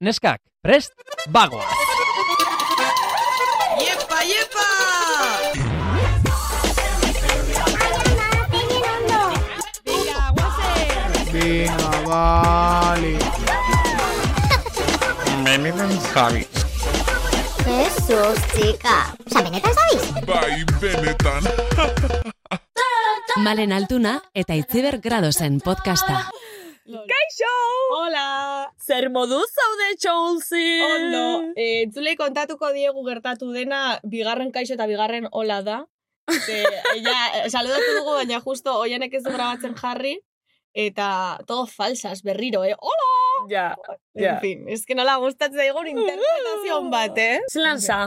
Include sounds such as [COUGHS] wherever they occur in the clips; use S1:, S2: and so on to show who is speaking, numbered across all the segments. S1: Neskak, prest, bagoa!
S2: ¡Yepa, yepa!
S3: Venga, guazen!
S4: Venga, vale.
S5: Jesus, txika. Osa, benetan zabiz?
S6: Malen Altuna eta Itziber Gradosen podcasta.
S3: Kaixo! Hola!
S7: Zer modu zaude txolzi?
S3: Ondo, eh, entzulei kontatuko diegu gertatu dena bigarren kaixo eta bigarren hola da.
S7: [LAUGHS]
S3: Ze, ja, eh, saludatu dugu, baina justo oianek ez du grabatzen jarri. Eta todo falsas berriro, eh? Hola!
S7: Ja,
S3: En fin, es que nola gustatzen daigun
S7: [LAUGHS]
S3: interpretazion bat, eh?
S7: Zelan za?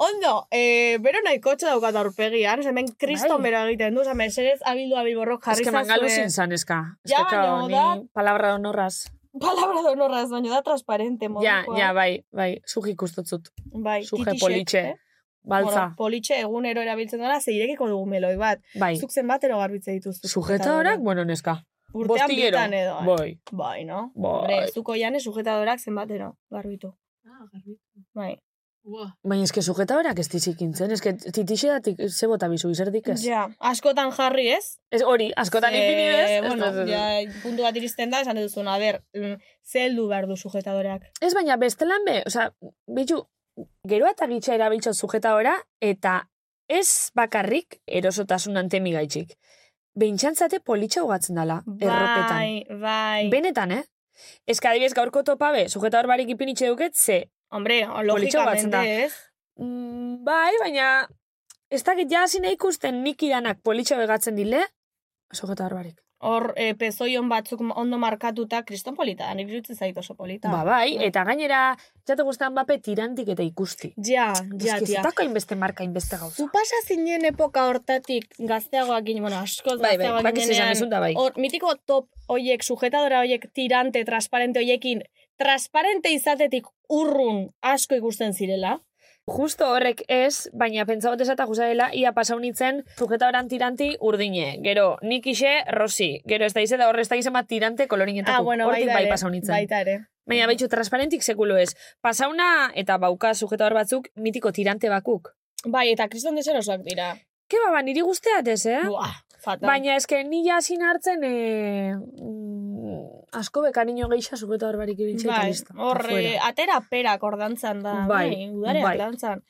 S3: Ondo, eh, bero nahikotxe daukat aurpegian, hemen kriston
S7: Bai.
S3: bero egiten du, hemen serez abildua biborrok jarri
S7: Eske mangalu zin zan eska. Eske
S3: Ja,
S7: kao,
S3: baina
S7: ni
S3: da-
S7: palabra honorraz.
S3: Palabra de honorraz, baina da transparente
S7: Ja,
S3: modukoa.
S7: ja, bai, bai, zuk ikustutzut.
S3: bai,
S7: suje
S3: kitixek,
S7: politxe.
S3: eh?
S7: Baltza,
S3: Bueno, politxe egunero erabiltzen dara, zeirekiko dugu meloi bat.
S7: bai.
S3: Zuk zenbatero garbitze dituzu.
S7: Sujetadorak, bueno, neska.
S3: Urtean
S7: Bostillero.
S3: bitan edo. eh?
S7: Bai.
S3: Bai, no?
S7: Bai.
S3: Hombre, zuko jane sujetadorak zenbatero garbitu. Bai.
S7: Baina eske sujetadorak ez tizik intzen, eske titixedatik ze bota bizu, izerdik ez.
S3: Ja, askotan jarri ez?
S7: Ez hori, askotan
S3: Ze,
S7: ipini ez. ez,
S3: Eh, Bueno,
S7: ez, ez, ez.
S3: ja, puntu bat iristen da, esan duzun, a ber, mm, ze heldu behar du sujetadorak.
S7: Ez baina bestelan be, osea, bitu, gero eta gitxa erabiltzo sujeta ora, eta ez bakarrik erosotasun antemi gaitxik. Beintxantzate politxa ugatzen dala, erropetan.
S3: Bai, bai.
S7: Benetan, eh? Ez que adibidez gaurko topabe, sujeta hor barik ipinitxe duket, ze,
S3: Hombre,
S7: Politxo batzen da.
S3: logikamente ez.
S7: mm, bai, baina, ez dakit ja hasi nahi ikusten nik idanak politxa begatzen dile, sujeta hor barik.
S3: Hor, eh, pezoion batzuk ondo markatuta, kriston polita, da, nik iruditzen zait oso polita.
S7: Ba, bai, eta gainera, jate guztan bape tirantik eta ikusti.
S3: Ja, ja,
S7: Ez que
S3: tia.
S7: zetako inbeste marka, inbeste gauza.
S3: Zu pasa zinen epoka hortatik gazteagoak ginen, bueno, askoz
S7: Bai, bai,
S3: gazteagoak
S7: bakiz esan
S3: ginenean,
S7: duzun da bai.
S3: Hor, mitiko top hoiek, sujetadora hoiek, tirante, transparente hoiekin, transparente izatetik urrun asko ikusten zirela.
S7: Justo horrek ez, baina pentsa bat esata justa dela, ia pasau nintzen sujeta oran tiranti urdine. Gero, nik ise rosi. Gero, ez da izeta horre ez da izan bat tirante kolorinetako. Hortik bai
S3: ere,
S7: pasau nintzen.
S3: Ah, Baita ere.
S7: Baina, baitxu, transparentik sekulo ez. Pasauna eta bauka sujeta hor batzuk mitiko tirante bakuk.
S3: Bai, eta kriston deserosoak dira.
S7: Ke ba, ba, niri guzteat ez, eh?
S3: Buah, fatal.
S7: Baina eske ni jasin hartzen eh, mm, asko bekariño geixa sujeta hor barik ibiltxe eta
S3: bai,
S7: listo.
S3: hor,
S7: afuera.
S3: eh, atera perak ordantzan da.
S7: Bai,
S3: udare
S7: bai.
S3: dantzan.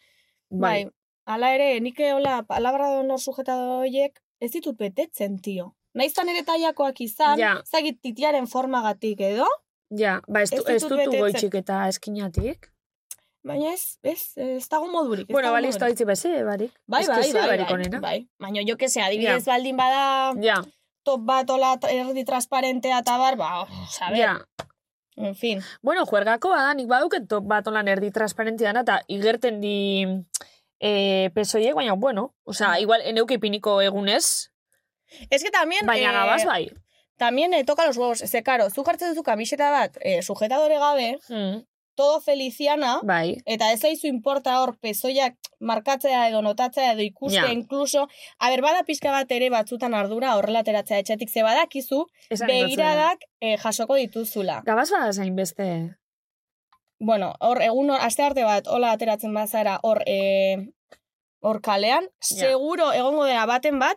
S3: Bai. Hala ere, nik hola, palabra de honor sujetado horiek, ez ditut betetzen, tio. Naizan ere taiakoak izan,
S7: Ja.
S3: ez dakit titiaren formagatik edo,
S7: Ja, ba, ez,
S3: Ez
S7: du-
S3: ditut
S7: ez dutu
S3: betetzen.
S7: goitxik eta eskinatik.
S3: baina ez, ez, ez dago modurik. ez
S7: Bueno,
S3: dago
S7: bale, ez da eh,
S3: modurik.
S7: hitzi beze, barik.
S3: Bai,
S7: Ez que
S3: bai,
S7: ez da
S3: bai,
S7: barik
S3: bai,
S7: onena.
S3: bai. Baina jo que se, adibidez baldin bada
S7: Ja,
S3: top bat ola erdi transparentea eta bar, ba, oh, a ver,
S7: ja.
S3: en fin.
S7: Bueno, juergako da, nik baduket top bat onlan erdi transparenti dana, eta igerten di eh, pesoiek, baina, bueno, osea, igual, eneuke ipiniko egunez,
S3: Es que también...
S7: baina
S3: Mm. eh,
S7: gabaz bai.
S3: También eh, toca los huevos. Ze, karo, zu jartzen duzu kamiseta bat, eh, sujetadore gabe,
S7: Mm,
S3: todo feliciana,
S7: bai.
S3: Eta ez zaizu inporta hor pezoiak markatzea edo notatzea edo ikustea
S7: Ja.
S3: inkluso. Aber, bada pixka bat ere batzutan ardura horrela ateratzea etxetik ze badakizu,
S7: Esan igotzen.
S3: begiradak eh, jasoko dituzula.
S7: Gabaz bada zain beste.
S3: Bueno, hor egun hor, aste arte bat, hola ateratzen bazara hor eh, hor kalean,
S7: Ja.
S3: seguro egongo dela baten bat,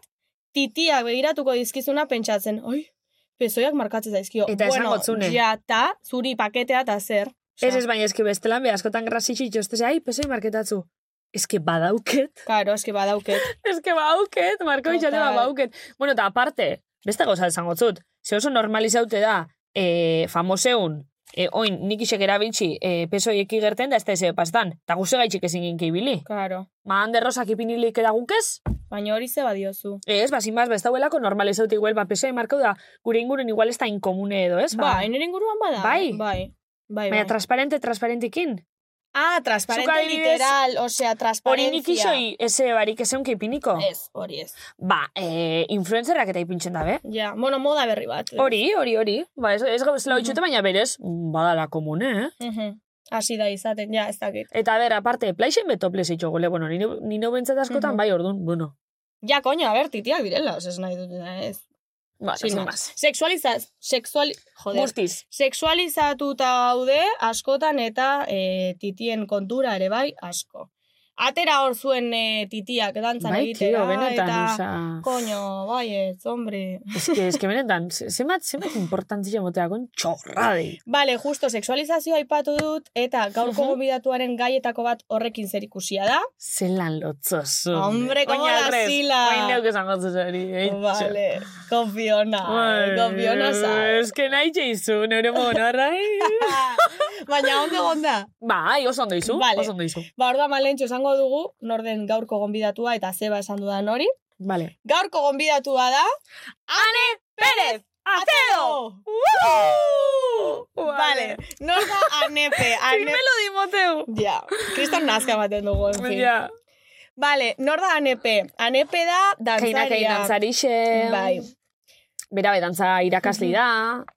S3: titiak begiratuko dizkizuna pentsatzen, oi, pezoiak markatzen daizkio.
S7: Eta
S3: bueno,
S7: esango zune.
S3: Ja, ta, zuri paketea eta zer. Osea,
S7: Ez ba- ez baina eski bestelan, be, askotan grasitxi jostez, ai, pesoi marketatzu. Eske badauket.
S3: Karo, eski badauket.
S7: Eske badauket, Marko
S3: Total.
S7: Itxate badauket. Bueno, eta aparte, beste gauza esango zut, ze oso normalizaute da, e, famoseun, e, oin, nik isek erabiltzi, e, pesoiek igerten da, ez da eze pastan. Eta guze gaitxik ezin ginki ibili.
S3: Karo.
S7: Ma, hande rosak ipinilik edagukez,
S3: Baina hori ze badiozu.
S7: ez, ba, basin baz, ez dauelako normalizaute igual, ba, pesoi markau da, gure ingurun igual ez da inkomune edo, ez?
S3: Ba, nire inguruan bada.
S7: Bai.
S3: Bai. Bai,
S7: Baina
S3: bai.
S7: transparente, transparentikin.
S3: ah, transparente
S7: Zuk adibidez,
S3: literal, osea,
S7: Hori
S3: transparencia.
S7: nik isoi, eze barik ezeunke ipiniko.
S3: Ez, hori ez.
S7: Ba, e, influencerrak eta ipintzen dabe.
S3: Ja, bueno, moda berri bat.
S7: Hori, hori, hori. Ba, ez, ez gauzela itxute, baina berez, badala komune, eh?
S3: Mhm. Hasi da izaten, ja, ez dakit.
S7: Eta ber, aparte, plaixen betoples itxogole, bueno, nino, nino bentzat askotan,
S3: Mhm.
S7: bai, orduan, bueno.
S3: Ja, koño, a ber, titiak direla, osea, ez nahi dut, ez.
S7: Ba,
S3: Sin
S7: sin
S3: más.
S7: más.
S3: Sexualizaz, sexuali... Joder.
S7: Guztiz.
S3: Sexualizatuta gaude askotan eta e, titien kontura ere bai asko. Atera hor zuen e, titiak dantzan
S7: Bai,
S3: egitera.
S7: tio, benetan,
S3: eta...
S7: osea...
S3: Koño, baietz, hombre.
S7: Eske, eske benetan, ze- zenbat, zenbat importantzia motea, kon txorradei.
S3: Bale, justo sexualizazioa aipatu dut eta gaurko
S7: Mhm.
S3: gonbidatuaren gaietako bat horrekin zerikusia da.
S7: Zelan lotzosun.
S3: Ah, Hombre, como la sila.
S7: Oin neuk esango zuzari, eitxo.
S3: Vale, konfiona, konfiona za.
S7: Eske nahi jeizu, neure eh. monarrai.
S3: [LAUGHS] Baina ondo gonda.
S7: [LAUGHS] bai, oso ondo izu,
S3: Vale.
S7: oso ondo izu.
S3: Ba, orduan malentxo esango dugu, norden gaurko gonbidatua eta zeba esan dudan hori.
S7: Vale.
S3: Gaurko gonbidatua da... Ane Pérez! Acedo! Vale, nor da Anepe, Ane...
S7: Filmelo di moteu.
S3: Ja, kriston nazka ematen dugu, en fin.
S7: Ja.
S3: Vale, nor da Anepe? Anepe da dantzaria.
S7: Kainak egin dantzarixe.
S3: Bai.
S7: Bera bedantza irakasli da,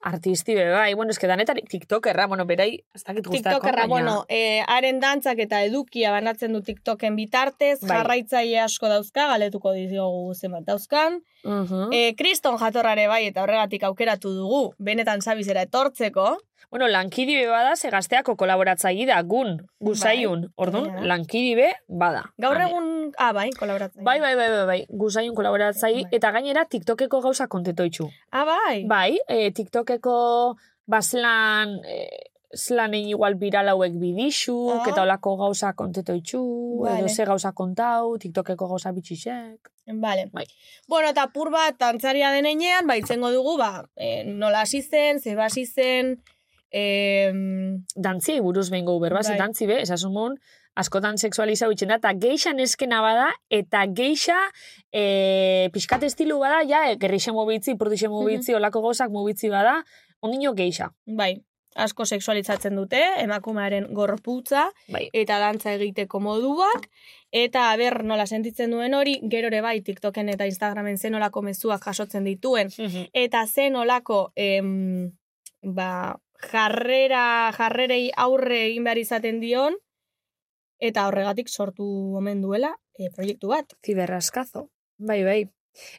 S7: artisti be bai. Bueno, eske danetari TikTokerra, bueno, berai, ez dakit gustako.
S3: TikTokerra, bueno, eh, haren dantzak eta edukia banatzen du TikToken bitartez,
S7: Bai.
S3: jarraitzaile asko dauzka, galetuko diziogu zenbat dauzkan.
S7: Uh -huh.
S3: Eh, kriston jatorrare bai eta horregatik aukeratu dugu, benetan zabizera etortzeko.
S7: bueno, lankidibe bada, ze gazteako kolaboratzaile da, gun, guzaiun. Orduan,
S3: Bai. Ja.
S7: lankidibe bada.
S3: Gaur
S7: Ane.
S3: egun, ah, bai, kolaboratzen.
S7: Bai, bai, bai, bai, bai. Guzaiun kolaboratzaile
S3: Bai.
S7: eta gainera TikTokeko gauza kontetoitzu.
S3: Ah, bai.
S7: Bai, e, TikTokeko baslan e, slanen igual viral hauek bidixuk,
S3: Ah.
S7: eta olako gauza kontetoitxu,
S3: Vale.
S7: edo ze gauza kontau, TikTokeko gauza bitxixek.
S3: Vale.
S7: Bai.
S3: Bueno, eta pur bat dantzaria den heinean, ba, itzengo dugu, ba, eh, nola hasi zen, zeba hasi zen, eh,
S7: Dantziei buruz behin gau berbaz,
S3: Bai.
S7: bai. dantzi be, esasun mun, askotan seksualizau itxen da, eta geixa neskena bada, eta geixa e, pixkat estilu bada, ja, e, gerrixe mobitzi, purdixe mobitzi, olako gauzak mobitzi bada, ondino geixa.
S3: bai, asko sexualizatzen dute, emakumearen gorputza,
S7: Bai.
S3: eta dantza egiteko moduak, eta aber nola sentitzen duen hori, gero ere bai TikToken eta Instagramen zen olako mezuak jasotzen dituen, eta zen olako em, ba, jarrera, jarrerei aurre egin behar izaten dion, eta horregatik sortu omen duela eh, proiektu bat.
S7: Ziberraskazo. Bai, bai.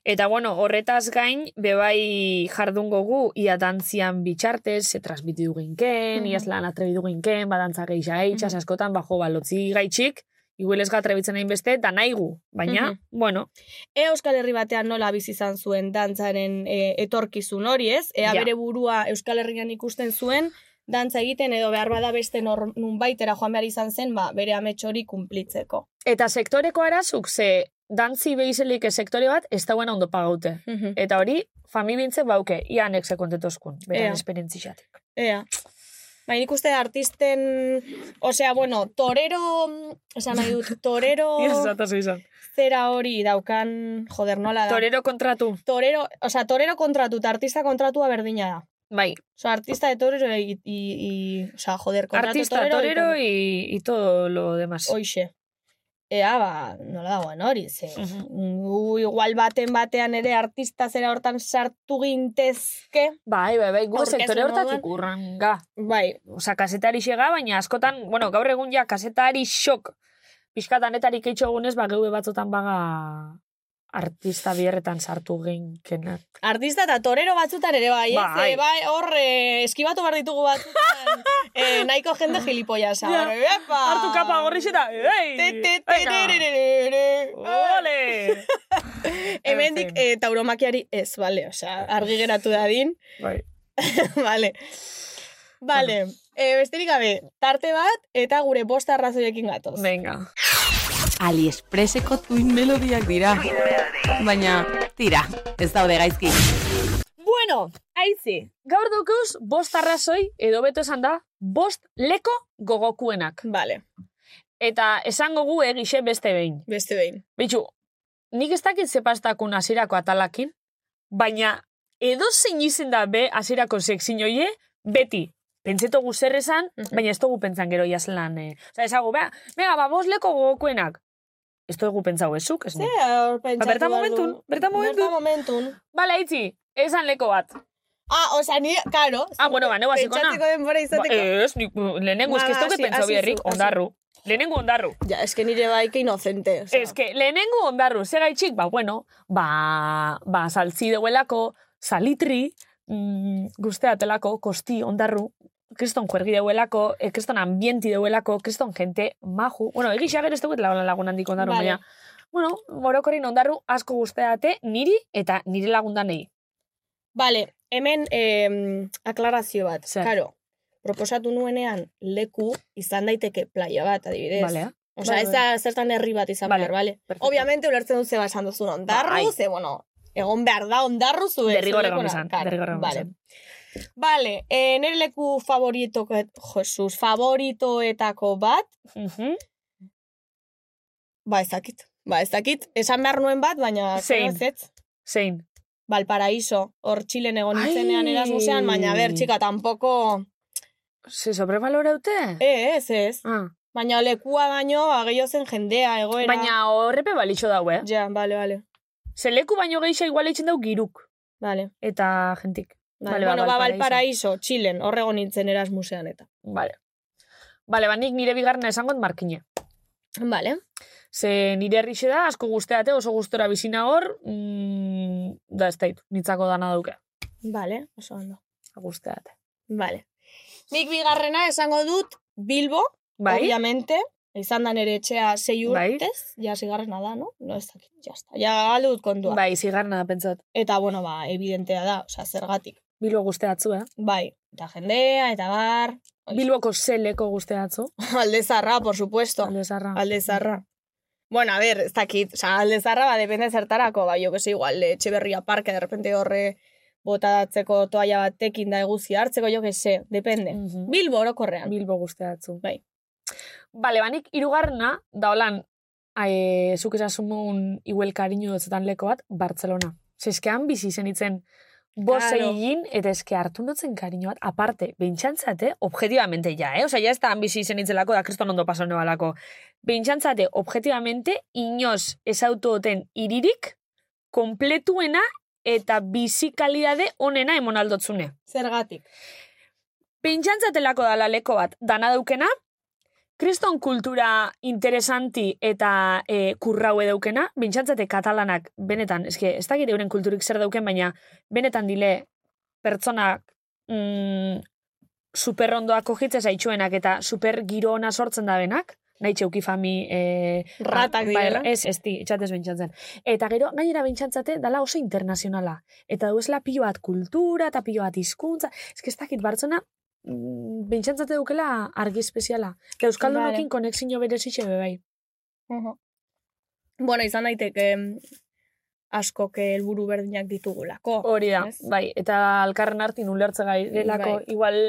S7: Eta bueno, horretaz gain, bebai jardungo gu, ia dantzian bitxartez, se transmitidu ginken,
S3: Mhm.
S7: iaz lan atrebidu ginken, badantza geixa eitxas
S3: Mhm.
S7: askotan, bajo, balotzi gaitxik, iguel ez atrebitzen hain beste, da nahi gu. Baina,
S3: Mhm.
S7: bueno,
S3: Ea Euskal Herri batean nola bizi izan zuen dantzaren eh, etorkizun hori, ez? Ea
S7: Ja.
S3: bere burua Euskal Herrian ikusten zuen, dantza egiten edo behar bada beste nor, nunbaitera joan behar izan zen, ba, bere amets hori kumplitzeko.
S7: eta sektoreko arazuk, ze dantzi behizelik ez sektore bat, ez dauen ondo pagaute. Eta hori, famibintze bauke, ia anekse kontetozkun,
S3: Ea.
S7: beran esperientzixat.
S3: Ea. Baina nik uste artisten, osea, bueno, torero, esan nahi dut, torero
S7: [LAUGHS] izan.
S3: zera hori daukan, joder, nola da.
S7: Torero kontratu.
S3: Torero, osea, torero kontratu eta artista kontratua berdina da.
S7: Bai,
S3: Osea, artista de torero i, i, i osea, joder, kontratu
S7: Artista,
S3: torero.
S7: torero y, y todo lo demás.
S3: Hoixe. Ea, ba, nola dagoen hori, ze.
S7: Ujú.
S3: Gu igual baten batean ere artista zera hortan sartu gintezke.
S7: Bai, bai, bai, gu
S3: Aurkeztu
S7: sektore hortatik
S3: moduan.
S7: urranga.
S3: Bai,
S7: Osa, kasetari xega, baina askotan, bueno, gaur egun ja, kasetari xok. Piskatanetarik eitxo egunez, ba, geube batzotan baga artista bierretan sartu genkenak.
S3: Artista eta torero batzutan ere bai, ez?
S7: Bai.
S3: Eh, Bai, hor, eh, eskibatu behar ditugu batzutan.
S7: [LAUGHS]
S3: eh, nahiko jende gilipoia sa.
S7: Ja.
S3: Yeah. Epa!
S7: Hartu kapa gorri eta, ei!
S3: Te, te, te,
S7: venga,
S3: re, re, re, re.
S7: [LAUGHS] Ole!
S3: Hemendik
S7: En fin.
S3: eh, tauromakiari ez, bale, osea, argi geratu dadin,
S7: Bai.
S3: [LAUGHS] bale. Bale, eh, besterik gabe, tarte bat eta gure bosta arrazoiekin gatoz.
S7: Venga.
S2: Aliexpreseko tuin melodiak dira. Baina, tira, ez daude gaizki.
S7: Bueno, aizi, gaur dukuz bost arrazoi, edo beto esan da, bost leko gogokuenak.
S3: Bale,
S7: Eta esango gu egixe beste behin.
S3: beste behin.
S7: Bitxu, nik ez dakit zepastakun hasierako atalakin, baina edo zein izen da be hasierako sekzinoie, beti. Pentseto gu zer esan,
S3: Mhm.
S7: baina ez dugu pentsan gero jazlan. Eh. Osa, esago, bea, bea, ba, bost leko gogokuenak. Ez dugu pentsau ezuk, ez
S3: Ze,
S7: ni.
S3: hor pentsatu behar
S7: bertan
S3: du.
S7: momentun, bertan momentun.
S3: Bertan momentun.
S7: Bala, itzi, esan leko bat.
S3: Ah, osea, ni, karo.
S7: Ah, bueno, ganeu hasiko
S3: Pentsatzeko denbora
S7: Ba,
S3: izateko.
S7: ez, nik,
S3: Ba,
S7: lehenengo, eske ez dauket
S3: hasi-
S7: pentsau
S3: hasi zu,
S7: biherrik,
S3: hasi.
S7: ondarru. Lehenengo ondarru.
S3: Ja, eske nire bai, que inocente. osea.
S7: Ez que lehenengo ondarru, ze gaitxik, ba, bueno, ba, ba, saltzi deuelako, salitri, mm, guztea telako, kosti, ondarru, kriston kuergi deuelako, eh, kriston ambienti deuelako, kriston jente, maju. Bueno, egisa gero ez dugut lagun lagun handik ondarru,
S3: Vale.
S7: baina, bueno, morokorin ondarru asko guzteate niri eta nire lagundanei.
S3: Bale, hemen em, aklarazio bat.
S7: Zer?
S3: Karo, proposatu nuenean leku izan daiteke playa bat, adibidez.
S7: Balea?
S3: Osa,
S7: Bai,
S3: ez da zertan herri bat izan
S7: Vale,
S3: behar, bale?
S7: perfecto.
S3: Obviamente, ulertzen dut zeba esan duzun ondarru,
S7: Bai.
S3: ze, bueno, egon behar da ondarru zu.
S7: Derrigor egon izan, derrigor egon
S3: Vale,
S7: izan.
S3: vale eh, nire leku favoritoko, Jesus, favoritoetako bat,
S7: Mhm.
S3: ba ez dakit. Ba ez dakit, esan behar nuen bat, baina...
S7: Zein?
S3: ez ez.
S7: Zein.
S3: Balparaíso, hor Txilen egon
S7: Ai.
S3: nintzenean erasmusean, baina ber, txika, tampoko...
S7: Se sobrevaloraute?
S3: Eh, ez, ez.
S7: Ah.
S3: Baina lekua baino, ba, gehiago zen jendea, egoera.
S7: Baina horrepe balitxo dau, eh?
S3: Ja, bale, bale.
S7: Ze leku baino gehiago igual eitzen dau giruk.
S3: Bale.
S7: Eta jentik.
S3: Vale,
S7: Bale, ba,
S3: bueno, ba,
S7: Valparaíso.
S3: Valparaíso, Txilen, hor egon nintzen erasmusean eta.
S7: Vale. Vale, ba, nik nire bigarrena esangot markine.
S3: Vale.
S7: Ze nire herrixe da, asko guzteate, oso gustora bizina hor, mm, da ez dait, nitzako dana duke.
S3: Vale, oso ondo.
S7: Guzteate.
S3: Vale. Nik bigarrena esango dut Bilbo,
S7: Bai?
S3: obviamente. Izan da nere etxea sei
S7: Bai.
S3: urtez. Ja, zigarrena da, no? No ez dakit, ja está. Ja, galdu dut kontua.
S7: Bai, zigarna da pentsat.
S3: Eta, bueno, ba, evidentea da, osea, zergatik.
S7: Bilbo guzteatzu, eh?
S3: Bai, eta jendea, eta bar, [LAUGHS]
S7: Bilboko zeleko guzteatzu.
S3: aldezarra, por supuesto.
S7: Alde zarra.
S3: Aldezarra. Bueno, a ver, ez dakit, oza, aldezarra, ba, depende zertarako, ba, jo, que se igual, etxe berria parke, de repente horre botadatzeko toalla batekin da eguzki hartzeko, jo, que se, depende.
S7: Mhm.
S3: Bilbo orokorrean.
S7: Bilbo guzteatzu.
S3: Bai.
S7: Bale, banik irugarna, da holan, ae, zuk esasumun iguel kariño dotzetan leko bat, Bartzelona. Zeskean bizi zen itzen, bose
S3: Claro.
S7: egin, eta eske hartu notzen kariño bat, aparte, bintxantzate, objetivamente ja, eh? Osa, ja ez da han bizi zen itzelako, da kriston ondo paso balako. Bintxantzate, objetivamente, inoz ezautu oten iririk, kompletuena, eta bizi kalidade onena emonaldotzune.
S3: Zergatik.
S7: Pentsantzatelako dala leko bat dana daukena, kriston kultura interesanti eta e, kurraue daukena, bintxantzate katalanak benetan, eske ez dakit euren kulturik zer dauken, baina benetan dile pertsonak mm, superrondoako hitz zaitxuenak eta super giro ona sortzen da benak, nahi txeuki fami... E,
S3: Ratak
S7: ba,
S3: direla.
S7: Ez, ez di, itxatez bentsantzen. Eta gero, gainera bentsantzate, dala oso internazionala. Eta duezla pilo bat kultura, eta pilo bat hizkuntza. Ez que ez dakit, bartzona, mm, bentsantzate dukela argi espeziala. Eta Euskaldunokin
S3: Vale.
S7: konexio berezitxe be bai.
S3: Ujú. Bueno, izan daiteke em, askok helburu berdinak ditugulako.
S7: Hori da,
S3: Ez?
S7: bai. Eta alkarren hartin ulertze gairelako,
S3: Bai.
S7: igual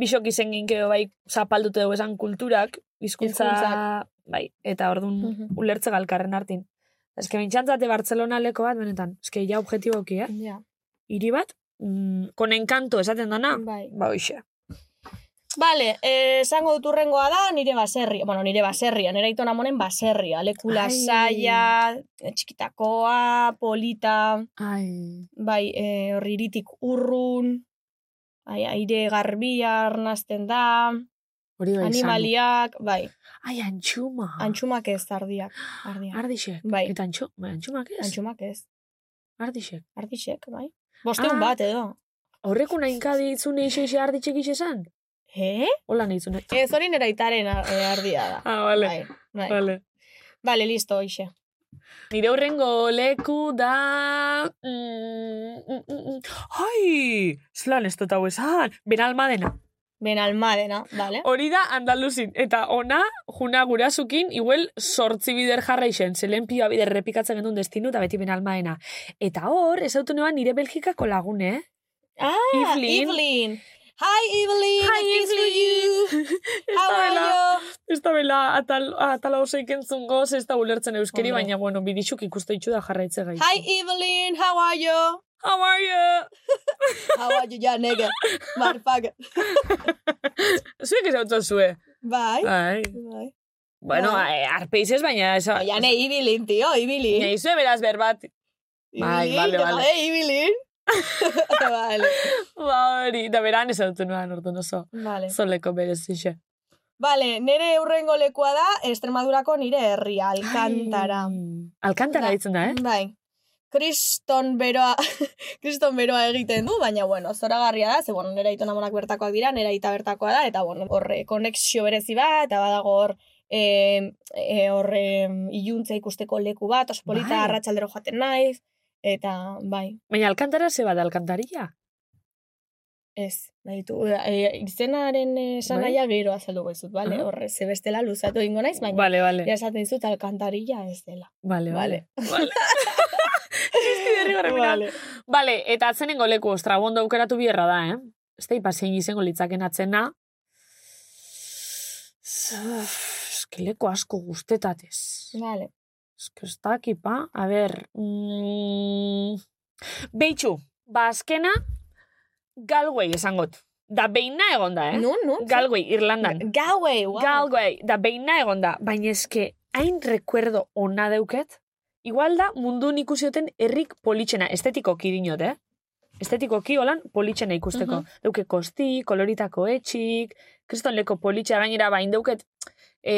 S7: bisok izen ginkeo bai zapaldute dugu esan kulturak, hizkuntza
S3: Hizkuntzak.
S7: bai, eta ordun
S3: Mhm.
S7: ulertze galkarren hartin. Ez que bentsantzate Bartzelona leko bat, benetan. Ez que ja objetiboki, eh?
S3: Ja,
S7: hiri bat, mm, con encanto esaten dana,
S3: bai.
S7: ba hoxe.
S3: Vale, eh, esango dut urrengoa da nire baserria, bueno, nire baserria, nire aitona amonen baserria, lekula
S7: Ai.
S3: saia, txikitakoa, polita,
S7: Ai.
S3: bai, eh, horri iritik urrun, ai, aire garbia arnasten da,
S7: Hori bai Animalia.
S3: animaliak, bai,
S7: Ai, antxuma.
S3: antxumak ez, ardiak, ardiak,
S7: Ardixek.
S3: Bai.
S7: Eta antxu, bai, antxumak ez?
S3: antxumak ez,
S7: Ardixek.
S3: ardixek, bai. Bosteun
S7: Ah.
S3: bat edo.
S7: Horreku nahinka ditzune iso iso ardixek iso esan?
S3: Eh?
S7: Hola nahitzune.
S3: Ez hori nire aitaren ar- eh, ardia da.
S7: Ah, vale.
S3: Bai, bai. Vale.
S7: Vale.
S3: listo, hoxe.
S7: Nire horrengo leku da... Mm, mm, mm, mm. Ai! Zelan ez dut hau esan! Benalmadena.
S3: Benalmadena, vale.
S7: Hori da Andaluzin. Eta ona, juna gurasukin, igual sortzi bider jarra izen. Zelen pioa bider repikatzen gendun destinu eta beti benalmaena. Eta hor, ez autu noan nire Belgikako lagune, eh?
S3: Ah,
S7: Evelyn.
S3: Evelyn. Hi, Evelyn. Hi, Evelyn. [LAUGHS]
S7: ez
S3: How
S7: da
S3: are
S7: bela,
S3: you?
S7: ez da bela atal, atala oso ikentzun goz, ez da ulertzen euskeri,
S3: Hombre.
S7: baina, bueno, bidixuk ikusteitxu da jarraitze gai.
S3: Hi, Evelyn. How are you?
S7: How are you?
S3: How are you, ya, [LAUGHS] nigga? Motherfucker.
S7: Zuek ez hau zue.
S3: Bai.
S7: Ai.
S3: Bai.
S7: Bueno,
S3: Bai.
S7: arpeizez, baina... Eso,
S3: Ya, ne, Evelyn, tío, Evelyn.
S7: Nei zue beraz berbat. Bai,
S3: Evelyn,
S7: vale,
S3: que
S7: vale.
S3: jode,
S7: [LAUGHS]
S3: Evelyn. vale.
S7: Ba hori, da beran ez autu noan orduan oso.
S3: Vale.
S7: Zoleko berezixe.
S3: Vale, nere urrengo lekua da, Extremadurako nire herria, Alcántara.
S7: Alkantara
S3: Da.
S7: ditzen da, eh?
S3: Bai. kriston beroa, [LAUGHS] kriston beroa egiten du, baina, bueno, zoragarria da, ze, bueno, nera itonamonak bertakoak dira, nera ita bertakoa da, eta, bueno, horre, konexio berezi bat, eta badago hor, e, e, hor, e, iluntza ikusteko leku bat, oso polita,
S7: Bai.
S3: arratsaldero joaten naiz, eta, bai,
S7: Baina alkantara ze bat alkantaria.
S3: ez, nahi ditu. E, izenaren esan
S7: Bai.
S3: naia gero azaldu bezut, bale,
S7: Aha.
S3: horre, ze bestela luzatu egingo naiz, baina,
S7: Bale, bale.
S3: ja esaten dizut alkantarilla ez dela.
S7: [LAUGHS] Bale, bale. Bale.
S3: Vale.
S7: Bale, eta atzenengo leku ostrabondo aukeratu bierra da, eh? Ez da ipasein izango litzaken atzena. Eske leku asko guztetatez.
S3: Vale.
S7: Eske ez dakipa. A ber... Mm... Beitxu, ba azkena Galway esangot. Da beina egonda, eh?
S3: Nun, nun?
S7: Galway, Irlandan.
S3: Galway, wow.
S7: Galway, bai, da beina egon da, baina eske hain rekuerdo ona deuket, igual da mundun ikusioten herrik politxena, estetikoki dinot, eh? Estetikoki holan politxena ikusteko.
S3: Mhm.
S7: Deuke kosti, koloritako etxik, kriston leko politxea gainera bain deuket e,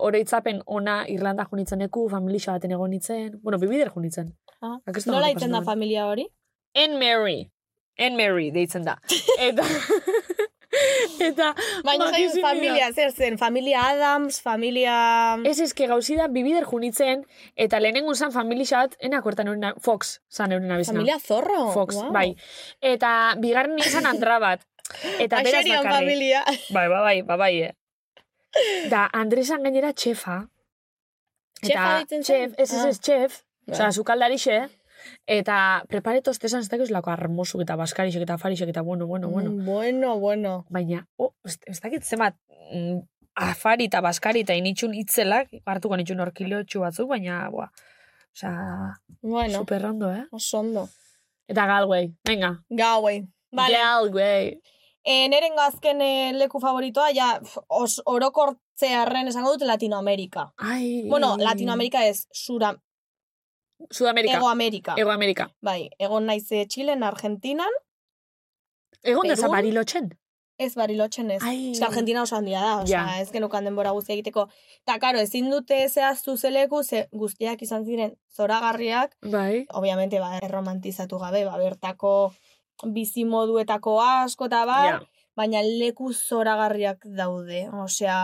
S7: oroitzapen ona Irlanda junitzeneku, familixa baten egon nitzen, bueno, bibider junitzen.
S3: Ah,
S7: Ba, kriston
S3: Nola
S7: ondo pasa
S3: itzen da
S7: nuen.
S3: familia hori?
S7: Anne Mary. Anne Mary deitzen
S3: [LAUGHS]
S7: da. Eta... [LAUGHS] eta...
S3: Baina
S7: makizimia.
S3: zaitu familia, zer zen, familia Adams, familia...
S7: Ez eske gauzi da bibider junitzen, eta lehenengo zan familia bat, enak hortan eurena, Fox, zan eurena bizna.
S3: familia Zorro.
S7: Fox,
S3: wow.
S7: bai. Eta bigarren izan Andra bat. Eta beraz
S3: Axerian
S7: bakarrik.
S3: familia.
S7: Bai, bai, bai, bai, bai, eh. Da, Andresan gainera txefa.
S3: Txefa deitzen zen?
S7: txef, ez ez ez txef.
S3: Bai.
S7: Osa, zukaldarixe. Eta preparetos tesan ez dakiz lako armosuk eta baskarixek eta farixek eta bueno, bueno, bueno
S3: Mm, [LAUGHS] bueno, bueno.
S7: baina, oh, ez, ez dakit zenbat, mm, afari eta baskari eta initxun itzelak, hartuko nitxun hor kilotxu batzuk, baina, boa, oza,
S3: Bueno,
S7: superrondo, eh?
S3: oso ondo.
S7: Eta Galway, venga,
S3: Gauei. Vale.
S7: Galway.
S3: E, nerengo azken eh, leku favoritoa, ja, pf, os, orokortzearren esango dut Latinoamerika.
S7: Ai,
S3: Bueno, Latinoamerika ez, Sura,
S7: Sudamerika,
S3: Ego Amerika.
S7: Ego Amerika.
S3: Bai, egon naiz eh, Txilen, Argentinan,
S7: Egon da
S3: Perun?
S7: Zabarilotxen?
S3: Ez barilotxen ez.
S7: Ai.
S3: Ez que Argentina oso handia da, osea,
S7: Ja.
S3: ez genukan denbora guztia egiteko. Ta, karo, ezin dute zehaztu zeleku, ze guztiak izan ziren zoragarriak,
S7: Bai.
S3: obviamente, ba, erromantizatu gabe, ba, bertako bizimoduetako asko eta bar,
S7: Ja.
S3: baina leku zoragarriak daude. Osea,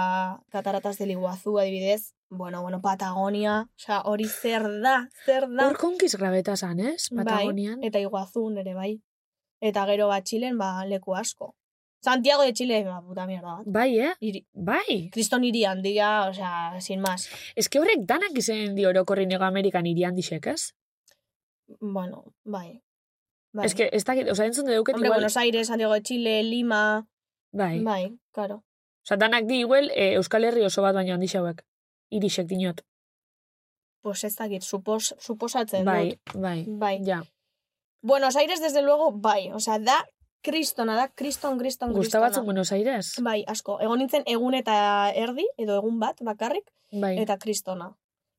S3: kataratas del Iguazu adibidez, bueno, bueno, Patagonia, osea, hori zer da, zer da.
S7: Hor konkiz grabeta zan, ez?
S3: Bai.
S7: Patagonian.
S3: Eta Iguazun ere bai. Eta gero bat Txilen, ba, leku asko. Santiago de Chile, ba, puta mierda bat.
S7: Bai, eh?
S3: Iri,
S7: Bai.
S3: kriston hiri handia, osea, sin más.
S7: Ez que horrek danak izen di orokorrin Ego Amerikan irian dixek, ez?
S3: Bueno, bai. bai.
S7: Ez que ez dakit, oza, entzun deuket
S3: Hombre,
S7: igual.
S3: Buenos Aires, Santiago de Chile, Lima,
S7: Bai.
S3: bai, claro.
S7: Osa, danak di iguel e, Euskal Herri oso bat baino handi hauek. Irixek dinot.
S3: Pues ez dakit, supos, suposatzen
S7: Bai,
S3: dut.
S7: bai.
S3: Bai.
S7: Ja,
S3: Buenos Aires, desde luego, bai. Osea, da, kristona, da, kriston, kriston,
S7: gustabatzen
S3: kristona.
S7: Buenos Aires.
S3: Bai, asko. Egon nintzen egun eta erdi, edo egun bat, bakarrik,
S7: Bai.
S3: eta kristona.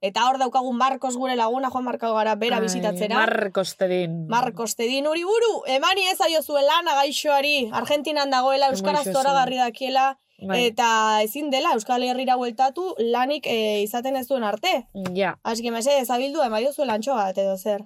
S3: Eta hor daukagun Marcos gure laguna, Juan Marko gara bera
S7: Ai,
S3: bizitatzera.
S7: Marcos Tedin.
S3: Marcos, te din hori buru, emani ezaio zuen lana gaixoari, Argentinan dagoela, Euskaraz
S7: Gaixo
S3: zoragarri dakiela,
S7: Bai.
S3: eh, eta ezin dela Euskal Herrira bueltatu lanik eh, izaten ez duen arte.
S7: Ja,
S3: Aski mese ezabildu, emaio zuen lantxo bat edo zer.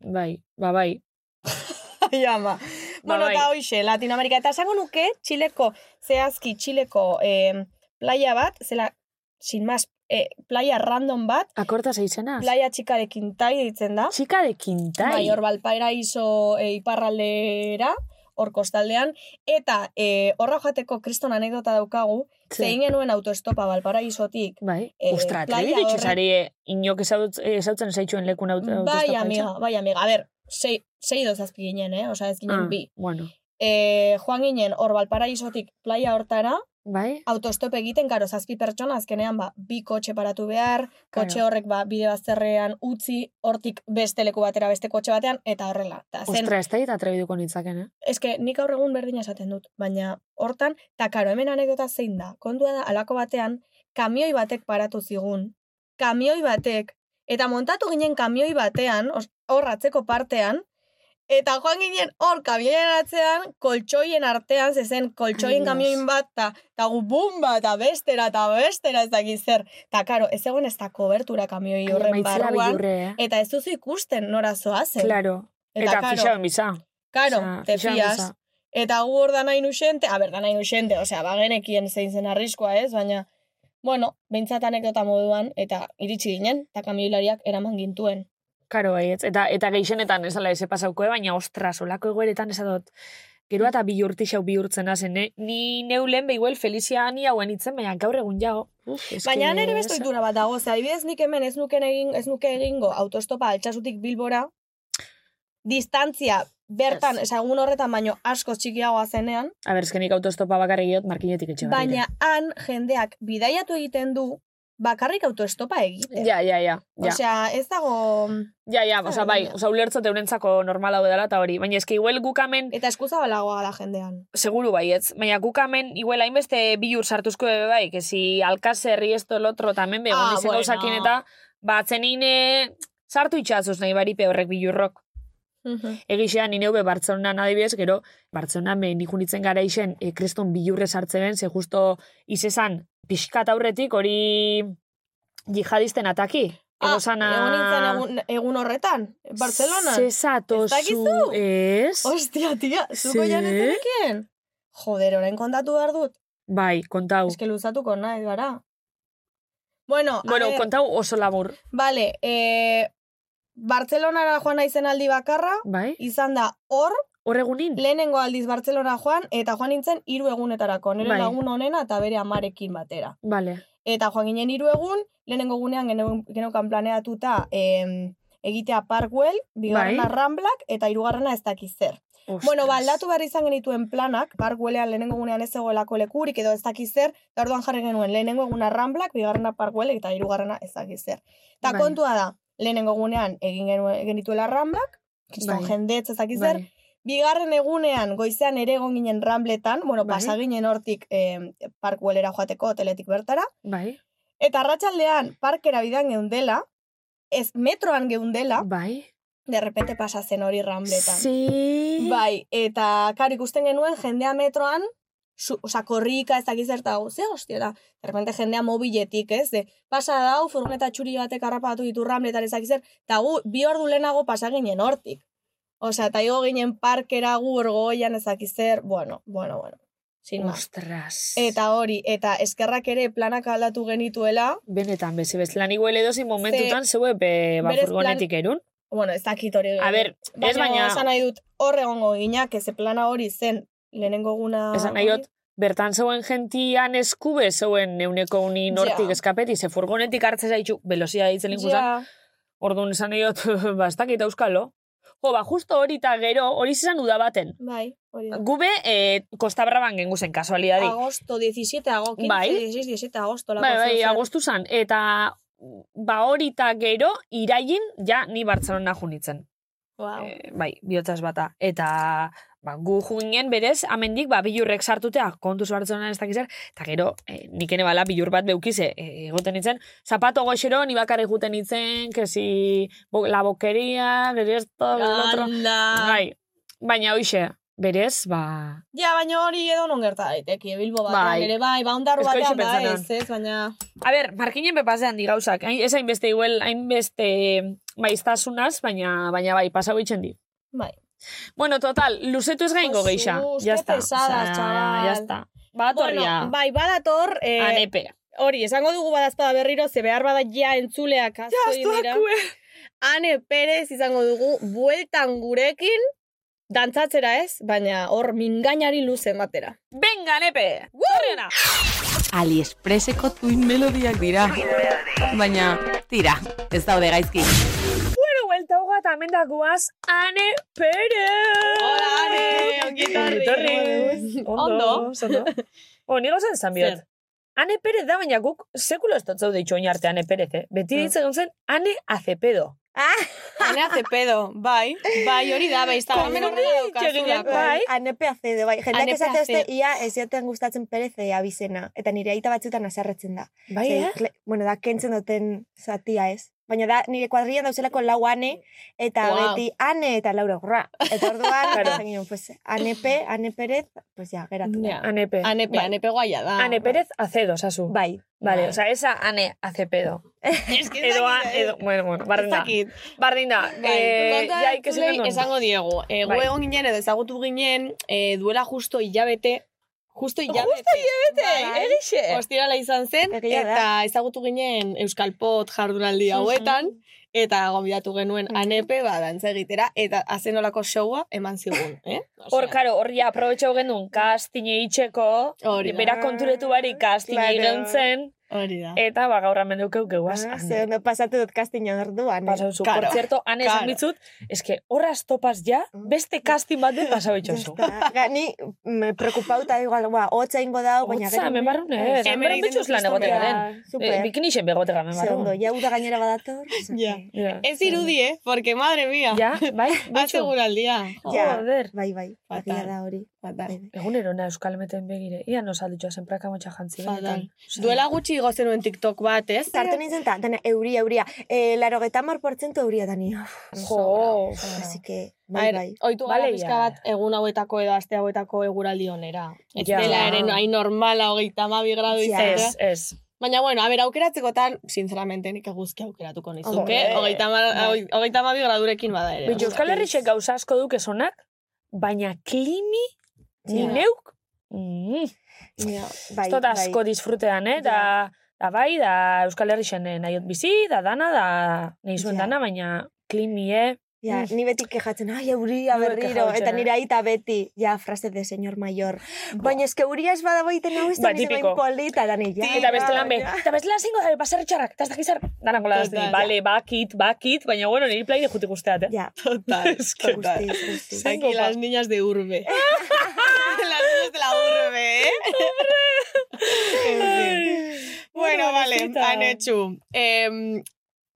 S7: bai, ba, bai.
S3: [LAUGHS] Ai, ama. bueno,
S7: bai.
S3: eta hoxe, Latinoamerika. Eta esango nuke, Txileko, zehazki Txileko eh, playa bat, zela, sin más, eh, playa random bat,
S7: Akorta zeizenaz.
S3: playa txikarekin tai ditzen da.
S7: Txika de Quintai.
S3: Bai, hor Valparaiso e, iparraldera, hor kostaldean, eta e, horra joateko kriston anekdota daukagu,
S7: Ze-
S3: zein genuen autoestopa Valparaisotik.
S7: Bai.
S3: Eh,
S7: Ostra,
S3: playa
S7: atrebi ditxu
S3: horrek-
S7: zari eh, inok ezaut- ezautzen zaitxuen lekun aut
S3: Bai, amiga, bai, amiga. A ber, sei, sei edo zazpi ginen, eh? Osa, ez
S7: Ah.
S3: ginen bi.
S7: Bueno,
S3: E, joan ginen hor Valparaisotik playa hortara,
S7: bai.
S3: autostop egiten, karo, zazpi pertsona, azkenean, ba, bi kotxe paratu behar,
S7: Claro.
S3: kotxe horrek, ba, bide bazterrean utzi, hortik beste leku batera, beste kotxe batean, eta horrela. Ta, zen,
S7: Ostra, ez da dit atrebiduko nitzaken, eh?
S3: eske nik gaur egun berdina esaten dut, baina hortan, eta karo, hemen anekdota zein da, kontua da, alako batean, kamioi batek paratu zigun, kamioi batek, eta montatu ginen kamioi batean, os- hor atzeko partean, Eta joan ginen hor kamioen atzean, koltsoien artean, zezen koltsoien
S7: Ai, Dios.
S3: kamioin bat, ta, ta gu bumba, eta bestera, eta bestera, ez dakit zer. Ta karo, ez egon ez da kobertura kamioi horren
S7: Maitzela
S3: barruan,
S7: bilurre, eh?
S3: eta ez duzu ikusten nora zoazen.
S7: Claro. Eta, eta
S3: karo,
S7: fixauen biza.
S3: karo,
S7: Osea,
S3: te
S7: fixauen
S3: fias.
S7: biza.
S3: Eta gu hor da nahi nuxente, a ber, da nahi nuxente, osea, bagenekien zein zen arriskoa ez, baina, bueno, behintzat anekdota moduan, eta iritsi ginen, eta kamioilariak eraman gintuen.
S7: Karo, baietz. bai, Eta, eta geixenetan esala eze pasauko, eh, baina ostras, olako egoeretan esadot. Gero eta bi urti xau bihurtzen hazen, eh? Ni neulen behiguel Felizia ni hauen itzen, baina gaur egun jago. Uf, eske-
S3: Baina nere beste ohitura bat dago, ze adibidez nik hemen ez nuken egin, ez nuke egingo autostopa altxasutik Bilbora, distantzia bertan,
S7: Ez.
S3: yes. egun horretan baino askoz txikiagoa zenean,
S7: A ber, eskenik autostopa bakarrik egot, markinetik etxe
S3: baina han jendeak bidaiatu egiten du bakarrik autostopa egiten.
S7: Ja, ja, ja. ja.
S3: Osea, ez dago...
S7: Ja, ja, oza, bai,
S3: baina-
S7: oza, ulertzot eurentzako normala hau dela eta hori, baina eski igual gukamen,
S3: Eta eskuzabalagoa da jendean.
S7: seguru baietz, baina gukamen igual hainbeste bilur sartuzko ebe bai, que si alkazerri esto el otro tamen begon
S3: Ah,
S7: ah, izen
S3: bueno.
S7: gauzakin eta, ba, atzenin eh, sartu itxazuz nahi baripe horrek bilurrok. Egixean, nine hube Bartzelonan adibidez, gero, Bartzelonan behin nikunitzen gara izen, e, kreston bilurre sartzen ben, ze justo izezan, pixkat aurretik hori jihadisten ataki.
S3: Ah,
S7: Egozana-
S3: Egon nintzen egun, egun horretan, Bartzelonan. Ez dakizu?
S7: Zezatozu, ez?
S3: Ostia, tia, zuko
S7: Ze?
S3: jan ez denekien? Joder, orain kontatu behar dut.
S7: Bai, kontau.
S3: Ez que luzatuko nahi gara. Bueno,
S7: bueno,
S3: a ver,
S7: kontau oso labur.
S3: vale, eh, Bartzelonara joan naizen aldi bakarra,
S7: Bai?
S3: izan da hor,
S7: Horregunin?
S3: lehenengo aldiz Bartzelona joan, eta joan nintzen hiru egunetarako, nire
S7: Bai. gunetarako,
S3: lagun onena eta bere amarekin batera.
S7: Vale.
S3: Eta joan ginen hiru egun, lehenengo gunean geneu- geneukan planeatuta em, egitea Parkwell, bigarrena
S7: Bai.
S3: Ramblak, eta hirugarrena ez dakiz zer.
S7: Ostras.
S3: Bueno, ba, aldatu behar izan genituen planak, parkuelean lehenengo gunean ez zegoelako lekurik edo ez dakiz zer, eta orduan jarri genuen lehenengo eguna ramblak, bigarrena parkuelek eta hirugarrena ez dakiz zer. Eta
S7: Bai.
S3: kontua da, lehenengo gunean egin genuen, genituela ramblak, kriston
S7: Bai.
S3: jendetz ez dakiz zer,
S7: Bai.
S3: bigarren egunean goizean ere egon ginen rambletan, bueno,
S7: Bai.
S3: pasa ginen hortik eh, parkuelera joateko hoteletik bertara,
S7: Bai.
S3: eta arratsaldean parkera bidan geundela, ez metroan geundela,
S7: Bai.
S3: de repente pasa zen hori rambletan.
S7: Sí.
S3: Bai, eta kar ikusten genuen jendea metroan, su, oza, korrika ez dakiz zerta hau, ze hostia da, de repente jendea mobiletik, ez, de, pasa dau, furgoneta txuri batek harrapatu ditu ramletan ez dakiz zer, eta gu, bi ordu lehenago pasa ginen hortik. Osea, eta igo ginen parkera gu orgoian ez dakiz zer, bueno, bueno, bueno, sin más.
S7: Ostras.
S3: bai. Eta hori, eta eskerrak ere planak aldatu genituela,
S7: Benetan, bezi bez. Lan igual edozi momentutan Ze... zeue be, ba,
S3: Berez
S7: furgonetik erun.
S3: bueno, ez dakit hori.
S7: A ber, ez baina,
S3: esan nahi dut, horre gongo ginak, ez plana hori zen, lehenengo guna...
S7: esan nahi dut, bertan zeuen gentian eskube zeuen neuneko uni nortik
S3: Ja.
S7: eskapeti, ze furgonetik hartze zaitu, belozia ditzen
S3: hori.
S7: linkusan,
S3: Ja.
S7: Orduan esan diot, [LAUGHS] ba, ez dakit euskalo. Jo, ba, justo hori eta gero, hori izan uda baten.
S3: Bai, hori da.
S7: Gube, eh, Costa Braban gengu zen, kasualidadi.
S3: Agosto 17, ago 15,
S7: Bai.
S3: 16, 17, agosto.
S7: Bai, bai, agostu zan. Eta, ba, hori eta gero, irailin, ja, ni Bartzelona junitzen.
S3: Wow.
S7: Eh, bai, bihotzaz bata. Eta, ba, gu juginen berez, amendik, ba, bilurrek sartutea, kontuz Bartzelona ez dakizar, eta gero, eh, nik ene bala bilur bat beukize, eh, egoten nintzen, zapato goxero, ni bakarrik juten nintzen, kesi, bo, la bokeria, gero esto, gero lo otro. Bai, baina hoxe, berez, ba...
S3: Ja, baina hori edo non gerta daiteke, Bilbo batean
S7: Bai.
S3: ere, bai, baundaru
S7: Ez que hoxe
S3: batean, bai,
S7: pentsa
S3: ez, ez, baina...
S7: A ber, markinen bepazean di gauzak, hain, ez hainbeste igual, hainbeste maiztasunaz, baina, baina bai, pasau itxen di.
S3: Bai.
S7: Bueno, total, luzetu ez gaingo
S3: Josu,
S7: geixa.
S3: ze
S7: Ya está.
S3: pesadas, chaval.
S7: ya está. Ba, torria.
S3: bai, badator, eh,
S7: Anepe.
S3: hori, esango dugu badazpada berriro, ze behar bada ja entzuleak asko egin dira.
S7: eh.
S3: Ane Perez izango dugu, bueltan gurekin, dantzatzera ez, baina hor mingainari luze matera.
S7: Venga, anepe! Torriena!
S2: AliExpresseko tuin melodiak dira. Baina, tira, ez daude gaizki.
S7: Bueno, vuelta hoga eta mendagoaz, Ane Pérez!
S3: Hola, Ane, ongi etorri.
S7: Etorri.
S3: Ondo.
S7: Ondo. O, ni gauzan zan biot.
S3: Zer?
S7: Ane Pérez da, baina guk sekulo ez dut zaude itxoin arte Ane Pérez, eh? Beti
S3: Mm.
S7: ditzen gontzen Ane Acepedo.
S3: Ane Acepedo, bai, bai, hori da, bai, Instagramen horrela daukazulako.
S7: Bai.
S8: Anepe azedo, bai. Jendeak
S3: Anepe
S8: esate oste,
S3: Acedo.
S8: ia ez joten gustatzen perez abizena. Eta nire aita batzutan azarratzen da.
S7: Bai,
S8: Ze,
S7: eh?
S8: kle- bueno, da kentzen duten zatia ez. Baina da, nire kuadrian dauzelako lau ane, eta
S3: Wow.
S8: beti ane eta laura gorra. Eta orduan,
S7: [LAUGHS] Claro.
S8: esan ginen, pues, ane P, ane Pérez, pues ja, geratu. da.
S3: Ja.
S7: Anepe.
S3: Anepe,
S7: Bai.
S3: anepe guaia da.
S7: Ane Pérez acedo, sasu.
S8: Bai.
S7: Vale,
S3: Bai.
S7: o sea, esa ane acepedo.
S3: Ez que ez
S7: Edo,
S3: dakit,
S7: edo, bueno, bueno, barrinda.
S3: Ez dakit.
S7: Barrinda.
S3: Bai,
S7: eh,
S3: konta
S7: ja, ikasi
S3: entzulei
S7: genuen.
S3: esango diegu. E, gu
S7: Bai.
S3: egon ginen edo ezagutu ginen e, duela justo hilabete. Justo hilabete. Justo hilabete,
S8: Bai.
S3: erixe. Ostirala izan zen,
S8: Egia da.
S3: eta ezagutu ginen Euskalpot
S7: Mhm.
S3: jardunaldi hauetan, eta gombidatu genuen anepe, ba, dantza egitera, eta azenolako showa eman zigun, eh? Osea,
S7: Hor, karo, hor ja aprobetxau genuen kastine itxeko,
S3: Hori da.
S7: bera konturetu barik kastine
S8: Claro.
S7: egin zen,
S3: hori da.
S7: eta ba gaur hemen dukeuk geuaz.
S8: Ah,
S7: ane.
S8: ze ondo pasatu dut kastinan orduan. eh?
S7: Pasau zu.
S3: Claro.
S7: Por cierto, ane esan
S3: Claro.
S7: ditzut, eske horraz topaz ja, beste casting bat den pasau itxosu.
S8: Ya está. Ga, ni me preocupauta igual, ba, hotza ingo dau, baina
S7: Otza, hemen barrune,
S3: Hemen
S7: ez. Hemen barrun
S3: egiten
S7: bitxuz
S3: dut
S7: lan
S3: kriston
S7: egote garen.
S8: Ja,
S7: Eh,
S8: Super.
S7: Bikinixen begote garen,
S8: Ze ondo,
S7: barrun.
S8: ja uda gainera badator.
S7: [LAUGHS]
S8: osea
S3: Ja.
S8: que-
S7: Ja.
S3: Ez irudi, eh? Porque, madre mía, Ba,
S7: Ja, bai,
S3: hace
S7: bitxu.
S3: guraldia.
S8: Ja.
S7: Joder.
S8: Bai, bai,
S3: Fatal.
S8: egia da hori.
S7: Ba.
S8: Bai, bai.
S7: Egunero na Euskal Meten begire. Ia nos alditxoa zen prakamotxa jantzi.
S3: Fatal. Duela gutxi igozen nuen TikTok bat, ez?
S8: Sartu nintzen ta, dana, euria, euria. E, laro geta portzentu euria, dani. Uf,
S7: Jo.
S8: Así que,
S3: A
S8: bai,
S3: ver,
S8: bai.
S3: oitu gara
S7: Bale,
S3: pixka
S7: ja.
S3: bat egun hauetako edo aste hauetako eguraldi onera. Ez
S7: Ja.
S3: dela ere hain normala hogeita mabi gradu
S8: Ja.
S3: izatea.
S7: Ez, ez.
S3: Baina, bueno, a ber, aukeratzekotan, sinceramente, nik eguzki aukeratuko nizuke.
S7: Hombre.
S3: Hogeita, ma,
S7: Bai.
S3: hogeita mabi gradurekin bada ere.
S7: Bitu, Euskal Herrixek gauza asko duk esonak, baina klimi, ni
S8: Ja.
S7: neuk, mm,
S8: Ja,
S7: ez
S8: bai,
S7: dut
S8: bai.
S7: asko disfrutean, eh? Da, da bai, da Euskal Herrixen eh, nahiot bizi, da dana, da nahi zuen
S8: Ja.
S7: dana, baina klimi, eh?
S8: Ja,
S7: Mm.
S8: ni beti kejatzen, ai, euria
S7: Ni bai
S8: berriro,
S7: kejatzen,
S8: eta
S7: eh.
S8: nire aita beti, ja, frase de señor mayor. Baina eske euria ez badago egiten hau
S7: Ba,
S8: izan, ez
S7: tipiko.
S8: bain polita, dani, ja.
S7: Eta beste lan be,
S8: Bai, ja.
S7: eta beste lan zingo da, baserritxarrak, eta ez dakiz zer, danan gola dazti,
S3: Total.
S7: bale, bakit, bakit, baina bueno, niri play jutik usteat, eh?
S8: Ja,
S3: Total, total.
S8: guztiz, guztiz.
S3: Aquí las niñas de urbe. [LAUGHS] las niñas de la urbe, ¿eh? En fin. bueno,
S7: Bueno,
S3: vale,
S7: Anita.
S3: anetxu. Eh,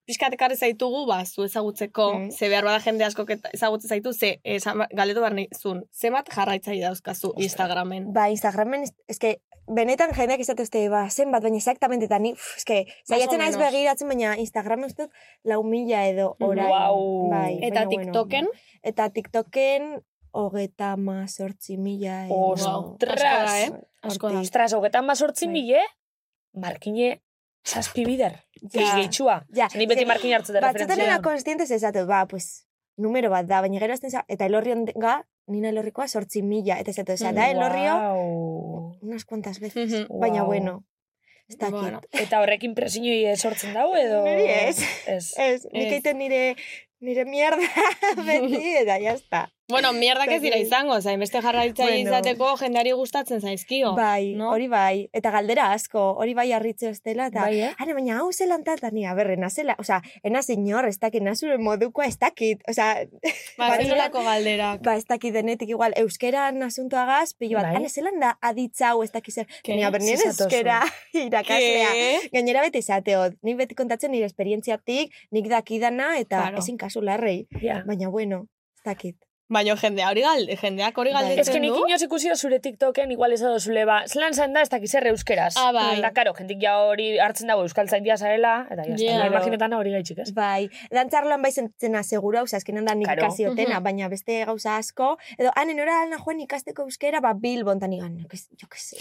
S3: pixkat ekarri zaitugu, ba, zu ezagutzeko,
S8: Mm.
S3: ze behar bada jende asko ezagutze zaitu, ze esan- galetu behar nahi zuen, zemat jarraitzai dauzkazu Instagramen.
S8: Ba, Instagramen, ez- eske, benetan jendeak izate uste, ba, zenbat, baina exactamente, eta ni, pff, eske, saiatzen naiz
S3: menos.
S8: begiratzen, baina Instagramen uste dut lau mila edo orain.
S7: Guau.
S8: Bai,
S3: Eta
S8: baina bueno.
S3: TikToken,
S8: Eta TikToken, hogeta ma sortzi mila edo.
S7: Ostras.
S3: asko da, eh? Asko da.
S7: Ostras, hogetan mazortzin
S8: Bai.
S7: bile, markine, zazpibider, ja. gehiatxua.
S8: ja.
S7: Ni beti
S8: ze-
S7: markin hartu da
S8: Batzutan era
S7: referentzia.
S8: konstientez esatu, ba, pues, numero bat da, baina gero azten za, eta elorri onga, nina elorrikoa sortzi mila, eta esatu, osea, da eh, elorrio,
S7: Wow.
S8: unas cuantas veces,
S3: Mhm.
S8: baina
S7: Wow.
S8: bueno, ez dakit.
S3: Bueno.
S7: Eta horrekin presiñoi sortzen dau edo...
S8: Niri ez.
S7: Ez.
S8: Ez, nik
S3: Ez.
S8: egiten nire, nire
S3: [LAUGHS]
S8: mierda [LAUGHS] beti, eta jazta.
S3: Bueno, mierdak ez dira izango, zain beste jarraitzaile
S8: Bueno.
S3: izateko jendari gustatzen zaizkio.
S8: Bai,
S3: no?
S8: hori bai, eta galdera asko, hori bai harritze ostela, eta...
S7: Bai, eh?
S8: Are, baina hau zelan tal, eta ni, a berre, nazela, oza, enaz inor, ez dakit, nazure modukoa, ez dakit, oza,
S3: Ba,
S8: Bai.
S3: zinolako galderak.
S8: ba, ez dakit denetik igual, euskeran asuntoagaz, pilo bat,
S7: Bai.
S8: are, zelan da aditzau, ez dakit zer,
S3: Ke?
S8: ni, a berre, nire
S7: Zizatozu.
S8: euskera [LAUGHS] irakaslea.
S3: Ke?
S8: Gainera beti zateot, nik beti kontatzen nire esperientziatik, nik dakidana, eta
S3: Claro.
S8: ezin kasu larrei,
S7: Ja.
S8: baina bueno, ez dakit.
S3: Baina jendea hori galde, jendeak hori
S8: Bai.
S7: Ez que
S3: galdetzen
S7: nik
S3: du.
S7: inoz ikusi da zure TikToken igual ez da zule ba, zelan zan da ez dakiz erre euskeraz.
S3: Ah, bai.
S7: Da, karo, jentik ja hori hartzen dago euskal zaindia zarela, eta jazta,
S3: Ja.
S7: yeah. imaginetan hori gaitxik, ez?
S8: Bai, dantzarloan bai zentzena segura, oza, azkenan da nik
S7: Claro.
S8: ikasi otena,
S3: Mhm.
S8: baina beste gauza asko, edo, "Ah, hanen ora alna joan ikasteko euskera, ba, Bilbon, tan igan, jo que se...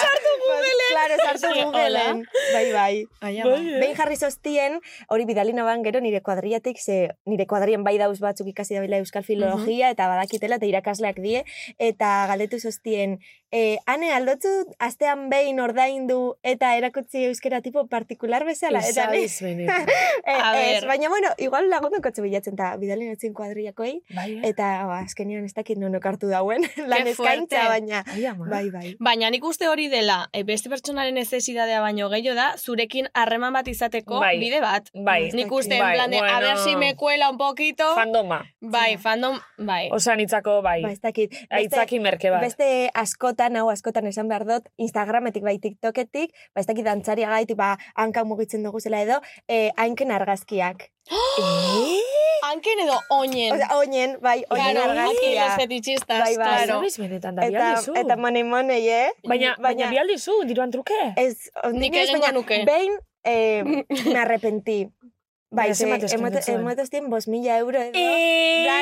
S8: sartu Googleen! Claro, sartu
S3: Sí,
S8: Googleen. Bai, bai.
S3: Aia, ba.
S8: Behin jarri zoztien, hori bidali naban gero nire kuadriatik, ze nire kuadrien bai dauz batzuk ikasi dabila euskal filologia, eta badakitela, eta irakasleak die, eta galdetu zoztien, e, ane aldotzu, astean behin ordaindu, eta erakutsi euskera tipo partikular bezala, eta ni,
S7: Izaiz,
S8: [LAUGHS]
S7: benetan.
S8: Eh,
S3: A
S8: ez,
S3: ber.
S8: baina, bueno, igual lagundu kotxe bilatzen, eta bidali notzen kuadriakoi,
S7: Bai, eh?
S8: eta ba, azkenean ez dakit non okartu dauen, lan
S3: Ke fuerte.
S8: eskaintza, baina,
S7: Ai, ama.
S8: bai, bai.
S3: Baina nik uste hori dela, e, beste pertsonaren necesidadea baino gehiago da, zurekin harreman bat izateko
S7: Bai.
S3: bide bat.
S7: Bai.
S3: Nik uste, en
S7: Bai,
S3: plan de, a
S7: bueno.
S3: ver si me cuela un poquito.
S7: Fandoma.
S3: Bai, fandom, bai.
S7: Osa nitzako bai.
S8: Ba, ez dakit.
S7: Aitzaki merke bat.
S8: beste askotan, hau askotan esan behar dut, Instagrametik bai TikToketik, ba, ez dakit dantzaria gaitik, ba, hanka mugitzen dugu zela edo, eh, hainken argazkiak.
S3: Hanken edo oinen.
S8: Osea, oinen, bai, oinen
S3: Claro, aquí los
S8: argazkia.
S3: fetichistas,
S8: Bai, bai.
S3: claro.
S7: Zabez benetan da,
S8: Eta,
S7: bialdizu.
S8: eta money money, eh?
S7: Baina, baina, bialdizu, diruan truke.
S8: Ez,
S3: Nik
S8: ondinoiz,
S3: egingo
S8: baina
S3: nuke.
S8: Behin, eh,
S7: [LAUGHS]
S8: me arrepentí. Bai,
S7: Baina zenbat eskaintzen zuen?
S8: emotoztien bos mila euro edo. Zan,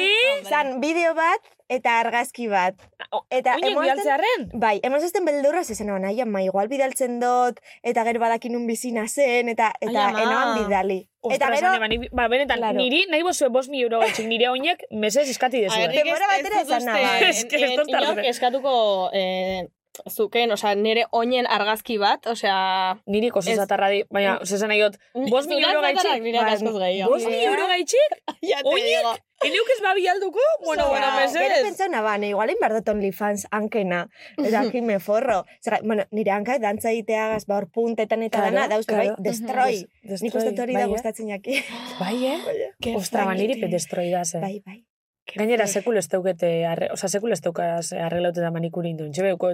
S7: Eee!
S8: zan, bideo bat eta argazki bat.
S7: Ah,
S8: Eta
S7: Oinek
S8: emoten-
S7: bialtzearen?
S8: Bai, eman zazten beldurra zezen egon, ai ama, igual bidaltzen dut, eta gero badakin nun bizina zen, eta, eta
S3: Ai, ama.
S8: enoan bidali.
S7: Eta
S8: eta gero,
S7: ba, benetan,
S8: Claro.
S7: niri nahi bozue bost mil euro gotxik, nire oinek mesez eskati dezu.
S3: Agerrik
S8: denbora
S3: ez- ez
S8: batera
S3: dut
S8: esan
S3: uste,
S8: naba.
S3: en-
S7: Ez que ez
S3: en-
S7: dut
S3: inork
S7: ardura.
S3: eskatuko eh, zuken, osea, nire oinen argazki bat, osea...
S7: Niri koso
S3: Ez.
S7: zatarra di, baina, zesan nahi dut, bost mil
S3: Zulat
S7: euro
S3: bakarrak
S7: gaitxik.
S3: Mm.
S7: Bai.
S3: nire askoz gehiago.
S7: Bost mil euro gaitxik?
S3: Ja te
S7: Oinek?
S3: digo.
S7: Eneuk ez babialduko? Bueno,
S8: Zara,
S7: bueno,
S8: Gero
S7: mesez.
S8: pentsau naban, igual inbardoton OnlyFans hankena,
S7: [LAUGHS]
S8: eta aquí me forro. Zerra, bueno, nire hanka dantza egiteagaz, ba, hor puntetan eta
S7: Claro,
S8: dana, dauz, bai,
S7: claro.
S8: destroi.
S7: Des-
S8: Nik uste dut hori da
S7: bai, eh?
S8: gustatzen jaki.
S7: [LAUGHS] Bai, eh? Ostra, ba, niri pe destroi da, ze.
S8: Bai, bai.
S7: Gainera, sekulo ez daukete, arre, oza, sekulo ez daukaz arreglaute da manikuri induen. Txebeuko,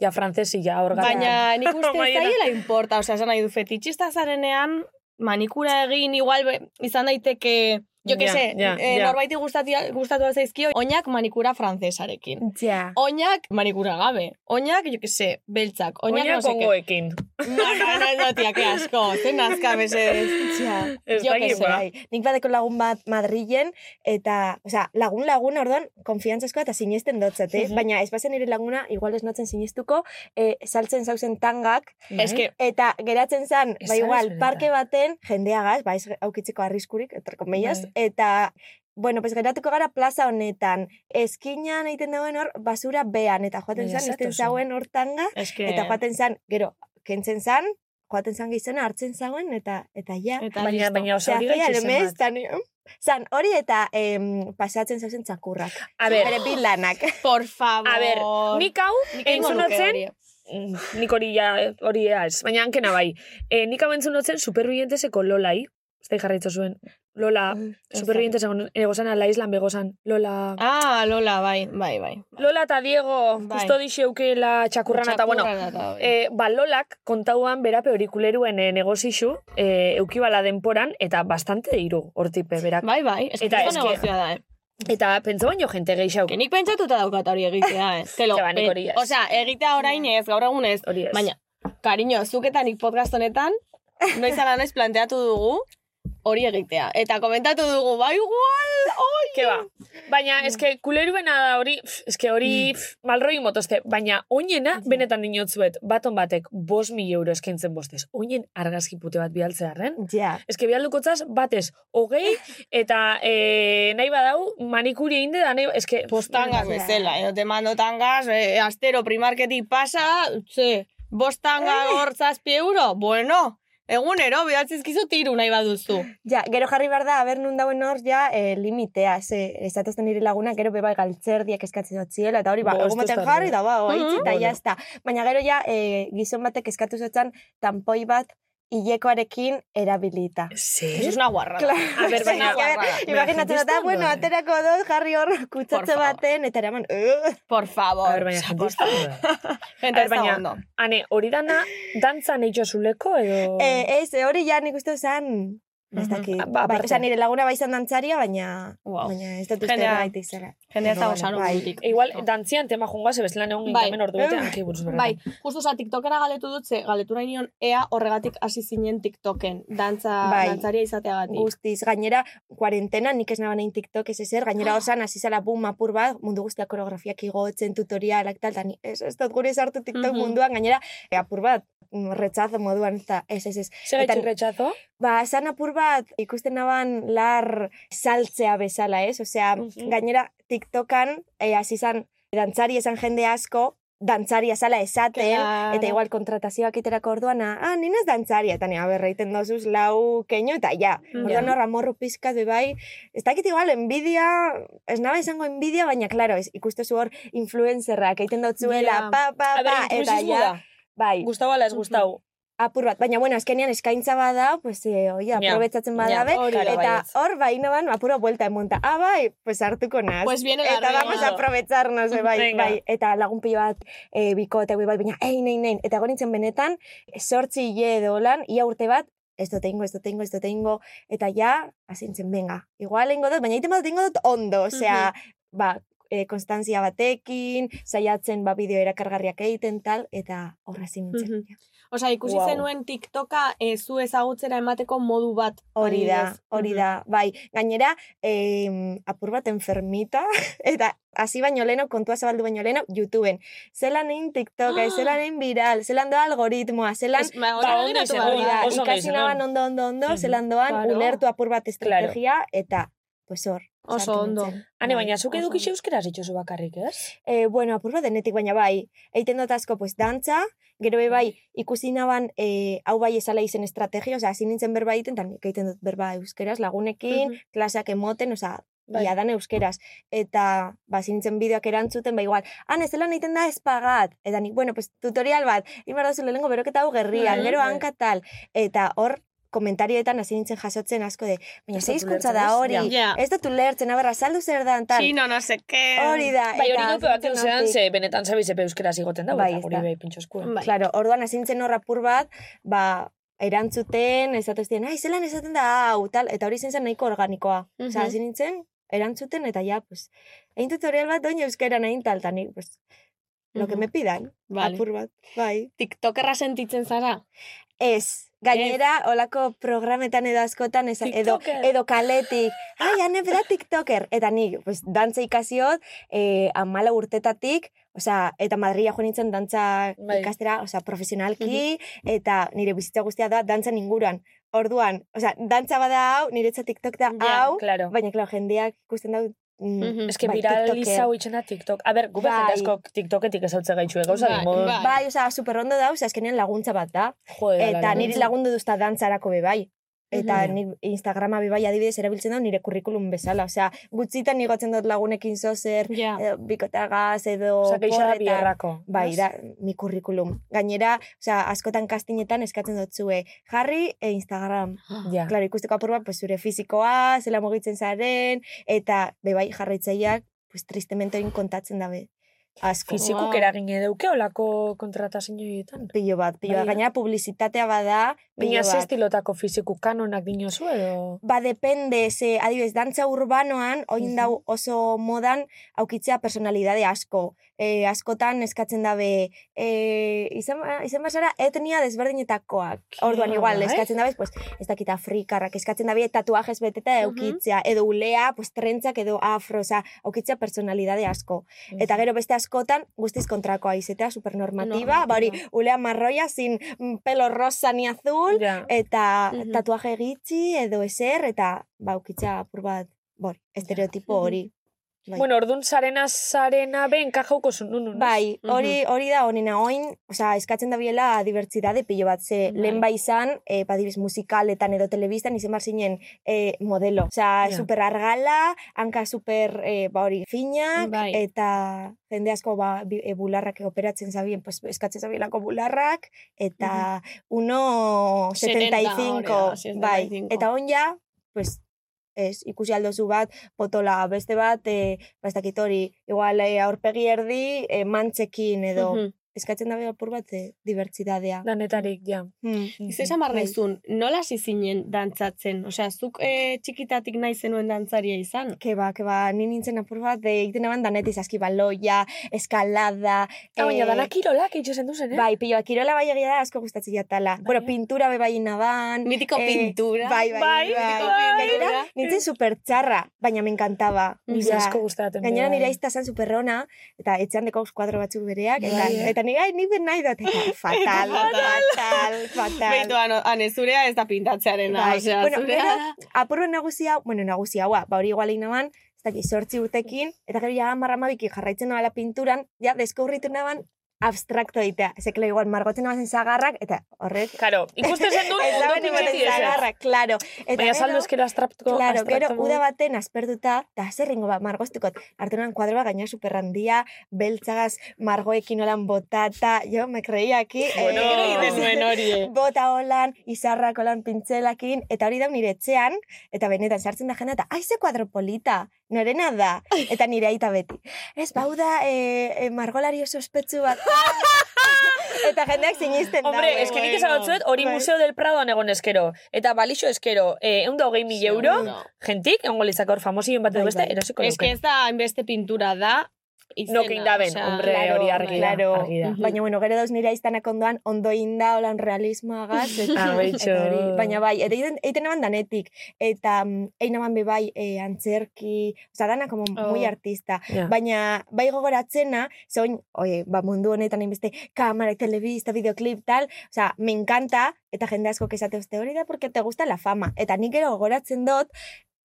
S7: ja frantzesi, ja hor gara.
S3: Baina
S7: [LAUGHS]
S3: nik uste
S7: Amaiera.
S3: zaiela importa, osea, esan nahi du fetitxista zarenean, manikura egin igual be- izan daiteke, jo que
S7: Ja,
S3: se,
S7: ja,
S3: eh,
S7: ja.
S3: norbaiti gustatu, gustatu zaizkio, oinak manikura frantzesarekin.
S8: Ja.
S3: Oinak manikura gabe, oinak, jo que se, beltzak, oinak,
S7: Oina
S3: no seke.
S7: kongoekin.
S3: [LAUGHS] No, no, no, no, tia, que asko, zen azka, mesedez.
S8: Ja.
S7: Ez
S3: Jo
S7: dakit,
S3: que
S7: ba.
S8: Bai, nik badeko lagun bat Madrilen, eta, osea, lagun lagun, orduan, konfiantzasko eta sinesten dotzat, eh?
S3: Mhm.
S8: Baina, ez bazen nire laguna, igual ez notzen sinestuko, eh, saltzen zauzen tangak,
S7: Bai.
S3: Ez que,
S8: eta geratzen zan,
S7: Ez
S8: ba
S7: zara
S8: igual,
S7: benetan.
S8: parke baten, jendeagaz, ba ez aukitzeko arriskurik, entre comillas,
S7: Bai.
S8: eta, bueno, pues geratuko gara plaza honetan, eskinan egiten dagoen hor, basura bean, eta joaten
S7: Baina
S8: zan,
S7: Bai, ez
S8: izten
S7: datozen.
S8: zauen hor tanga,
S3: ez que...
S8: eta joaten zan, gero, kentzen zan, joaten zan gizona, hartzen zauen, eta, eta ja,
S3: Eta
S7: Baina,
S3: listo.
S7: baina, oso hori
S8: Zafia
S7: gaitxik
S8: lemez,
S7: zenbat.
S8: tan, zan, hori eta em, pasatzen zauzen txakurrak.
S7: A ber,
S8: Bere bi lanak. [LAUGHS]
S3: Por favor.
S7: a ber, nik hau,
S3: egingo nuke
S7: entzunotzen,
S3: hori.
S7: Mm, nik hori ja, hori ja ez, baina hankena bai. E, nik hau entzunotzen supervivienteseko lolai, ez da jarraitzu zuen, lola, supervivienteseko egozan ala islan begozan, lola...
S3: Ah, Lola, bai, bai, bai.
S7: Lola eta Diego,
S3: Bai.
S7: justo dixe ukela txakurran, eta bueno,
S3: Txakurrana eta bai. hori.
S7: E, ba, lolak kontauan berape horikuleruen e, negozixu, e, eukibala denporan, eta bastante diru hortipe berak.
S3: Bai, bai, ez
S7: Eta
S3: eta
S7: eske-
S3: negozioa da, eh.
S7: Eta pentsa baino jente gehiago.
S3: Que nik pentsatuta daukat hori egitea,
S7: [LAUGHS]
S3: eh. Te lo,
S7: Ja, ba, nik hori ez.
S3: Osea, egitea orain ez, gaur egun ez.
S7: Hori ez.
S3: Baina, kariño, zuketan nik podcast honetan, noiz ala noiz planteatu dugu, hori egitea. Eta komentatu dugu, bai, igual, oi!
S7: Ke ba. Baina, eske, kuleruena da hori, pf, eske hori pf, malroi motozte, baina oinena, benetan dinotzuet, baton batek, bos mil euro eskaintzen bostez, oinen argazki pute bat bialtzearen,
S8: Ja.
S7: eske bialdukotzaz, batez, hogei, eta e, nahi badau, manikuri egin da, nahi, eske...
S3: Bostangas bezala, eh, te mando tangas, eh, astero primarketik pasa, ze, bostanga hor zazpi euro, bueno, egunero, bidatzizkizu tiru nahi baduzu.
S8: Ja, gero jarri behar da, haber nun dauen hor, ja, eh, limitea, ze, esatazten nire laguna, gero beba galtzerdiak eskatzen dut ziela, eta hori, ba,
S7: Bo, ez
S8: egun baten
S7: dut
S8: jarri
S7: argi.
S8: da, ba, oaitzi, eta
S7: Bueno.
S8: jazta. Baina gero ja, eh, gizon batek eskatu zotzan, tampoi bat, hilekoarekin erabilita.
S3: Eso
S7: Zer?
S3: es una guarrada.
S7: [LAUGHS] A ber,
S3: Es
S7: baina-
S3: una guarrada.
S8: Imaginatzen dut,
S7: jendezta
S8: ah, bueno,
S7: ondoan.
S8: aterako dut, jarri hor
S3: Por
S8: kutsatze
S3: favor.
S8: baten, eta eraman, uh,
S3: Por favor.
S7: A ber, baina,
S3: O sea, por Gente,
S7: jende izan da. A
S3: ez
S7: ver, baina-
S3: da ondo.
S7: Hane, hori dana, dantza nahi zuleko
S3: Oh.
S7: edo...
S8: Eh, ez, hori ja nik uste zan... Ez
S3: Mhm.
S8: dakit.
S7: Ah, ba,
S8: Bai,
S7: aparte.
S8: osea, nire laguna bai izan dantzaria, baina,
S3: Wow.
S8: baina ez dut uste
S3: Jendea-
S8: gaitik zera.
S3: Jende ez da
S8: Vale,
S3: osan
S8: bai.
S3: urrutik.
S7: Igual, dantzian tema jungoa zebezlan egon
S3: Bai.
S7: gintamen ordu
S8: Mm,
S7: betean, ki buruz berretan.
S3: Bai, justu oza, TikTokera galetu dut, ze galetu nahi nion, ea horregatik hasi zinen TikToken, dantza,
S8: Bai.
S3: dantzaria izateagatik.
S8: Guztiz, gainera, kuarentena, nik ez nabanein TikTok ez ezer,
S3: Ah.
S8: gainera osan, hasi zala bum apur bat, mundu guztia koreografiak igotzen, tutorialak tal, eta ni ez, ez dut gure sartu TikTok
S3: Mhm.
S8: munduan, gainera, e, apur bat, mm, retzazo moduan, eta ez, ez, ez.
S7: Zer
S8: Eta-
S7: gaitu retxazo?
S8: Ba, esan apur bat, ikusten naban lar saltzea bezala, ez? Osea,
S7: Mhm.
S8: gainera, TikTokan, eh, hasi zan, dantzari esan jende asko, dantzaria zala esaten,
S3: Claro.
S8: eta igual kontratazioak iterako orduan, ah, nina ez dantzaria, eta nina berreiten dozuz lau keño, eta ja, orduan horra morru pizkat bebai, bai. ez dakit igual, enbidia, ez naba izango enbidia, baina, klaro, ez, ikustezu hor, influencerrak, egiten
S3: Ja.
S8: dotzuela, pa, pa,
S7: A ber,
S8: pa, eta
S7: inklusismo da.
S8: ja, bai,
S7: Gustau ala ez gustau.
S8: apur bat, baina bueno, azkenean eskaintza bada, pues eh, oi, aprobetzatzen badabe,
S7: hori da
S8: eta
S7: baietz.
S8: hor bai naban apura vuelta emonta. Ah, bai, pues hartuko naz.
S3: Pues viene la
S8: eta
S3: reina.
S8: vamos a aprovecharnos, eh, bai,
S7: Venga.
S8: bai. Eta lagun pilo bat eh, biko eta bai, baina, ei, nein, nein. Eta gorintzen benetan, sortzi hile edo lan, ia urte bat, ez dut egingo, ez dut egingo, ez dut egingo, eta ja, azintzen, venga, igual egingo dut, baina egiten bat egingo dut ondo, osea, ba, e, konstantzia batekin, saiatzen ba bideo erakargarriak egiten tal, eta horra nintzen.
S3: Mhm. Osa, ikusi
S8: Wow.
S3: zenuen TikToka eh, zu ezagutzera emateko modu bat.
S8: Hori da,
S3: adibidez.
S8: hori da, bai. Gainera, eh, apur bat enfermita, [LAUGHS] eta hasi baino leno, kontua zabaldu baino leno, YouTubeen. Zelan egin TikToka,
S3: Ah!
S8: zelan egin viral, zelan doa algoritmoa, zelan...
S3: Ez, ba, hori
S7: Ba, ondo
S3: begiratu
S7: izan,
S3: behar
S8: Hori da,
S3: da.
S7: oso ondo
S8: ikasi
S7: izan,
S8: naban
S7: hori.
S8: ondo, ondo, ondo,
S7: Mhm.
S8: zelan doan,
S3: Claro.
S8: ulertu apur bat estrategia, eta, pues hor.
S3: Oso
S8: sartu
S3: ondo.
S8: nintzen.
S7: Hane,
S8: Bai.
S7: baina zuk
S3: oso
S7: edukiz
S3: ondo.
S7: euskaraz itxosu bakarrik, ez?
S8: E, bueno, apur bat denetik baina bai, eiten dut asko, pues, dantza, gero be bai, ikusi naban, e, hau bai esala izen estrategia, osea, hasi nintzen berba egiten, tan nik egiten dut berba euskeraz, lagunekin,
S3: Mhm.
S8: klaseak emoten, osea,
S7: Bai.
S8: ia dan euskeraz. Eta, ba, hasi nintzen bideoak erantzuten, ba, igual, han, ez zelan egiten da espagat, eta nik, bueno, pues, tutorial bat, inbar dazu lehenko beroketa hau gerrian,
S7: Mhm.
S8: gero
S7: Bai.
S8: hanka tal, eta hor, komentarioetan hasi nintzen jasotzen asko de, baina
S7: Ez
S8: ze
S7: dut
S8: hizkuntza
S7: ulertzen, ez?
S8: da hori,
S3: Ja.
S8: ez dut ulertzen, aberra, saldu zer dan, tal.
S3: Chino, no sé qué.
S8: Hori da.
S7: Bai, hori
S8: Ah, eta
S7: dupe bat
S8: zentzen
S7: eusean,
S8: hortik.
S7: ze benetan zabiz epe euskaraz igoten da,
S8: Bai,
S7: eta
S8: ez
S7: hori
S8: da.
S7: bai pintxoskua.
S3: Bai.
S8: Claro, orduan azintzen horra pur bat, ba, erantzuten, ez dut ai, zelan esaten da, hau, tal, eta hori izan zen nahiko organikoa.
S3: Mhm.
S8: Osa, hasi nintzen, erantzuten, eta ja, pues, egin tutorial bat doin euskera nahin tal, eta nik, pues, lo que
S3: Mhm.
S8: me pidan,
S3: Vale.
S8: apur bat, bai.
S3: TikTokerra sentitzen zara?
S8: Ez, gainera, olako programetan edo askotan, eza, edo,
S7: TikToker.
S8: edo kaletik, ai, ane bera tiktoker, eta nik, pues, dantza ikasiot, eh, amala urtetatik, osea, eta Madrila joan nintzen dantza
S7: Bai.
S8: ikastera, osea, profesionalki, eta nire bizitza guztia da dantzan inguran. Orduan, osea, dantza bada hau, niretza tiktok da
S3: Ja,
S8: hau,
S7: Claro.
S8: baina, klaro, jendeak ikusten da, mm,
S3: Mhm.
S7: Ez que
S8: bai,
S7: viralizau
S8: tiktoker.
S7: itxena TikTok. A ber, gube
S8: Bai.
S7: jende askok TikToketik ezautze gaitxue, gauza
S3: Bai,
S7: bai, modu.
S3: bai.
S8: Bai, osea, superrondo da, osea, azkenean laguntza bat da.
S7: Jode,
S8: Eta
S7: ala,
S8: niri
S7: ala.
S8: lagundu duzta dantzarako bebai. Eta
S7: Mhm.
S8: ni Instagrama bebai adibidez erabiltzen dut nire kurrikulum bezala. Osea, gutxitan igotzen dut lagunekin zozer,
S7: Ah.
S3: Ja.
S8: edo bikotagaz, edo
S7: Osa, geixara
S8: porretan.
S7: biherrako.
S8: Bai, da, mi kurrikulum. Gainera, osea, askotan kastinetan eskatzen dut zue. Jarri e Instagram.
S7: Ja.
S8: Claro, ikusteko apur bat, pues, zure fizikoa, zela mugitzen zaren, eta bebai jarraitzaileak, pues, tristemente egin kontatzen dabe. Asko.
S7: Fizikuk
S3: Wow.
S7: eragin edeuke olako kontratazio horietan.
S8: Pilo bat, pilo bat.
S7: Bai.
S8: Gainera, publizitatea bada, pilo
S7: Baina ze
S8: bat.
S7: estilotako fiziku kanonak dinozu edo...
S8: Ba, depende, ze, adibidez, dantza urbanoan, oin
S7: Mhm.
S8: dau oso modan, aukitzea personalidade asko. E, askotan eskatzen dabe, e, izan, ba- izan bazara etnia desberdinetakoak. Orduan, igual,
S7: Bai.
S8: eskatzen dabe, pues, ez dakit afrikarrak, eskatzen dabe tatuajes beteta aukitzea, edo ulea, pues, trentzak edo afro, oza, aukitzea personalidade asko. Eta gero beste askotan, guztiz kontrakoa izetea, supernormativa, ba hori, ulea marroia, sin mm, pelo rosa ni azul,
S7: Ja.
S8: eta
S3: Mhm.
S8: tatuaje gitzi edo ezer eta baukitza apur bat bor, estereotipo hori. Bai.
S7: Bueno, ordun sarena sarena ben kajauko zun nun. nun, ez?
S8: bai,
S3: Mhm.
S8: hori hori da honena oin, osea, eskatzen da biela dibertsidade pilo bat, ze
S3: Bai.
S8: lehen bai izan, eh, badibes musikaletan edo telebistan izan bar zinen eh, modelo. Osea,
S7: Ja.
S8: super argala, hanka super eh, ba hori finak
S3: Bai.
S8: eta jende asko ba bi- eh, bularrak operatzen zabien, pues eskatzen zabielako bularrak eta
S3: Mhm.
S8: uno 75,
S3: hori da,
S8: bai.
S3: 75.
S8: Eta on ja, pues, ez, ikusi ba, aldozu bat, potola beste bat, e, ba, ez dakit hori, igual eh, aurpegi erdi, eh, mantzekin edo,
S3: Mhm.
S8: eskatzen dabe apur bat, e, dibertsidadea.
S7: Danetarik, ja.
S8: Hmm.
S3: Ze esan barra izun, nola hasi zinen dantzatzen? Osea, zuk eh, txikitatik nahi zenuen dantzaria izan?
S8: Keba, keba, ni nintzen apur bat, de, egiten eban danetiz, askibaloia, eskalada...
S7: Ah, baina
S8: eh,
S7: dana kirolak itxosen duzen, eh?
S8: Bai, pilo, kirola bai egia da asko gustatzen jatala. Bueno, pintura be bai naban.
S3: Mitiko
S8: eh,
S3: pintura.
S8: Bai, bai, bai.
S3: mitiko pintura.
S8: Gainera, nintzen super txarra, baina me encantaba.
S7: Nire
S8: Osea,
S7: asko gustatzen.
S8: Gainera
S7: bai.
S8: nire aizta zan superrona, eta etxean deko eskuadro batzuk bereak, eta,
S7: Bai, eh?
S8: eta nire, ai, nik ben nahi dut,
S7: [LAUGHS]
S8: eta fatal, fatal, fatal.
S3: Beitu, ano- ane, zurea ez da pintatzearena.
S8: Bai.
S3: Osea,
S8: Bueno,
S3: zurea... [LAUGHS]
S8: gero, apurro nagusia, bueno, nagusia, hua, ba hori igual egin naban, ez dakit, sortzi urtekin, eta gero ja marra mabiki jarraitzen nabala pinturan, ja, deskubritu naban, abstrakto egitea. Zekela igual, margotzen nabazen zagarrak, eta horrek,
S7: Karo, ikusten
S8: [LAUGHS]
S7: zen duen
S8: ez
S7: ondo
S8: da
S7: pintxeti
S8: ematen
S7: ezer.
S8: zagarrak, klaro. Eta
S7: eh. Baina saldu
S8: gero-
S7: eskero astraptuko.
S8: Claro, gero, uda baten aspertuta, da zerrengo bat margoztukot, hartu nan kuadro bat gaina superrandia, beltzagaz, margoekin olan botata, jo, me creía aquí.
S7: [LAUGHS] Bueno,
S8: eh,
S7: gero
S8: [LAUGHS]
S7: egiten
S3: zuen hori, eh?
S8: Bota olan, izarrak olan pintzelakin, eta hori da nire etxean, eta benetan sartzen da jena, eta aize kuadropolita, norena da, ba,
S7: [LAUGHS]
S8: eta nire aita beti. Ez, bau da, eh, eh, margolari oso ospetsu bat. Eta jendeak sinisten da.
S7: Hombre,
S8: bai,
S7: eske nik
S8: bueno.
S7: esan dut zuet, hori
S8: Bai.
S7: Museo del Pradoan egon eskero. Eta balixo eskero, eh, egun da hogei mil euro, jentik, egon lizak hor famosi bat
S8: Bai,
S7: edo beste,
S8: bai.
S7: erosiko
S3: Ez que
S7: nuke.
S3: ez da hainbeste pintura da. izena,
S7: Nokin daben,
S3: osea,
S7: hombre,
S8: claro,
S7: hori argi da.
S8: claro.
S7: argi da.
S8: Baina, bueno, gero dauz nire aiztanak ondoan ondo inda, holan
S7: [LAUGHS]
S8: realismoagaz, eta,
S7: Ah, betxo.
S8: eta hori, baina bai, eta egiten, egiten eban danetik, eta mm, egin eban be bai eh, antzerki, oza, dana como muy
S3: Oh.
S8: artista,
S7: Ja.
S8: baina bai gogoratzena, zoin, oie, ba, mundu honetan hainbeste kamara, telebista, videoclip, tal, oza, me encanta, eta jende asko kesate uste hori da, porque te gusta la fama, eta nik gero gogoratzen dut,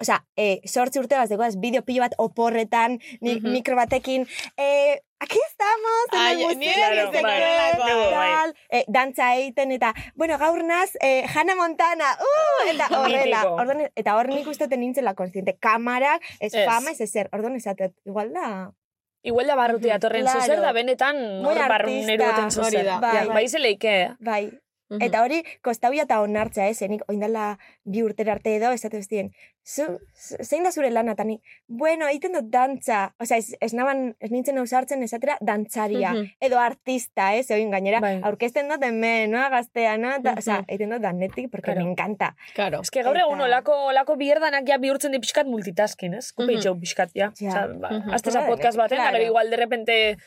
S8: Osa, e, sortzi urte bat zegoaz, bideo pilo bat oporretan, ni,
S3: Mhm.
S8: mikro batekin, e, aquí estamos, en
S3: Ai,
S8: el
S3: ni
S8: museo,
S3: ere
S8: no sé
S3: bai,
S8: qué,
S3: bai, bai.
S8: tal, e, dantza egiten, eta, bueno, gaur naz, e, Hannah Montana, uh, eta horrela,
S7: Mítico.
S8: orduan, eta hor nik uste nintzela konstiente, kamarak, ez
S7: Ez.
S8: fama, ez ezer, orduan esatet, igual da,
S7: Igual da barruti datorren
S8: Claro.
S7: zuzer, da benetan
S8: Muy
S7: hor barrun
S8: artista,
S7: erugoten
S3: hori
S7: zuzer.
S3: da.
S7: Ja,
S8: Bai.
S7: Bai, zeleike.
S8: bai,
S3: Mhm.
S8: Eta hori, kostauia eta onartzea, ez, eh, nik oindala bi urtera arte edo, ez dut dien, zu, zu- zein da zure lana, eta nik, bueno, egiten dut dantza, osea, ez, ez, naban, ez nintzen ausartzen esatera dantzaria,
S3: Mhm.
S8: edo artista, ez, egin gainera,
S7: Bai.
S8: aurkezten dut hemen, noa, gaztea, noa, eta,
S7: Mhm.
S8: osea, egiten dut danetik, porque
S7: Claro.
S8: me encanta.
S3: Claro.
S7: Ez que gaur egun
S8: Eta-
S7: olako, olako bierdanak ja bihurtzen di pixkat multitasking, ez? Kupe
S3: Mhm.
S7: itxau pixkat, ja.
S8: Ja.
S7: Osa, ba,
S3: Mhm.
S7: Azte esa
S8: Bai,
S7: podcast baten, da
S8: claro. Bai.
S7: gero igual de repente,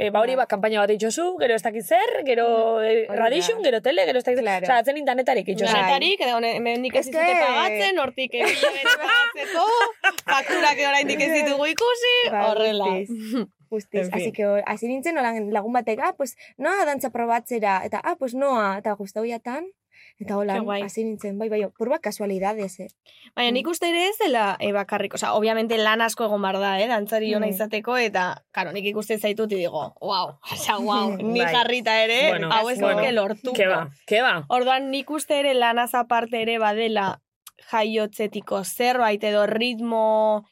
S7: eh, ba hori, ba, kampaina bat itxosu, gero ez dakit zer, gero eh,
S8: da.
S7: radixun, gero tele, gero ez dakit zer.
S8: Claro.
S7: Osa, atzen intanetarik itxosu.
S8: Bai.
S3: Netarik, edo honen- hemendik ez
S8: Ez
S3: dizute
S8: que-
S3: pagatzen, hortik ebila bere pagatzeko, fakturak oraindik ez ditugu ikusi,
S8: Ba,
S3: horrela.
S8: guztiz. Guztiz,
S3: En fin.
S8: así que hor- hasi nintzen olan lagun batek, ah, pues, noa dantza probatzera, eta, ah, pues, noa, eta guztauiatan, eta hola,
S3: Ke guai.
S8: hasi nintzen, bai, bai, purbak kasualidades, eh.
S3: Baina nik uste ere ez dela e, bakarrik, osea, obviamente lan asko egon bar da, eh, dantzari ona
S8: Mm.
S3: izateko, eta, karo, nik ikusten zaitut digo, wow, osea,
S8: [LAUGHS]
S3: wow, ni
S7: Bai.
S3: jarrita ere,
S7: Bueno,
S3: hau ez
S7: bueno.
S3: nuke lortuko.
S7: Ke ba, ke ba.
S3: Orduan nik uste ere lanaz aparte ere badela jaiotzetiko zerbait edo ritmo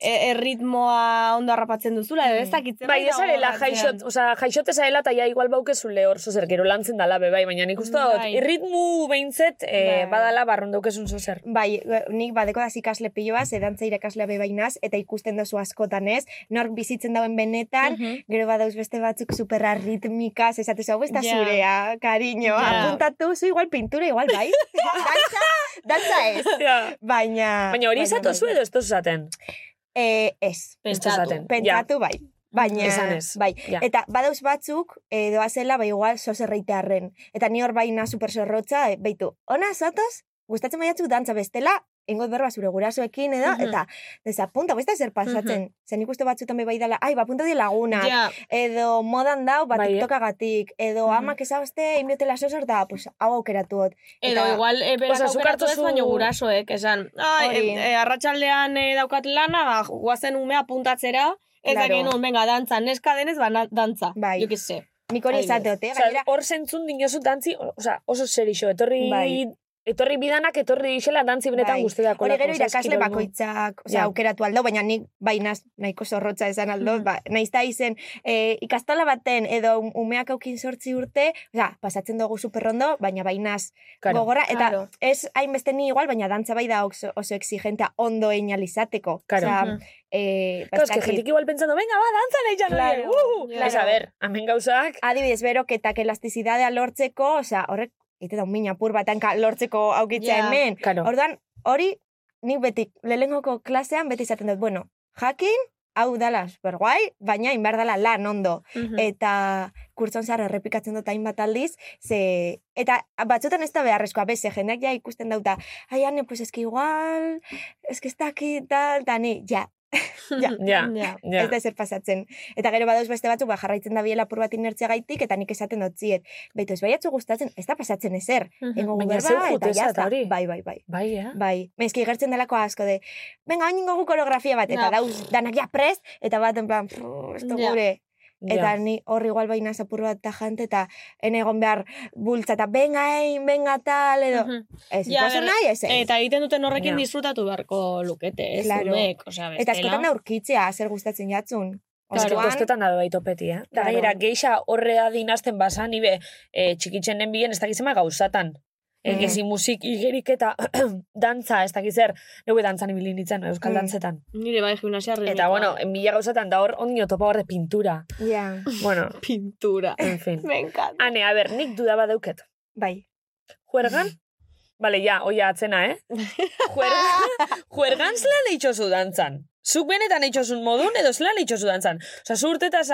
S3: e, erritmoa ondo harrapatzen duzula
S8: Mm.
S3: edo ez dakit zerbait
S7: Bai, ez arela
S3: dago atzean.
S7: jaixot, oza, jaixote zarela eta ja igual baukezule hor zozer, gero lantzen dala be, bai, baina nik uste dut,
S3: Bai.
S7: irritmu behintzet, eh,
S8: Bai.
S7: badala barrun daukezun
S8: [LAUGHS]
S7: zozer.
S8: Bai, e, nik badeko daz ikasle piloa, ze dantza irakaslea bebainaz, eta ikusten dozu askotan ez, nork bizitzen dauen benetan,
S3: Mhm.
S8: gero badauz beste batzuk superra ritmikaz, esatu hau ez da
S3: Ja.
S8: "Ah, zurea, kariño,
S3: Ja.
S8: apuntatu zu, igual pintura, igual bai, dantza, dantza ez,
S7: Ja.
S8: baina...
S7: Baina hori
S8: baina
S7: izatu
S8: bai.
S7: zu edo ez duzu zaten?
S8: Eh, ez,
S7: zaten. Ja.
S8: pentsatu bai. Baina,
S7: Esan ez.
S8: bai.
S7: Ja.
S8: Eta badauz batzuk, eh, doazela, bai igual, sozerreitearren. Eta ni hor bai baina supersorrotza, eh, beitu, ona zatoz, gustatzen baiatzu dantza bestela, ingot berba zure gurasoekin edo,
S3: Mhm.
S8: eta desapunta, beste
S7: Mhm.
S8: zer pasatzen. Zen ikuste batzutan be bai dala, ai, bapunta di laguna,
S3: Ja,
S8: edo modan dau, bat
S7: Bai, eh.
S8: tiktokagatik, edo
S7: Mhm.
S8: amak ezauzte, inbiotela sozor da, pues, hau aukeratu hot.
S3: edo
S8: Eta-
S3: igual e, berak
S7: Osea, zuk
S3: aukeratu ez
S7: hartu zu-
S3: baino gurasoek, esan, ai,
S8: Hori.
S3: e, e, arratsaldean e, daukat lana, ba, guazen umea puntatzera, ez
S8: Claro.
S3: claro. genuen, benga, dantza, neska denez, ba, na- dantza,
S8: Bai.
S3: jo que se.
S8: Nik hori
S3: Adibidez.
S8: izateot, eh?
S7: Osea,
S8: Gainera,
S7: hor zentzun dinozu dantzi, oza, oso serixo, etorri...
S8: Bai.
S7: Etorri bidanak, etorri dixela dantzi benetan
S8: Bai.
S7: guztetako.
S8: Hori gero irakasle bakoitzak, osea,
S7: Ja.
S8: aukeratu aldo, baina nik bainaz nahiko zorrotza esan aldo,
S3: Mhm.
S8: ba, naizta izen, e, ikastola baten edo um- umeak aukin sortzi urte, osea, pasatzen dugu superrondo, baina bainaz
S7: Claro.
S8: gogorra, eta
S3: Claro.
S8: ez hainbeste ni igual, baina dantza bai da oso, oso exigentea ondo einalizateko.
S7: Claro.
S8: Osea,
S3: Mhm.
S8: e,
S7: Claro, es que jentik igual pensando, venga, ba, dantza nahi jan
S8: Claro,
S7: claro, uh,
S3: claro.
S7: Ez, a ber, amen gauzak,
S8: adibidez beroketak elastizidadea lortzeko, osea, horrek, ite da un mina apur batanka lortzeko aukitza
S3: Ja.
S8: hemen,
S7: Claro.
S8: Ordan hori, nik beti, lehenengoko klasean beti izaten dut, bueno, jakin, hau dala superguai, baina inbar dala lan ondo.
S7: Hmm.
S8: Eta kurtson zara errepikatzen dut hainbat aldiz, ze... Eta batzutan ez da beharrezkoa, beze, jendeak ja ikusten dauta, ai, ane, pues eski igual, eski ez dakit, tal, eta ni, ja, ja,
S7: Ja.
S3: Ja.
S7: Ja.
S8: ez da ezer pasatzen. Eta gero badauz beste batzuk, ba, jarraitzen da biela bat inertzia gaitik, eta nik esaten dut ziet. Beitu, ez baiatzu gustatzen, ez da pasatzen ezer. Engo
S7: Mhm. Baina
S8: berba,
S7: zeu
S8: eta
S7: juteza eta
S8: jazta.
S7: hori.
S8: Bai, bai, bai.
S7: Bai, eh?
S8: Bai, mezki gertzen delako asko de, venga, hain ingo gu koreografia bat, eta
S3: Ja.
S8: dauz, danak ja prest, eta bat, en plan, "Pff, esto
S3: Ja.
S8: gure. Eta
S7: Ja.
S8: ni hor igual baina zapur bat tajante, eta ene egon behar bultza, eta venga, egin, venga, tal, edo.
S3: Mhm.
S8: Ez,
S3: Ja,
S8: ikasen
S3: ber-
S8: nahi, ez, ez.
S3: Eta egiten duten horrekin
S7: Ja.
S3: disfrutatu beharko lukete, ez?
S8: Claro.
S3: Umek, osea,
S8: Eta askotan
S3: bestela.
S8: aurkitzea, zer gustatzen jatzun.
S7: Claro.
S8: Orduan,
S7: Kostetan da bai topeti, eh? Eta
S8: Claro.
S7: gainera, geixa horre da dinazten basa, nibe, eh, txikitzen nenbien ez dakizema gauzatan.
S8: Mm.
S7: Egizi musik, igerik eta [CLEARS THROAT] dantza, ez dakit zer, neu dantzan ibili nintzen, euskal
S8: Mm.
S7: dantzetan.
S3: Nire bai gimnasia ritmikoa.
S7: Eta, bueno, mila gauzatan, da hor, ondio topa hor de pintura.
S3: tota-
S8: Ja,
S7: Bueno,
S3: [LAUGHS] pintura.
S7: en
S8: [LAUGHS]
S7: fin.
S3: Me encanta.
S7: Hane, a ber, nik duda badauket.
S8: bai.
S7: Juergan? Bale, ja, oia atzena,
S3: [LAUGHS]
S7: eh? Juergan, juergan zelan eitxozu dantzan. Zuk benetan eitxozun modun, edo zelan eitxozu dantzan. Osa, zurtetaz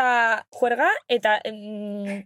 S7: juerga, eta... Mm,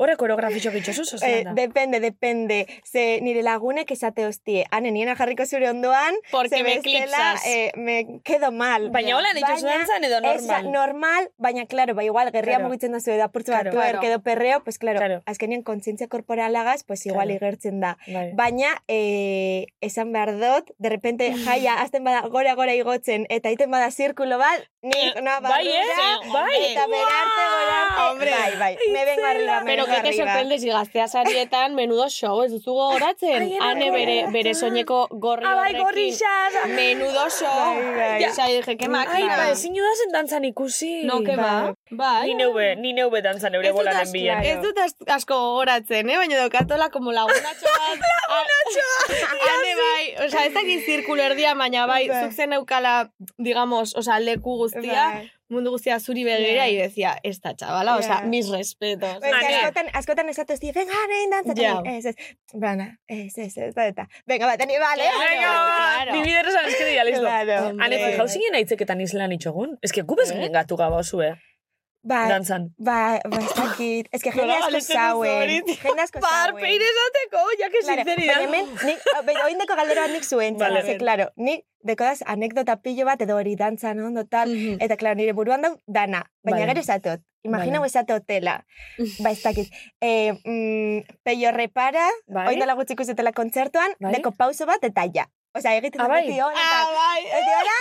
S7: Horre koreografitxok itxosu,
S8: Eh,
S7: zozelan da.
S8: depende, depende. Ze nire lagunek esate hostie. Hane, niena jarriko zure ondoan,
S3: Porque
S8: ze
S3: me
S8: bestela,
S3: eclipsas.
S8: eh, me quedo mal.
S7: Baina hola eitxosu
S8: Baina,
S7: dantzan, edo
S8: Normal.
S7: normal.
S8: normal, baina, claro, ba, igual, gerria
S7: Claro.
S8: mugitzen da zure da purtsu bat
S7: Claro.
S8: twerk
S3: Claro.
S8: edo perreo, pues, claro,
S7: Claro.
S8: azkenian kontzientzia korporalagaz, pues, igual
S7: Claro.
S8: igertzen da.
S7: Bai.
S8: Baina, eh, esan behar dut,
S7: [LAUGHS]
S8: de repente jaia, azten bada gora-gora igotzen, eta iten bada zirkulo bat, nik noa
S7: Bai, eh?
S8: barrura,
S7: Bai.
S8: eta berarte,
S7: Guau,
S8: gorarte,
S7: hombre.
S8: bai, bai, me vengo arriba, me
S3: Pero
S8: vengo
S3: que te
S8: arriba.
S3: sorprende si gaztea sarietan [LAUGHS] menudo show, ez duzu gogoratzen.
S7: Ai, ene
S3: Hane bere,
S7: gogoratzen.
S3: bere soineko gorri
S7: Ah, bai,
S3: horrekin.
S7: gorrixas!
S8: [LAUGHS]
S3: Menudo show.
S8: Bai, bai.
S3: Ja, dije, que makina.
S7: Ai, ba, ezin dudazen dantzan ikusi.
S3: No, que ba. Bai.
S7: Ni neube, ni neube dantzan eure
S3: Ez dut
S7: bolaren
S3: asko-
S7: bilen.
S8: bai.
S3: Ez dut as- asko gogoratzen, eh? baina daukatola como lagunatxo bat.
S8: [LAUGHS]
S3: lagunatxo [LAUGHS] Hane bai, oza, ez dakit zirkulo erdia, baina bai,
S8: Bai.
S3: zuk zen eukala, digamos, oza, leku guztia,
S8: Bai.
S3: mundu guztia zuri begira,
S8: Ja.
S3: y decía, esta chavala, oza,
S8: Ja.
S3: mis respetos.
S8: Bai,
S7: Ane.
S8: ze askotan, askotan esatu ez venga, nahi dantza,
S3: Ja.
S8: ez, ez, Bana, ez, ez, ez, da, eta, venga, bat, ni, vale,
S3: Claro, claro.
S7: Bi bideros anezkete ya, listo.
S8: Claro.
S7: Hane,
S3: Hombre. Eh?
S7: fijau zinen aitzeketan izlan itxogun. Ez que gubez ginen gatu gaba zue,
S8: Ba,
S7: dantzan.
S8: ba, ba, ez dakit, ez
S7: [LAUGHS]
S8: que jende
S3: Nola
S8: asko
S3: galdetzen
S8: zauen,
S3: duzu hori?
S8: jende asko zauen.
S3: esateko, ja que
S8: Claro, baina hemen, nik, baina oin deko galdera bat nik zuen,
S7: Vale.
S8: vale. ze, claro, nik dekodaz anekdota pilo bat, edo hori dantzan ondo tal,
S3: Mhm.
S8: eta, claro, nire buruan dau dana, baina
S7: Mm. Vale.
S8: gero esatot, imagina
S7: Vale.
S8: vale. esate
S7: [LAUGHS]
S8: hotela, ba, ez dakit, eh, mm, peio repara,
S7: Bai.
S8: oin dela gutxik uzetela kontzertuan,
S7: Bai.
S8: deko pauso bat, eta ja. Osa, egiten
S7: Ah,
S8: da
S7: bai.
S8: beti hon,
S3: Ah,
S8: eta...
S3: bai.
S8: Eta hola,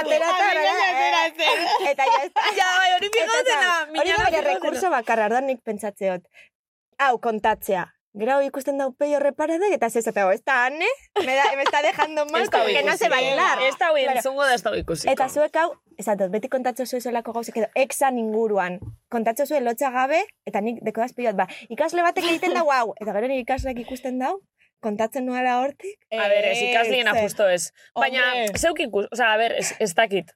S7: [LAUGHS] Ah, bai.
S8: atera,
S3: Ah, mingaina
S8: eta...
S3: atera
S8: [LAUGHS]
S3: zen.
S8: eh, Eta ja, ez da.
S7: [LAUGHS] Ja, bai,
S3: [LAUGHS]
S7: hori fijotena,
S8: Eta, Hori da
S7: minana
S8: bere
S7: fijotena.
S8: rekurso bakarra, ordan nik pentsatzeot. Hau, kontatzea. Gero hau ikusten dau peio reparada, eta ez eta ez da, ane? Me, da, me está dejando mal,
S7: Ez da
S8: como que no
S7: ikusi.
S8: se bailar.
S7: Ez da hoi
S8: Claro.
S7: entzungo da ez da hoi ikusiko.
S8: Eta zuek hau, esatot, beti kontatzo zuen solako gauzek edo, exan inguruan. Kontatzo zuen lotxa gabe, eta nik dekodaz pilot, ba, ikasle batek egiten dau hau, eta gero nire ikasleak ikusten dau, kontatzen nuela hortik.
S7: A ber, ez ikaslien
S8: Ez, ez.
S7: apusto ez. Baina,
S3: Hombre.
S7: zeuk ikus, oza, a ber, ez, ez dakit.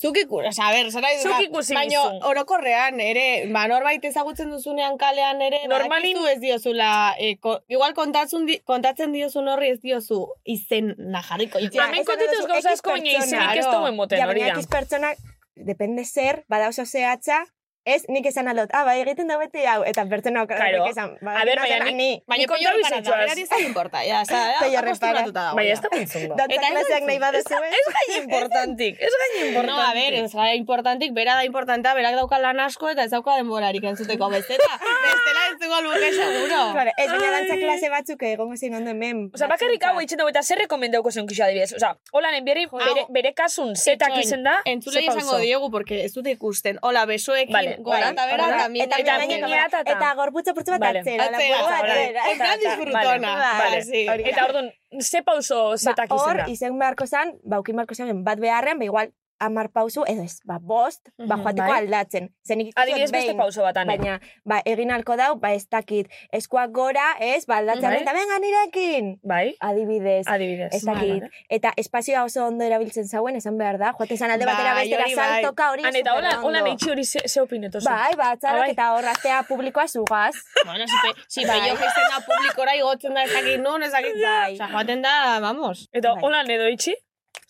S3: Zuk ikus, oza, a ber, zara
S7: Zuk ikusi
S3: Baina
S7: bizu.
S3: orokorrean, ere, ba, norbait ezagutzen duzunean kalean ere,
S7: Normalin-
S3: badakizu ez diozula, eh, ko- igual kontatzen, di, kontatzen diozun horri ez diozu izen najarriko.
S8: Ja,
S7: Hemen
S8: esan
S7: kontetuz
S8: duzu,
S7: gauza
S8: X
S7: asko, baina
S8: pertsona,
S7: izenik ez
S3: claro.
S7: duen moten, hori
S8: baina
S7: da.
S8: X pertsona, depende zer, bada oso zehatza, ez nik esan aldot, ah, bai, egiten da beti hau, eta pertsona
S7: Claro.
S8: okarrik esan,
S7: A ber, baina
S8: dena
S7: nik-
S8: ni,
S3: Baina
S7: Nik
S3: peio
S7: kontratu
S3: repara da,
S7: izatxoaz.
S3: berari ez da importa,
S7: [LAUGHS]
S3: ja, oza,
S8: Peio
S3: ja,
S8: repara.
S3: acostumbratuta dago.
S7: Baina
S3: ja.
S7: ez
S3: [LAUGHS]
S7: da entzungo.
S8: dantza
S3: Eta ez
S8: klaseak nahi baduzu, eh? ez?
S7: Ez gain importantik, ez gain importantik.
S3: No, a ber, ez gara importantik, bera da importantea, berak dauka lan asko eta ez dauka denborarik entzuteko
S7: [LAUGHS]
S3: bezeta. Bestela entzuko luke seguro.
S8: Claro, ez baina
S7: Ai.
S8: dantza klase batzuk egongo zein ondo hemen.
S7: Osa, bakarrik hau eitzen dugu eta zer rekomendauko zeun kixo adibidez. Osa, hola bere, bere, bere kasun zetak
S3: Itxoin,
S7: izen da,
S3: Entzulei
S7: ze pauso.
S3: esango diegu, porque ez dut ikusten. Hola, besoekin,
S7: Vale,
S3: vale, gora
S7: bai,
S3: eta bera,
S7: horrela,
S3: eta mina.
S7: eta
S8: mingaina
S7: mingaina
S8: gora-
S7: eta-
S8: eta gorputza purtsu bat
S7: Vale.
S8: atzera, la
S3: Atzera,
S8: burua
S7: vale.
S8: atzera.
S3: En plan
S8: eta-
S3: disfrutona.
S8: Vale,
S3: Vale, sí.
S8: hori da.
S7: Eta orduan, ze pauso zetak
S8: Ba,
S7: izen da.
S8: Hor, izen beharko zan, ba, ukin beharko zan, bat beharrean, ba, igual, amar pausu, edo ez, ba, bost, ba,
S7: Mhm,
S8: joateko
S7: bai.
S8: aldatzen. Zenik
S7: Adibidez beste pauso bat, ane.
S8: Baina, ba, egin halko dau, ba, ez dakit, eskuak gora, ez, ba, aldatzen,
S7: Bai.
S8: eta venga nirekin!
S7: Bai,
S8: Adibidez,
S7: adibidez.
S8: ez dakit.
S7: Vale.
S8: Eta espazioa oso ondo erabiltzen zauen, esan behar da, joaten zan alde batera
S3: Bai,
S8: bestera
S3: hori bai.
S8: saltoka hori
S7: Han, eta hola,
S8: superondo.
S7: hola neitxi hori ze, ze opineto zu.
S8: Bai, ba,
S7: Ah, bai.
S8: txarrak eta horraztea publikoa zugaz.
S3: Bueno, si, pe, si peio izena publikora igotzen da ezakit nun, ezakit da.
S8: Bai.
S3: Osa, joaten da, vamos.
S7: Eta
S8: Bai.
S7: hola edo itxi.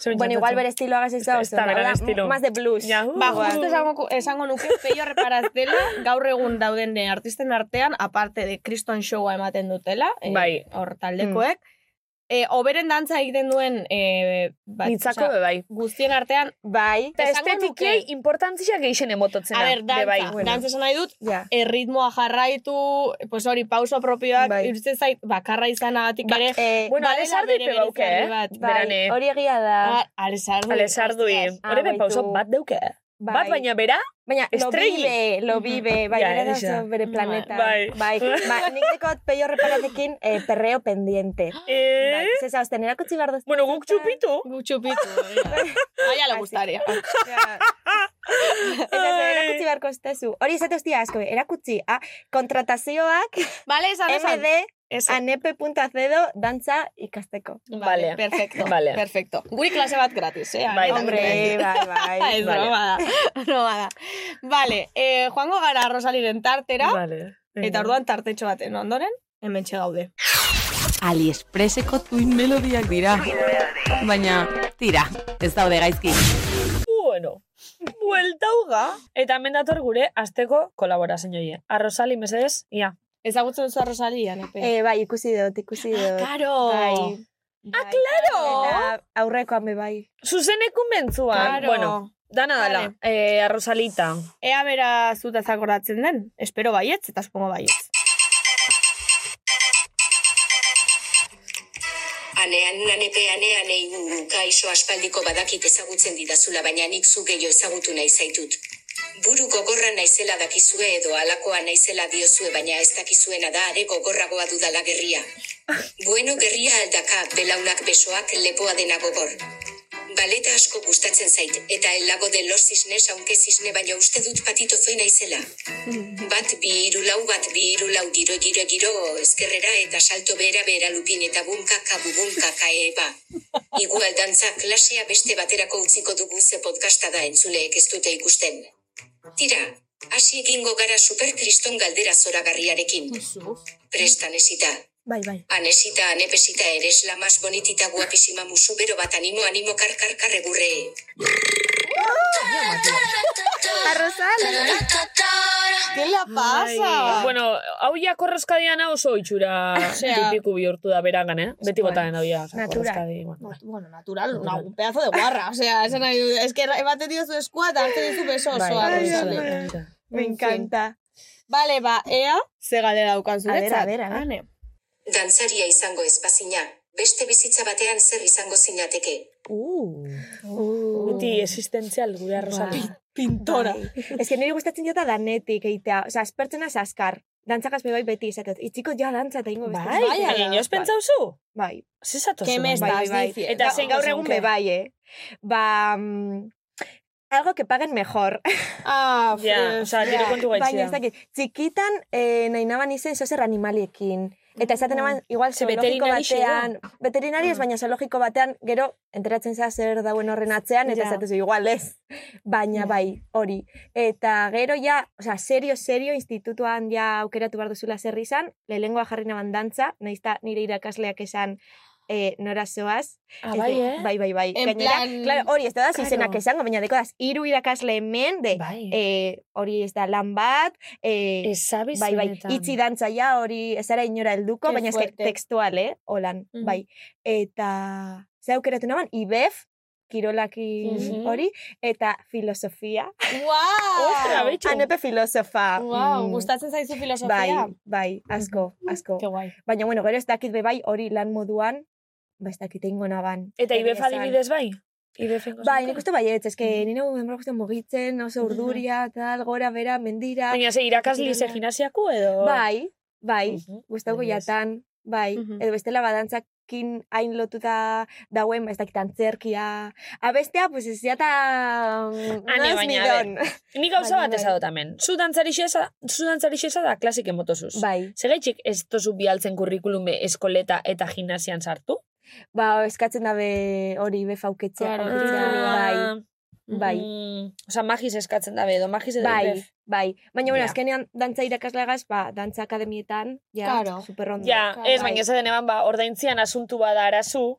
S7: ze
S8: Bueno,
S7: [LAUGHS] pentsatzen
S8: igual
S7: zu.
S8: bere estiloagaz ez
S7: Ez
S8: da
S7: da- ez
S8: oso.
S7: da bere
S8: Hola,
S7: estilo.
S8: Más de blues.
S7: Yahoo.
S3: Ba,
S8: Igual.
S3: justo esango, esango nuke peio reparaz dela, gaur egun dauden artisten artean, aparte de Kriston Showa ematen dutela, eh,
S7: Bai.
S3: hor taldekoek, eh, oberen dantza egiten duen eh, bat,
S7: Nitzako
S3: osea,
S7: be bai.
S3: guztien artean,
S8: Bai,
S7: Eta
S3: Esango
S7: estetikiei
S3: nuke-
S7: importantzia geixen emototzena.
S3: a ber,
S7: be bai.
S3: dantza, dantza esan nahi dut,
S8: ja.
S3: erritmoa jarraitu, pues hori, pauso propioak,
S8: Bai.
S3: bai. zait, bakarra
S7: Ba,
S3: izanagtik ere,
S8: Eh,
S7: Bueno,
S3: badela
S7: alesardi
S3: bere
S7: pe bauke,
S3: berezi
S7: eh?
S3: bat.
S8: bai,
S7: Berane.
S8: hori egia da.
S3: ba, alesardu.
S7: Alesardui.
S8: Ah,
S7: Hori Bai. be
S8: bai,
S7: pauso
S8: du.
S7: bat deuke. Bat baina bera,
S8: Bai. Baina, lo
S7: Estregi.
S8: bibe, lo bibe, bai,
S7: Ja,
S8: ja,
S7: egia.
S8: bere
S3: Bai.
S8: planeta.
S7: Bai.
S8: Bai, ba, nik dikot peio reparatekin eh, perreo pendiente.
S7: Eh?
S8: Bai, zez, hausten erakutsi behar doztu.
S7: Bueno, guk txupitu.
S3: Guk txupitu. A
S8: Bai,
S3: ella le
S8: [LAUGHS]
S3: gustaría.
S8: Eta ez, erakutsi beharko estezu. Hori ez hostia asko, erakutsi. Ah, kontratazioak
S3: Vale,
S7: Ba,
S3: esan, esan.
S7: Esan.
S8: mdanepe.zedo dantza ikasteko.
S7: Vale.
S3: Perfecto.
S7: Vale.
S3: Perfecto. Guri klase bat gratis, eh?
S7: Bai, Ba,
S3: Ana?
S8: Hombre, bai,
S7: [LAUGHS]
S8: bai.
S3: Ez
S7: Vale.
S3: broma da, broma da. Vale, eh, joango gara Rosaliren tartera,
S7: Vale.
S3: eta orduan tartetxo baten ondoren, hemen gaude.
S2: AliExpresseko tuin melodiak dira. Baina, tira, ez daude gaizki.
S7: Bueno, buelta uga. Eta hemen dator gure asteko kolaborazioie. Arrozali, mesedez, ia.
S3: Ezagutzen duzu a Rosali, Anepe?
S8: Eh, bai, ikusi dut, ikusi
S7: Ah,
S8: dut.
S3: Karo!
S8: Bai.
S3: Ah, claro!
S8: Eta aurrekoan be bai.
S7: Zuzenekun bentzuan.
S3: Claro.
S7: Bueno, dana dala.
S3: Vale.
S7: Eh, arrozalita.
S3: Ea bera zutaz akordatzen den? Espero baietz, eta supongo baietz.
S9: Anean nanepe anean eigu kaixo aspaldiko badakit ezagutzen didazula baina nik zu gehiago ezagutu nahi zaitut. Buru gogorra naizela dakizue edo alakoa naizela diozue baina ez dakizuena da are gogorragoa dudala gerria. Bueno gerria aldaka, belaunak besoak lepoa dena gogor. Baleta asko gustatzen zait, eta el lago de los cisnes aunque cisne baina uste dut patito fe naizela. Bat bi hiru lau bat bi hiru lau giro giro giro ezkerrera eta salto behera behera lupin eta bunkaka bubunkaka eba. Igual dantza klasea beste baterako utziko dugu ze podcasta da entzuleek ez dute ikusten. Tira, hasi egingo gara super kriston galdera zoragarriarekin. Prestan esita.
S8: Bai, bai.
S9: Anesita, anepesita, eres la más bonitita guapísima musu bero bat animo animo kar kar kar egurre.
S3: ¿Qué la
S8: Ah.
S3: pasa?
S7: Bueno, hau ja korroskadiana oso
S8: [LAUGHS]
S7: itxura
S3: Osea.
S7: tipiku bihurtu da beragan, eh? Beti
S8: Bueno,
S7: bota den hau ja.
S8: natural. Bai.
S7: korroskadi, bueno.
S3: Bueno, natural, una- un pedazo de guarra. O sea, esa nahi du- es que ematen dio su eskuata, hartzen dizu beso
S7: Bai,
S3: osoa.
S8: Bai,
S3: Rosali.
S8: bai.
S7: arrozali.
S8: Me
S3: En fin.
S8: encanta.
S3: Vale, ba, ea, ze galdera daukan zuretzat.
S8: A ber, a ber, a ber.
S3: Ane.
S9: Dantzaria izango ez bazina, beste bizitza batean zer izango zinateke.
S7: Uh,
S8: Uh.
S7: beti existentzial gure
S8: Bai.
S7: arrozali.
S3: Pintora.
S8: Ez que niri gustatzen jota danetik egitea. Osa, aspertzena zaskar. Dantzakaz be bai beti izatez. Itxiko ja dantza eta ingo beste.
S7: Bai, baina inoz pentsauzu?
S8: Bai,
S7: Zizatu
S3: Que me
S8: bai,
S3: estás
S8: bai.
S3: diciendo.
S7: Eta
S8: Ga-
S7: zein
S8: gaur
S7: gozo
S8: egun
S7: nuke?
S8: be bai, eh? Ba, mm, algo que paguen mejor.
S3: Ah,
S7: Ja,
S3: fre-
S7: oza,
S3: ja.
S7: dire kontu
S8: Baina Eh, bai, ez
S7: gaitxea.
S8: dakit, txikitan eh, nahi naban izen zozer animaliekin. Eta esaten naban, igual
S7: Ze
S8: zoologiko
S7: veterinari xedo.
S8: batean, veterinari ez, baina zoologiko batean, gero, enteratzen zea zer dauen horren atzean, eta
S7: Ja.
S8: esatezu, igual ez. Baina bai, hori. Eta gero ja, osea, serio, serio, institutuan ja aukeratu behar duzula zer izan, lehengoa jarri naban dantza, nahiz eta nire irakasleak esan, eh, nora zoaz,
S7: Ah,
S8: Ez
S7: bai,
S8: de-
S7: eh?
S8: Bai, bai, bai.
S3: En
S8: Gainera,
S3: plan-
S8: claro, hori ez da
S7: Claro.
S8: izenak esango, baina dekodaz, hiru irakasle hemen, de,
S7: Bai.
S8: eh, hori ez da lan bat, eh,
S7: Ezabiz
S8: bai, bai, itzi dantzaia hori ez ara inora helduko,
S3: Qué
S8: baina ez
S3: fuerte.
S8: tekstual, eh, holan,
S3: Mhm.
S8: bai. Eta, ze aukeratu naman, IBEF, kirolaki
S7: Mhm.
S8: hori, eta filosofia.
S3: Guau!
S8: [LAUGHS]
S7: Ostra, betxu.
S8: Anepe filosofa.
S3: Ah, Guau,
S8: Mm.
S3: gustatzen zaizu filosofia?
S8: Bai, bai, asko, asko.
S3: Ke guai.
S8: Baina, bueno, gero ez dakit be bai hori lan moduan, ba, ez dakit ingo naban.
S7: Eta IBF
S8: Esan.
S7: adibidez bai? IBF ingo
S8: Bai,
S7: zenuke?
S8: nik uste baietz, eske nire denbora guztien mugitzen, oso urduria, tal, gora, bera, mendira.
S7: Baina ze irakasli ze gimnasiako edo?
S8: Bai, bai,
S7: Mhm.
S8: gustauko
S7: adibidez.
S8: jatan, bai.
S3: Mhm.
S8: Edo bestela badantzakin hain lotuta dauen, ba, ez dakit antzerkia. Abestea, pues ez jata...
S7: Ane, baina, a
S8: midon.
S7: Ni gauza
S8: Bai,
S7: bat
S8: bai.
S7: ezadot hemen. Zu dantzarixesa, zu dantzarixesa da klasik emotosuz.
S8: [LAUGHS] Bai,
S7: Segaitxik ez tozu bialtzen kurrikulume eskoleta eta gimnasian sartu?
S8: ba, eskatzen dabe hori befauketzea.
S3: Claro.
S8: Bai, bai.
S7: Ah. Mm, Osa, magiz eskatzen dabe edo, magiz edo
S8: Bai,
S7: IBF.
S8: bai. Baina, bueno,
S7: Ja.
S8: azkenean dantza irakasleagaz, ba, dantza akademietan, ja,
S3: Claro.
S8: superrondo.
S7: Ja, ez,
S8: Bai.
S7: baina ez den eban, ba, ordaintzian asuntu bada arazu,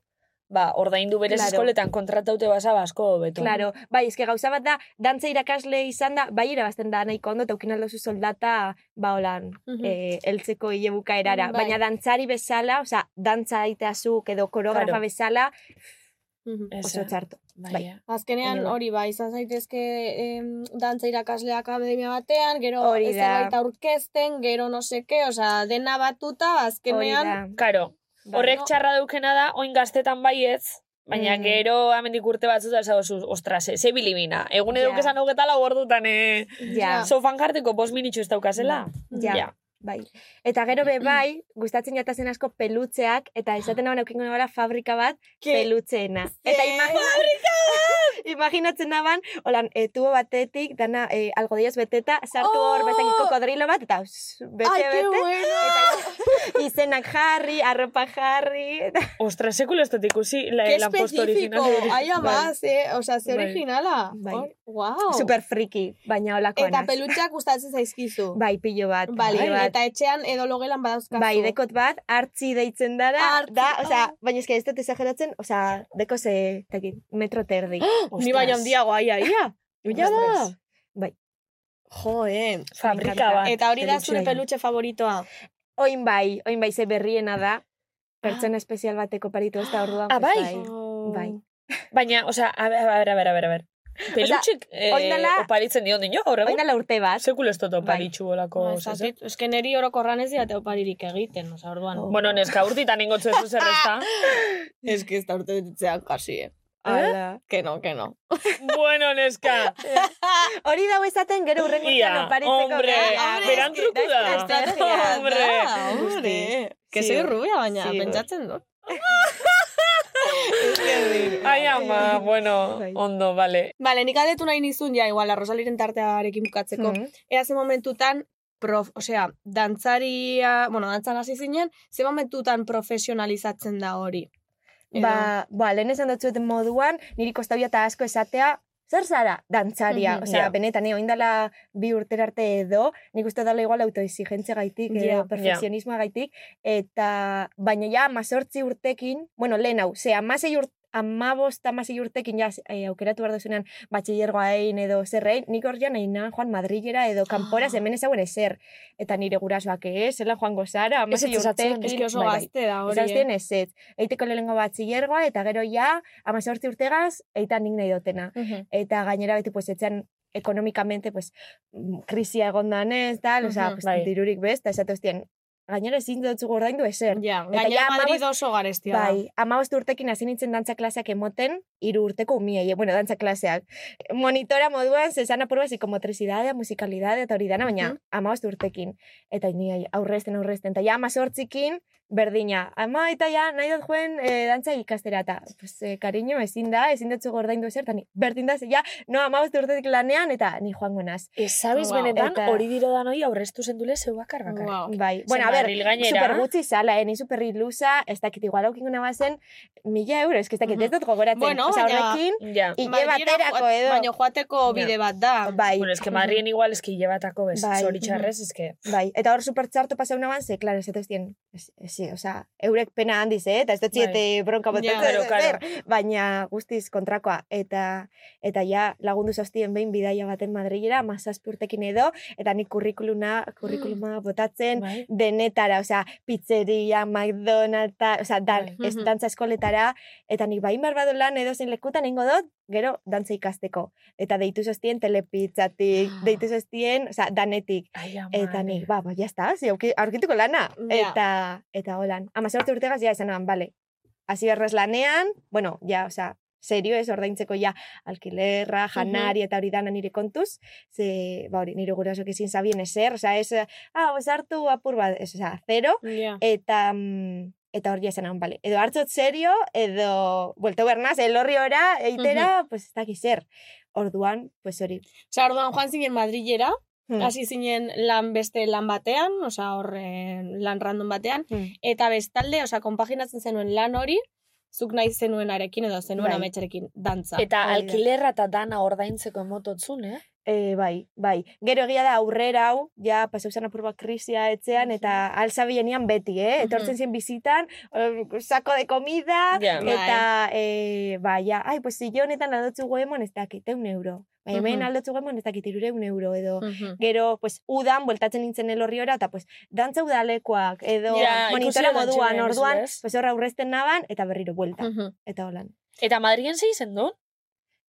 S7: ba, ordaindu berez
S8: Claro.
S7: eskoletan kontrataute basa asko beto.
S8: Claro, bai, eske gauza bat da, dantza irakasle izan da, bai irabazten da nahiko ondo, eta ukin aldozu soldata, ba, holan,
S3: Mhm.
S8: eh, eltzeko hile bukaerara.
S3: Bai.
S8: Baina dantzari bezala, osea, dantza aiteazuk edo koreografa
S7: Claro.
S8: bezala,
S7: Ez,
S8: oso txarto. bai.
S7: eh.
S3: Azkenean
S8: Ondo.
S3: hori ba, izan zaitezke em, dantza irakasle akademia batean, gero
S8: Hori
S3: ez
S8: da.
S3: zerbait aurkezten, gero no seke, osea, dena batuta,
S8: Hori
S3: azkenean
S8: da.
S7: Karo,
S8: Bai.
S7: horrek txarra dukena da, oin gaztetan baietz, Baina
S8: Mm.
S7: gero amendik urte batzuta esan duzu, ostras, ze bilimina. Egun edo
S8: Ja.
S7: yeah. esan hogetala gordutan, eh?
S8: Ja,
S7: Sofan jarteko bost minitxu ez daukazela.
S8: ja.
S7: Ja.
S8: Bai. Eta gero be bai, gustatzen jotazen asko pelutzeak, eta esaten hau neukingo nabara fabrika bat
S3: Ke-
S8: pelutzeena. Eta imagina... [LAUGHS] imaginatzen naban, holan, e, tubo batetik, dana, e, algodioz beteta, sartu hor,
S3: Oh!
S8: bezan kokodrilo bat, eta us, bete,
S3: Ai,
S8: bete.
S3: qué
S8: Eta izenak jarri, arropa jarri, eta...
S7: Ostras, sekulo ez dut ikusi la,
S3: Qué
S7: lanpostu
S3: específico,
S7: originala.
S3: aia
S7: Bai.
S3: más, eh? Osa, ze
S7: Bai.
S3: originala.
S8: Bai.
S3: Hor- Guau.
S8: Super friki, baina olakoan.
S3: Oh! Eta pelutxak gustatzen zaizkizu.
S8: Bai, pilo bat.
S3: Bale,
S8: pilo bat.
S3: eta etxean edo logelan badauzkazu.
S8: Bai, dekot bat, hartzi deitzen dara,
S3: Hartzi,
S8: da,
S3: ah.
S8: osea, baina eske ez dut exageratzen, osea, deko ze, takit, metro terdi.
S3: Ni baina handiago aia, ia. Ia da.
S8: Ostras. Bai.
S3: Jo, eh.
S7: Fabrika bat.
S3: Eta hori da zure
S7: pelutxea.
S3: pelutxe favoritoa.
S8: Oin bai, oin bai, ze berriena da, pertsona espezial bateko paritu ez da orduan.
S7: Ah,
S8: pues,
S7: bai?
S8: Bai.
S7: Baina, osea, a ber, a ber, a ber, a ber, a ber. Pelutxik eh,
S8: oin dela-
S7: oparitzen dion dino, gaur
S8: Oin
S7: egun.
S8: dela urte bat.
S7: Sekulo ez dut
S8: Bai.
S7: oparitxu bolako.
S3: Ba, ez
S7: osea,
S3: dakit, Ez que neri orokorran ez diate oparirik egiten, oza, orduan.
S7: Bueno, neska urtitan ingotzu ez zer
S8: [LAUGHS]
S7: ezta.
S3: Ez que ez da urte betetzea kasi, eh.
S8: Ala.
S3: Que no, que no.
S7: bueno, neska.
S8: Hori dago ezaten gero urren urtean
S7: Ia,
S8: oparitzeko.
S7: hombre,
S8: gara.
S7: beran
S8: Eske,
S7: truku
S3: Ah,
S7: da.
S8: estrategia da,
S7: Hombre.
S3: hombre. Que
S8: Sí,
S3: soy rubia, baina,
S8: sí,
S3: pentsatzen dut.
S7: Ai, ama, bueno,
S8: Bai.
S7: ondo, vale.
S3: Bale, nik adetu nahi nizun, ja, igual, la Rosaliren tartearekin bukatzeko.
S8: Mhm.
S3: Ea ze momentutan, prof, osea, dantzaria, bueno, dantzan hasi zinen, ze momentutan profesionalizatzen da hori? Edo-
S8: Ba, ba, lehen esan dut zuten moduan, niri kostabia eta asko esatea, zer zara, dantzaria.
S3: Mhm.
S8: Osea,
S7: Ja.
S8: benetan, eh, oindala bi urtera arte edo, nik uste dala igual autoexigentzia gaitik,
S3: Ja.
S8: edo perfekzionismoa gaitik, eta baina ja, amazortzi urtekin, bueno, lehen hau, ze amasei urte, amabost, amasei urtekin ja eh, aukeratu behar duzunean batxillergoa egin edo zerrein, nik hor ja nahi nahan joan Madrilera edo kanpora,
S3: Ah.
S8: ah. hemen ezagun ezer. Eta nire gurasoak ez, zela joango zara, amasei
S7: ez esatzen,
S8: urtekin.
S3: Ez que oso
S8: Bai, bai.
S3: gazte da hori,
S8: Esan
S3: eh?
S8: zuen ez ez. Eiteko lehenengo batxillergoa eta gero ja, amazortzi urtegaz, eitan nik nahi dutena.
S3: eh.
S8: Eta gainera beti, pues, etxean ekonomikamente, pues, mm, krisia egon danez, tal, oza,
S3: Mhm,
S8: pues,
S7: bai.
S8: dirurik bez, eta esatu eztien, gainera ezin dutzu ordaindu ezer.
S3: Ja,
S8: Eta
S3: gaina
S8: ja,
S3: Madrid
S8: hamabost-
S3: oso garestia da.
S8: Bai, amabost urtekin hasi nintzen dantza klaseak emoten, hiru urteko umiei, bueno, dantza klaseak. Monitora moduan, zezan apurua psikomotricidadea, musikalidadea eta hori dana, baina
S3: Mhm.
S8: amabost urtekin. Eta ni aurrezten, aurrezten, eta ja amazortzikin, berdina. Ama eta ja, nahi dut joen e, dantza ikastera, eta pues, eh, kariño, ezin da, ezin dut gordaindu zer, eta ni, berdin da, ze, ja, no, amabost urtetik lanean, eta ni joango naz.
S7: Ezabiz
S3: Wow.
S7: Eh, benetan
S8: Eta-
S7: hori dira danoi aurreztu zendule zeu bakar bakar.
S3: Guau.
S8: Bai, bueno, a
S7: Zer,
S8: ber,
S7: Madril gainera.
S8: super gutxi zala, eh, ni super ilusa, ez dakit igual aukingo nabazen, mila euro, ez que ez dakit, ez dut gogoratzen.
S3: Bueno,
S8: Osea,
S3: baina-
S8: horrekin,
S7: Ja.
S8: Ile
S3: Madrilera
S8: baterako
S3: joat-
S8: edo.
S3: Baina joateko bide bat da.
S8: Bai,
S7: Bueno, es que Madrien igual es que llevatako bez.
S8: Bai.
S7: Zoritxarrez, es que...
S8: bai. Eta hor super txarto pasau naban, ze, klaro, ez dut zien, ez- ez- sí, osea, eurek pena handiz, eh? eta ez dut ziete bronka bat.
S3: Ja,
S7: pero, claro.
S8: Baina guztiz kontrakoa, eta eta ja lagundu zaztien behin bidaia baten Madrilera, mazazpi urtekin edo, eta nik kurrikuluna, kurrikuluma botatzen,
S7: Bai.
S8: denetara, osea, pizzeria, McDonald's, osea, dan,
S3: Bai.
S8: ez dantza eskoletara, eta nik bain barbado lan edo zein lekutan ingo dut, gero dantza ikasteko. Eta deitu zostien telepitzatik, deitu zostien, osea, danetik.
S7: Ai, ama,
S8: Eta
S7: ne.
S8: nik, ba, ba, jazta, zi, auki- aurkituko lana.
S3: Ja.
S8: Eta, eta holan. Ama sorte urtegaz, ja, esan nahan, bale. Hasi berrez lanean, bueno, ja, osea, serio ez ordaintzeko ja alkilerra, janari eta hori dana nire kontuz, ze, ba hori, nire gurasok ezin zabien ezer, osea, ez, ah, pues hartu apur bat, ez, osea, zero,
S3: Ja.
S8: eta, mm, eta hori esan hon, bale. Edo hartzot serio, edo, buelta bernaz, elorri ora, eitera, pues ez dakiz zer. Orduan, pues hori.
S3: Osea, orduan joan zinen Madrilera,
S8: Hmm.
S3: hasi zinen lan beste lan batean, osea, hor eh, lan random batean,
S8: Hmm.
S3: eta bestalde, osea, konpaginatzen zenuen lan hori, zuk nahi zenuenarekin edo zenuen
S8: Bai.
S3: ametxarekin dantza.
S7: Eta
S8: Hori da.
S7: alkilerra eta dana ordaintzeko emototzun, eh?
S8: E, bai, bai. Gero egia da aurrera hau, ja pasau zen apur bat krisia etxean, eta alza bienian beti, eh? Etortzen zien bizitan, eh, sako de comida,
S7: Ja.
S8: eta, eh, bai, ja, ai, pues zillo honetan aldotzu goemon ez dakit, eun euro. Bai, hemen
S3: Mhm.
S8: aldotzu goemon ez dakit, irureun euro, edo...
S3: Mhm.
S8: Gero, pues, udan, bueltatzen nintzen elorriora, eta, pues, dantza udalekoak, edo
S7: Ja,
S8: monitora
S7: ikusi dantza
S8: moduan,
S7: nahi duzu,
S8: orduan,
S7: ez?
S8: pues, horra aurrezten naban, eta berriro buelta,
S3: Mhm.
S8: eta holan.
S7: Eta Madrien zei zen du?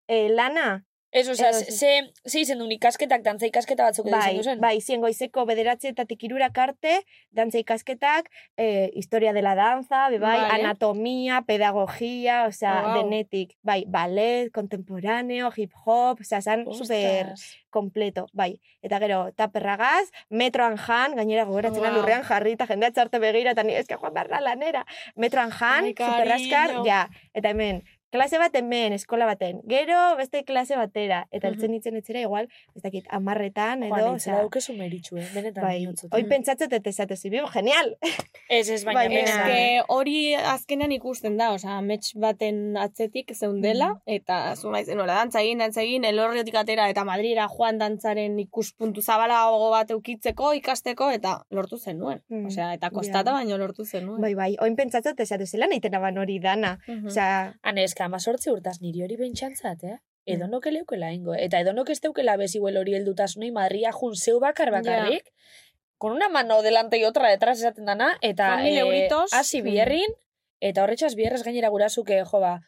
S8: Eh, lana,
S7: Ez, osea,
S8: Ez,
S7: ze,
S8: ez.
S7: ze- ze izen duen ikasketak, dantza ikasketa batzuk edo
S8: Bai,
S7: izen duzen.
S8: bai, zien goizeko bederatzeetatik irurak arte, dantza ikasketak, eh, historia dela danza, be bai,
S3: Vale.
S8: anatomia, pedagogia, osea,
S3: Wau.
S8: denetik, bai, ballet, kontemporaneo, hip hop, osea, zan super
S7: Ostras.
S8: kompleto, bai. Eta gero, taperragaz, metroan jan, gainera gogoratzen wow.
S3: Wau.
S8: lurrean jarri, eta jendea txarte begira, eta ni, eske joan barra lanera. Metroan jan,
S3: Ai,
S8: superraskar,
S3: cariño.
S8: ja. Eta hemen, klase bat hemen, eskola baten. Gero, beste klase batera. Eta
S7: Mhm.
S8: eltzen nintzen etxera, igual, ez dakit, amarretan,
S7: Joan,
S8: edo,
S7: nintzen,
S8: osea,
S7: daukezu meritxu, eh? Benetan.
S8: bai.
S7: diotsut.
S8: Hoi pentsatzen dut esatezi, bibo, genial!
S7: Ez, ez, baina
S8: Bai,
S3: Ez
S8: Benetan.
S7: benetan.
S3: que hori azkenan ikusten da, osea, amets baten atzetik zeundela,
S8: Mm.
S3: eta zu naiz, nola, dantza egin, dantza egin, elorriotik atera, eta Madrira joan dantzaren ikuspuntu zabalago bat eukitzeko, ikasteko, eta lortu zenuen.
S8: Mm.
S3: Osea, eta kostata
S8: Ja.
S3: baino lortu zenuen.
S8: Bai, bai, oin pentsatzen dut esatezi, lan egiten aban hori dana.
S3: Mhm.
S8: Osea,
S7: Hane, eska, amazortzi urtaz niri hori bentsantzat, eh? Edo noke leukela ingo. Eta edo noke ez teukela beziguel hori heldutasunei madria jun zeu bakar bakarrik. Con una mano delante y otra detrás esaten dana. Eta
S3: Con mil euritos.
S7: hasi bierrin. Eta horretxaz bierrez gainera gurasuke, jo ba,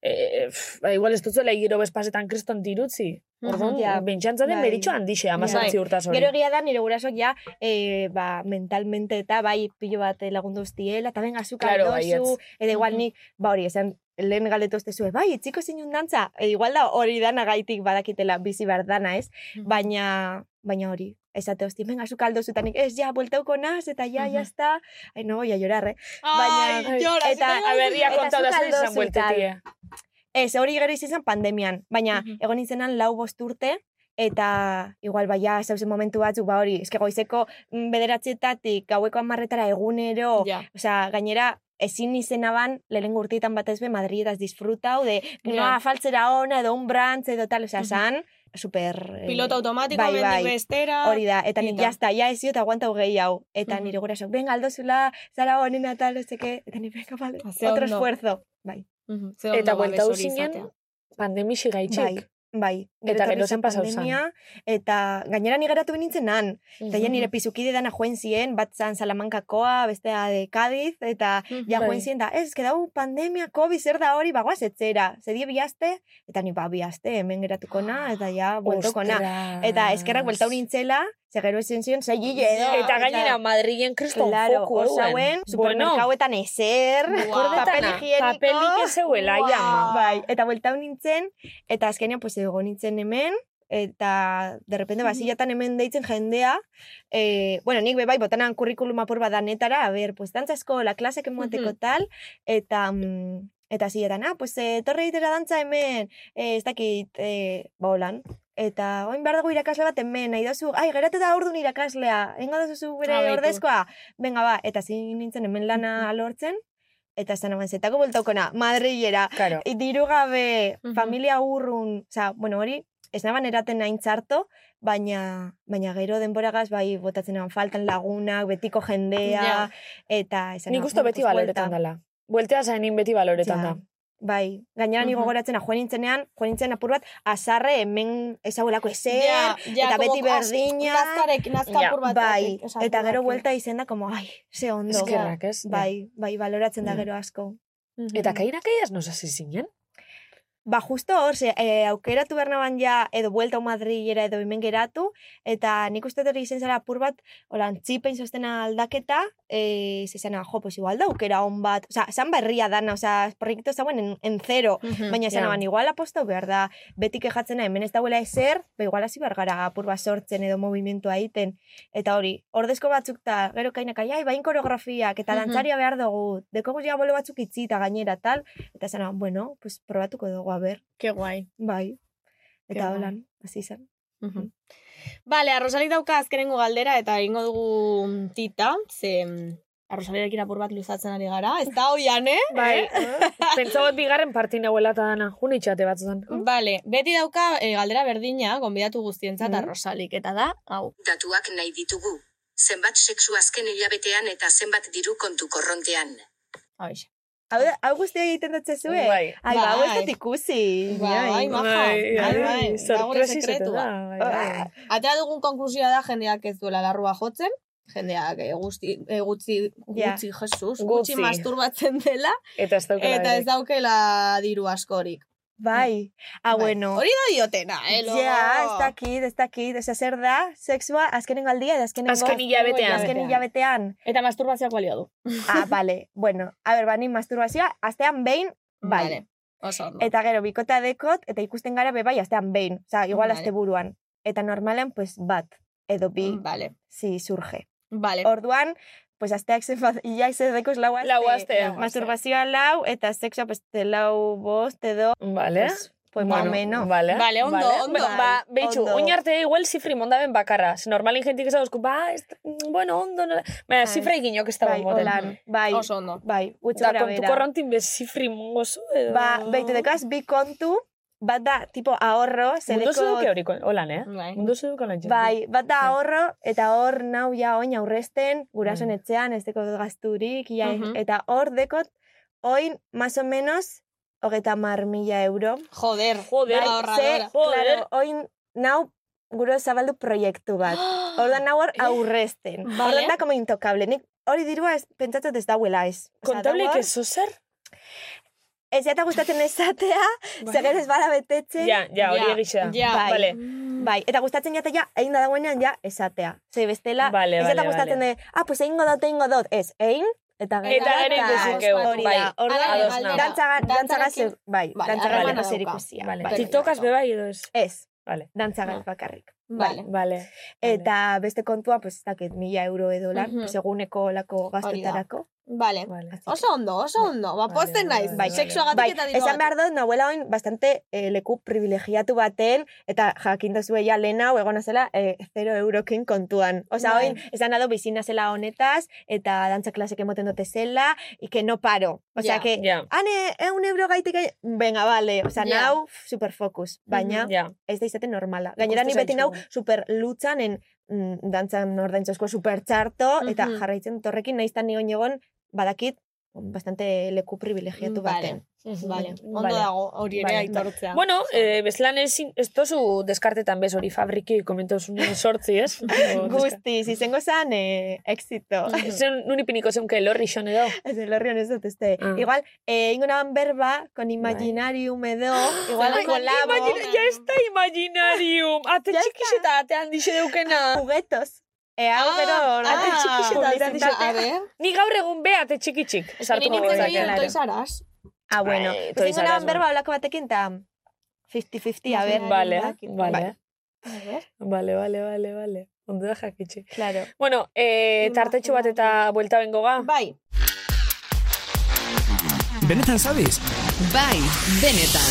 S7: eh, pff, ba, igual ez dutzuela igiro bezpasetan kriston dirutzi.
S3: Mhm.
S7: Orduan, mm
S8: Ja.
S7: bentsantzaren
S8: Bai.
S7: meritxo handixe, amazortzi
S3: Bai.
S7: urtaz hori.
S8: gero egia da, nire gurasok ja, eh, ba, mentalmente eta bai pilo bat eh, lagundu ustiela, eta benga zuka
S7: Claro,
S8: claro,
S7: baietz.
S8: edo igual nik, ba hori, esan, lehen galetu ez duzue, bai, etxiko zinun dantza, e, igual da hori dana gaitik badakitela bizi bar dana, ez? Baina, baina hori, esate hosti, benga zuka aldo zutanik, ez, ja, bueltauko naz, eta ja,
S7: Mhm.
S8: ja, está, ai, no, voy a llorar, eh?
S3: Ai,
S8: baina-
S3: llora,
S8: eta-
S3: zuten-
S7: A ber, ia
S8: Eta
S7: kontatu
S8: zuk
S7: azu izan
S8: aldozu
S7: bueltetie.
S8: Ez, hori gero izan zen pandemian, baina
S3: Mhm.
S8: egon nintzenan lau bost urte, eta igual bai, baia zauzen momentu batzuk, ba hori, eske goizeko mm, bederatzietatik gaueko hamarretara egunero,
S3: Ja.
S8: osea, gainera ezin izen aban, lehen urtietan batez be Madrietaz disfrutau, de
S3: Ja.
S8: noa faltzera ona, edo un brantz, edo tal, osea,
S3: Mhm.
S8: san, super... eh,
S3: Piloto automatiko,
S8: bai,
S3: mendik
S8: bai.
S3: bestera.
S8: Hori da, eta nik
S3: Pinta.
S8: jazta, ja ez eta aguanta hogei hau. Eta
S3: Mhm.
S8: nire gurasok, venga, aldozula, zara honena, tal, ez teke, eta nire, venga, vale,
S3: Ze
S8: otro
S3: ondo.
S8: esfuerzo. Bai,
S3: Mhm, ze
S7: Eta
S3: ondo babes
S7: bueltau
S3: hori
S7: zinen,
S3: izatea.
S7: pandemixi gaitxik.
S8: bai, bai.
S7: Eta
S8: etorri
S7: gero zen pasau zen.
S8: pandemia, Eta gainera ni geratu nintzen han, Eta ja
S7: Mhm.
S8: nire pizukide dana joen ziren, bat zan Salamankakoa, bestea de Cádiz, eta ja
S7: Bai.
S8: joen ziren da, ez, que dau pandemia, COVID, zer da hori, bagoaz etxera. Zedie bihazte, eta ni ba bihazte, hemen geratuko na, eta
S7: [GASPS]
S8: ja, bueltoko na. Eta eskerrak bueltau nintzela, ze gero ezin zion, zei hile edo.
S7: Eta gainera Madrilen kriston
S8: Claro,
S7: foku
S8: hor
S7: hauen.
S8: zauen, supermerkauetan ezer,
S3: Guau.
S8: papel
S7: Papel
S8: higieniko.
S7: Papelik ez zeuela,
S3: Guau.
S7: ja.
S8: Bai, eta bueltau nintzen, eta azkenean, pues, ego nintzen hemen, eta derrepende basilatan hemen deitzen jendea, e, bueno, nik be bai botanan kurrikulum apur bat danetara, a ber, pues, dantza eskola, klasek emateko
S3: Mhm.
S8: tal, eta... Mm, Eta ziletan, ah, pues, eh, torre egitera dantza hemen, eh, ez dakit, eh, ba, holan. Eta, oin behar dugu irakasle bat hemen, nahi dozu, ai, geratu da ordun irakaslea, engo dozu bere
S7: Ah, baitu.
S8: ordezkoa. Benga, ba, eta zin nintzen hemen lana alortzen, eta zan amanzetako bueltaukona, Madrilera,
S7: Claro.
S8: I- diru gabe,
S3: Mhm.
S8: familia urrun, osea, bueno, hori, ez naban eraten nahin txarto, baina, baina gero denboragaz, bai, botatzen eban faltan lagunak, betiko jendea,
S3: Ja.
S8: eta... Esan,
S7: Nik uste beti baloretan dela. Bueltea zainin beti baloretan da.
S8: Bai, gainera ni
S3: Mhm.
S8: gogoratzena joan nintzenean, joan nintzen apur bat, azarre hemen ezaguelako ezer,
S3: Ja, ja,
S8: eta
S3: como
S8: beti
S3: kas-
S8: berdina.
S3: Nazkarek, nazkapur bat.
S8: bai,
S3: batek,
S8: eta
S3: batek.
S8: gero buelta izen da, como, ai, ze ondo.
S7: Eskerrak, Mm. ez? Ja.
S8: Bai, bai, baloratzen da
S7: Ja.
S8: gero asko.
S7: Eta kainak aiaz nos hasi zinen?
S8: Ba, justo hor, ze, eh, aukeratu behar naban ja, edo buelta Madrilera edo hemen geratu, eta nik uste dut hori izen zara apur bat, holan, txipen sostena aldaketa, eh, zizena, jo, pues igual da aukera hon bat, oza, zan berria dana, oza, proiektu zauen en, en zero,
S3: Mhm.
S8: baina esan
S7: ja.
S8: aban, igual apostau behar da, beti kejatzena hemen ez dauela ezer, ba, igual hasi behar gara apur bat sortzen edo movimentua egiten, eta hori, ordezko batzuk ta, gero kainak, ai, bain koreografiak, eta
S3: Mhm.
S8: dantzaria behar dugu, dekogu ja bolo batzuk itxi eta gainera tal, eta esan aban, bueno, pues probatuko dugu, a ber,
S3: Ke guai.
S8: Bai.
S3: Ke
S8: Eta
S3: guai.
S8: holan, hasi izan.
S3: Uhum. Bale, arrosalik dauka azkenengo galdera eta egingo dugu tita, ze arrosalirekin apur bat luzatzen ari gara. Ez da hoian, eh?
S7: Bai. Pentsa bat bigarren partin hauela eta dana. Jun itxate batzutan.
S3: Bale, beti dauka eh, galdera berdina, gonbidatu guztientzat
S7: Mhm.
S3: arrosalik, eta da, hau.
S9: Datuak nahi ditugu. Zenbat sexu azken hilabetean eta zenbat diru kontu korrontean.
S3: Hauixe.
S8: Hau, da- hau guztia egiten dut zezue?
S7: Bai.
S8: Ai, ba, hau ez
S3: Bai.
S8: dut ikusi.
S3: Bai,
S8: Ai,
S3: maja. Bai, bai, dago gure
S7: Sorpresa izaten da.
S3: sekretua.
S7: bai,
S8: Ah,
S7: bai.
S3: Atera dugun konklusioa da jendeak ez duela larrua jotzen, jendeak eh, guzti, eh, gutxi,
S8: Ja.
S3: gutxi, Jesus,
S7: Gutxi.
S3: gutxi masturbatzen dela,
S7: Eta ez daukela.
S3: Eta ez daukela diru askorik.
S8: Bai. Ah,
S3: Bai.
S8: bueno.
S3: Hori da diotena, eh,
S8: Ja,
S3: luego.
S8: ez dakit, ez dakit. Osea, zer da, sexua, azkenengo aldia, edo azkenengo...
S7: Azken hilabetean.
S8: Azken
S7: [LAUGHS]
S8: hilabetean.
S3: Eta masturbazioak balio du.
S8: Ah, bale, bueno. A ber, bani masturbazioa, astean behin, bai.
S3: Vale. Oso ondo.
S8: Eta gero, bikota dekot, eta ikusten gara be bai, astean behin. Osa, igual
S3: Vale.
S8: asteburuan. Eta normalen, pues, bat, edo bi,
S3: Mm,
S7: Mm.
S3: Vale.
S8: si surge.
S7: Eh.
S3: Vale.
S8: Orduan, pues, asteak zen, [LAUGHS] iaik zer dekoz lau aste.
S7: Lau aste.
S8: Masturbazioa lau, eta sexua, pues, te lau bost, edo,
S7: Vale.
S8: pues, pues, más o menos.
S7: Vale.
S3: Vale, ondo, ondo.
S7: Ba, ba, beitxu,
S8: Ondo.
S7: oin arte igual zifrimon daben bakarra. Ze normalin jentik ez dauzku, ba, ez, "Ah, bueno, ondo, nola. Baina,
S8: Bai.
S7: zifra eginok ez dago
S8: Bai,
S7: moten.
S8: holan, bai,
S3: Oso ondo.
S8: bai, utxe
S7: Da,
S8: gora
S7: kontu
S8: bera.
S7: korrontin bez zifrimon gozu, edo...
S8: Ba, beitu dekaz, bi kontu, bat da, tipo, ahorro,
S7: Mundu
S8: zedeko...
S7: zeduke hori, holan, eh?
S3: Bai.
S8: Mm.
S7: Mundu zeduke holan. txen.
S8: Bai, bat da ahorro, eta hor nau ja oin aurresten, gurasoen etxean, ez dekot gazturik, ia,
S3: Mhm.
S8: eta hor dekot, oin, más o menos, hogeita mar mila euro.
S3: Joder.
S7: Joder,
S3: Bai,
S8: Ze,
S3: ahorradora.
S7: joder.
S8: claro, oin, nau, guro zabaldu proiektu bat. Ordan nau hor aurresten.
S3: Vale.
S8: Ordan da, como intokable. Nik hori dirua ez, pentsatzen ez dauela ez. Osea,
S7: Kontableik
S8: dau hor,
S7: ez ozer?
S8: Ez jata gustatzen ezatea, zer ez bada betetzen.
S7: Ja, ja, hori
S3: Ja,
S7: egitxea.
S3: ja.
S8: Bai.
S7: Vale.
S8: Bai, eta gustatzen jata ja, egin da dagoenean ja, esatea. Ze bestela,
S7: Vale,
S8: ez
S7: vale,
S8: jata gustatzen
S7: vale.
S8: de, ah, pues egingo dot, egingo dot. Ez, egin, eta gero.
S7: Eta gero ikusi keu.
S8: Hori
S7: Bai,
S8: da, hori
S3: Hala,
S7: ados
S3: galdera.
S7: nago.
S8: Dantzaga, dantzaga
S3: Dantzarekin-
S8: zer- bai,
S3: Vale,
S8: dantzaga
S7: harremana
S8: zer
S3: dauka.
S8: ikusia.
S7: Vale.
S3: Bai.
S7: TikTokaz bebai edo ez.
S8: Ez,
S7: Vale.
S8: dantzaga bakarrik.
S3: Ah. Vale.
S7: Vale.
S8: Eta beste kontua, pues, ez dakit, mila euro edo lan,
S3: Mhm.
S8: pues, eguneko lako gastuetarako.
S3: Vale.
S7: Vale.
S3: Oso ondo, oso ondo. Ba,
S7: Vale,
S3: pozten
S7: vale,
S3: naiz.
S7: vale,
S3: Bai,
S7: vale.
S8: Bai,
S3: sexuagatik eta diruagatik.
S8: esan behar dut, nahuela oin bastante eh, leku privilegiatu baten, eta jakin dozue ja lehen hau egona zela eh, zero eurokin kontuan. Osa,
S3: Bai.
S8: oin, esan ado bizina zela honetaz, eta dantza klasek emoten dute zela, y que no paro. Osa,
S3: Ja.
S8: que,
S7: Ja.
S8: ane, eun euro gaitik, ai- venga, vale. Osa,
S3: Ja.
S8: nau, superfokus. Baina,
S7: Ja.
S8: ez da izaten normala. Gainera, ni
S7: Gustatzen
S8: beti nau,
S7: zaizu.
S8: super lutzan, en, mm, dantzan nordaintzasko super txarto, eta
S3: Mhm.
S8: jarraitzen torrekin, naiztan ni oin egon, badakit, bastante leku privilegiatu
S3: Vale.
S8: baten.
S3: Vale. Ondo
S7: Vale.
S3: dago, hori ere
S8: Mm, Vale.
S3: aitortzea.
S7: Bueno, eh, bezlan ezin, ez tozu deskartetan bez hori fabriki komentauzunen sortzi, ez?
S8: [LAUGHS] Guztiz, izango zan, eh, exito.
S7: [LAUGHS]
S8: [LAUGHS]
S7: Zer nuni piniko zeunke lorri xon edo.
S8: Ez elorri honez dut uste.
S7: Ah.
S8: Igual, eh, ingo naban berba, con imaginarium edo, igual
S3: Ai,
S8: kolabo,
S3: imagina-
S7: ya está imaginarium. Ah, Ate
S8: Ya Ah.
S7: txikix eta ate handixe deukena.
S8: juguetos. E hau, pero
S3: ah,
S8: ate txikixeta
S3: publizitate.
S8: deitzen da.
S7: Ni gaur egun be ate txikitxik.
S3: Ni
S7: Sartu
S3: nintzen
S8: Sartuko
S3: gehien
S8: genezake,
S3: Toys R Us.
S8: Ah, bueno.
S7: Bai,
S8: Pues ingo
S7: toizaraz,
S8: naban
S7: bueno.
S8: berba olako batekin, eta 50-50, a ber.
S7: Vale,
S8: badakit.
S7: vale.
S3: A ver.
S7: Vale, vale, vale, vale. Ondo da jakitxe.
S8: Claro.
S7: Bueno, eh, tartetxu bat eta buelta bengo ga.
S8: Ba-
S3: Bai,
S1: Benetan zabiz?
S6: Bai, benetan.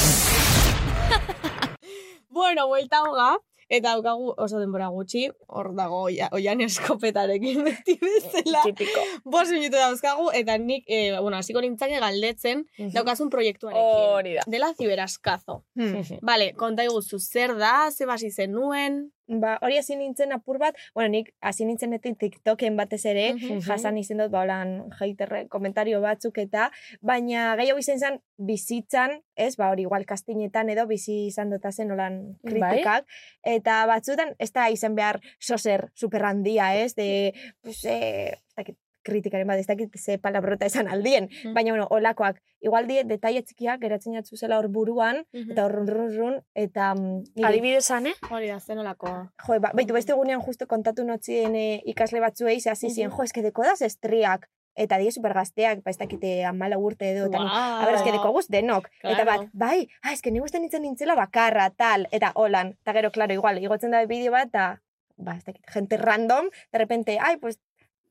S3: Bueno, buelta hoga, eta daukagu oso denbora gutxi, hor dago oia, oian eskopetarekin beti bezala.
S7: Tipiko.
S3: Bost minutu dauzkagu, eta nik, eh, bueno, hasiko nintzake galdetzen, daukazun proiektuarekin.
S7: Hori da.
S3: Dela ziberaskazo.
S8: Hmm.
S3: Vale, konta iguzu, zer da, ze basi zenuen,
S8: Ba, hori hasi nintzen apur bat, bueno, nik hasi nintzenetik TikToken batez ere,
S3: Mhm.
S8: jasan izen dut, ba, holan, haterre, komentario batzuk eta, baina gehiago izen zen bizitzan, ez, ba, hori igual kastinetan edo bizi izan dota zen holan kritikak, eta batzutan, ez da izen behar soser superhandia, ez, de, pues, eh, ez dakit, kritikaren bat, ez dakit ze palabrota esan aldien,
S3: Mhm.
S8: baina, bueno, olakoak, igual die, detaile txikiak, geratzen jatzu zela hor buruan, eta hor run, run, run, eta... mm, niri-
S7: Adibidez, eh? ane?
S3: hori da zenolako.
S8: Jo, ba, baitu beste egunean justo kontatu notzien eh, ikasle batzuei, ze hasi zien, jo, eske dekodaz estriak, eta die supergazteak, ba, ez dakite amala urte edo, eta no. A ber, eske dekoguz denok. Eta bat,
S3: Claro.
S8: bai, ah, eske ni gusten nintzen nintzela bakarra, tal, eta holan. Eta gero, klaro, igual, igotzen da bideo bat, eta, ba, ez dakit, gente random, de repente, ai, pues,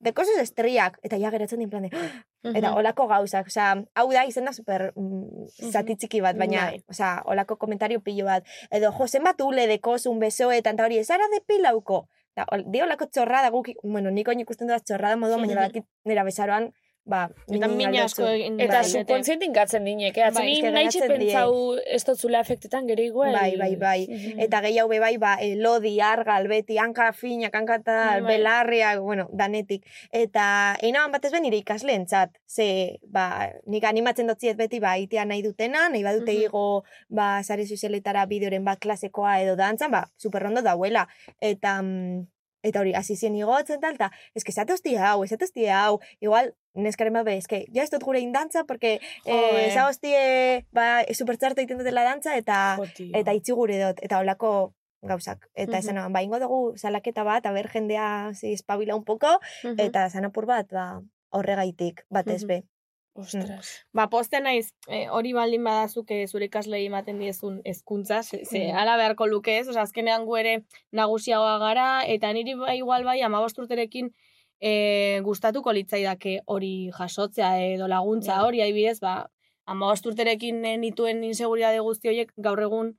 S8: dekozuz estriak, eta ja geratzen din plan de, "Ah",
S3: Mhm.
S8: eta olako gauzak, osea, hau da, izen da super mm, zati txiki bat, baina,
S3: Bai.
S8: osea, olako komentario pilo bat, edo, jo, zenbat ule dekozun besoetan, eta hori, ezara depilauko, Da, ol, di olako txorrada guk, bueno, niko ikusten dut txorrada moduan, baina badakit nera besaroan, ba,
S3: Eta
S8: minin
S3: mina asko
S8: aldotzu.
S3: egin.
S7: Eta
S3: dute.
S7: subkontzientin gatzen dinek, eh? Atzen
S3: Bai,
S7: bai,
S8: eske
S7: nahi
S8: geratzen
S7: pentsau ez dotzula afektetan gero igual.
S8: Bai, bai, bai.
S3: Mm.
S8: Eta gehiago be bai, ba, elodi, argal, beti, hanka finak, hanka tal,
S3: Bai.
S8: belarriak, bueno, danetik. Eta einaban batez ben nire ikasleentzat. Ze, ba, nik animatzen dotziet beti, ba, itea nahi dutena, nahi badute
S3: Mhm.
S8: igo, ba, sare sozialetara bideoren bat klasekoa edo dantzan, ba, superrondo dauela. Eta, mm, eta hori, hasi zien igotzen tal, eta eske ez zatozti hau, ez zatozti hau, igual, neskaren bat, be, eske, ja ez dut gure indantza, porque
S3: Joe.
S8: eh, zagoztie, ba, supertxarte egiten dutela dantza, eta eta itxi gure dut, eta holako gauzak.
S7: Mhm.
S8: Eta esan, ba, ingo dugu salaketa bat, aber jendea zi, espabila un poco, eta esan apur bat, ba, horregaitik, bat ez
S7: Mhm.
S8: be.
S7: Ostras.
S3: Ba, pozten naiz, eh, hori baldin badazuk eh, zure ikaslei ematen diezun hezkuntza, ze, ze
S8: Mm.
S3: ala beharko luke ez, osea, azkenean gu ere nagusiagoa gara, eta niri bai, igual bai, amabosturterekin eh, gustatuko litzaidake hori jasotzea edo laguntza hori, adibidez, ba, amabosturterekin eh, nituen inseguridade guzti horiek gaur egun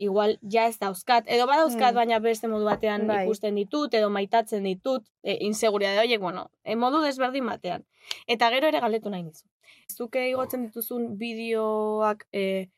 S3: igual ja ez dauzkat, edo badauzkat,
S8: Mm.
S3: baina beste modu batean
S8: Bai.
S3: ikusten ditut, edo maitatzen ditut, e, inseguridade horiek, bueno, e, modu desberdin batean. Eta gero ere galdetu nahi nizu. Zuke igotzen dituzun bideoak, e,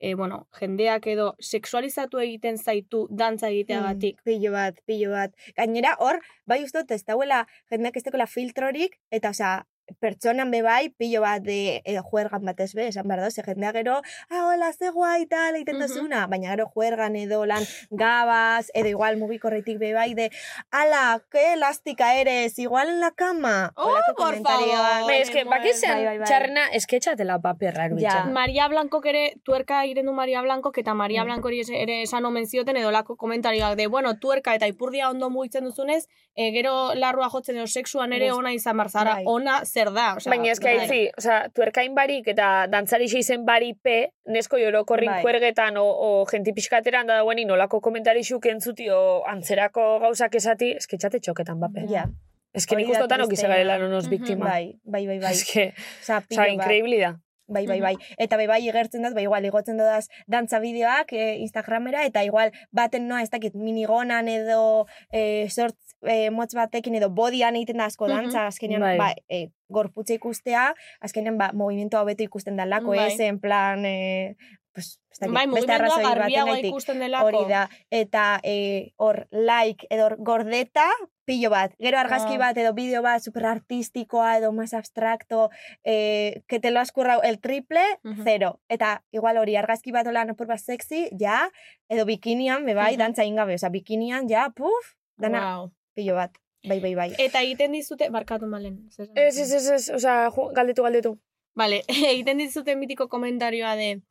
S3: e, bueno, jendeak edo sexualizatu egiten zaitu dantza egiteagatik.
S8: Mm, Pilo bat, pilo bat. Gainera, hor, bai uste dut, ez dauela, jendeak ez dagoela filtrorik, eta, osea, pertsonan be bai, pilo bat de eh, juergan batez be, esan behar da, ze jendea gero, ah, hola, ze guai, tal, egiten
S3: Mhm.
S8: dozuna, baina gero juergan edo lan gabaz, edo igual mugikorretik be bai, de, ala, ke elastika eres, igual en la cama.
S3: Oh,
S8: Holako
S3: por
S8: komentarioak.
S3: favor.
S7: Be, eske, bakizean
S8: Bai, bai, bai.
S7: txarrena esketxatela paperra
S8: Ja.
S7: eruditzen.
S3: Maria Blankok ere, tuerka egiten du Maria Blankok, eta Maria
S8: Mm.
S3: Blanco hori ese- ere esan omen zioten edo lako komentarioak de, bueno, tuerka eta ipurdia ondo mugitzen duzunez, e, gero larrua jotzen edo sexuan ere
S8: Gust-
S3: ona izan barzara,
S8: Bai.
S3: ona zer da. osea,
S7: Baina eske
S3: bai.
S7: haitzi, osea, tuerkain barik eta dantzari izen bari pe, nesko jorokorrin
S8: Bai.
S7: kuergetan o, o jenti pixkateran da dauen inolako komentarixuk entzutio antzerako gauzak esati, eske txate txoketan bape.
S8: Ja,
S7: Eske nik
S8: Hori da
S7: ustotan okize
S8: tristea.
S7: garela nonos
S3: Mhm.
S7: biktima.
S8: bai, bai, bai, bai.
S7: Eske,
S8: Osea, pilo
S7: osea,
S8: bat.
S7: inkreibli da.
S8: Bai, bai, bai. Eta bai, bai, igertzen dut, bai, igual, igotzen dodaz dantza bideoak eh, Instagramera, eta igual, baten noa, ez dakit, minigonan edo eh, sortz eh, motz batekin edo bodian egiten da asko
S3: Mhm.
S8: dantza, azkenean,
S7: Bai.
S8: ba, eh, gorputza ikustea, azkenean, ba, movimentu hobeto ikusten dalako,
S3: Bai.
S8: ez, en plan, eh, pues, ez dakit,
S3: Bai,
S8: beste
S3: mugimendua
S8: arrazoi
S3: garbiagoa
S8: batengatik.
S3: ikusten delako.
S8: Hori da, eta eh, hor like edo hor gordeta pilo bat. Gero argazki
S3: Ah.
S8: bat edo bideo bat superartistikoa edo más abstracto, eh, que te lo has currado el triple,
S3: Mhm.
S8: zero. Eta igual hori argazki bat olan opur bat sexy, ja, edo bikinian, be bai,
S3: Mhm.
S8: dantza ingabe, oza, bikinian, ja, puf, dana
S3: Wow.
S8: pilo bat. Bai, bai, bai.
S3: Eta egiten dizute, barkatu malen. zer esan?
S7: Ez, ez, ez, ez, osea, ju- galdetu, galdetu.
S3: Vale, [LAUGHS] egiten dizute mitiko komentarioa de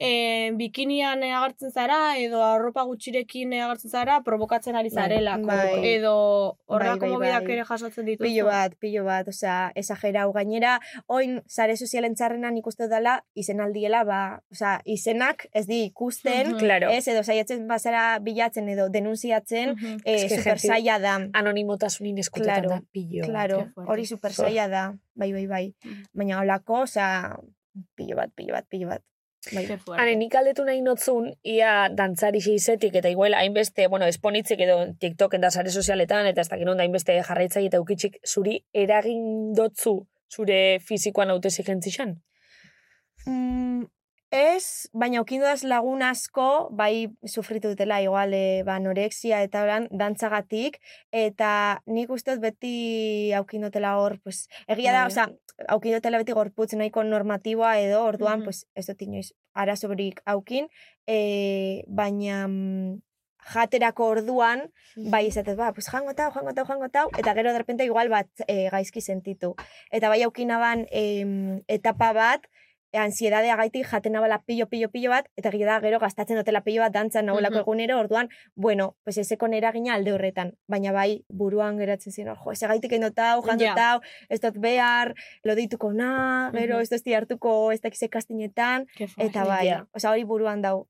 S3: eh, bikinian agartzen zara, edo arropa gutxirekin agartzen zara, provokatzen ari
S7: Bai,
S3: zarelako,
S8: bai.
S3: edo horrako
S8: bai,
S3: mobidak
S8: bai.
S3: ere jasotzen dituzu.
S8: Pillo bat, pillo bat, osea, esagerau gainera, oin sare sozialen txarrenan ikusten dela, izenaldiela, ba, osea, izenak ez di ikusten,
S3: Mhm.
S7: Claro.
S8: Mm. Ez, edo saiatzen bazara bilatzen edo denunziatzen,
S3: Mhm.
S8: eh,
S7: Eske
S8: super
S7: jenti-
S8: saia da.
S7: Anonimotasunin eskutetan
S8: Claro,
S7: da, pilo. bat.
S8: Claro,
S3: fuerte.
S8: hori super saia da. Bai, bai, bai. Baina holako, osea, pilo bat, pilo bat, pilo bat. Bai.
S3: Ke fuerte.
S7: Hane, nik galdetu nahi notzun, ia dantzari izetik, eta igual hainbeste, bueno, esponitzik edo TikTok eta sare sozialetan, eta ez dakin onda hainbeste jarraitzai eta ukitzik, zuri eragin dotzu zure fizikoan hautesik entzixan?
S8: Mm, ez, baina okindodaz lagun asko, bai sufritu dutela igual eh, ba, anorexia eta horan dantzagatik, eta nik uste dut beti aukindotela hor, pues, egia da,
S7: Bai.
S8: oza, aukindotela beti gorputz nahiko normatiboa edo, orduan,
S3: Mhm.
S8: pues, ez dut inoiz arazorik aukin, eh, baina mm, jaterako orduan, bai izatez, ba, pues jango tau, jango tau, jango tau, eta gero derpente igual bat eh, gaizki sentitu. Eta bai aukina ban em, etapa bat, e, ansiedadea gaitik jaten nabala pillo, pillo, pillo bat, eta gero da gero gastatzen dutela pillo bat dantzan nagoelako
S3: Mhm.
S8: egunero, orduan, bueno, pues ezeko eragina alde horretan, baina bai buruan geratzen ziren, jo, ez gaitik endotau,
S3: Ja.
S8: jandotau, ez dut behar, lodituko na, gero
S3: Mhm.
S8: ez dut hartuko ez dakize kastinetan,
S3: Ke fuerte.
S8: eta bai,
S7: ja.
S8: osea hori buruan dau.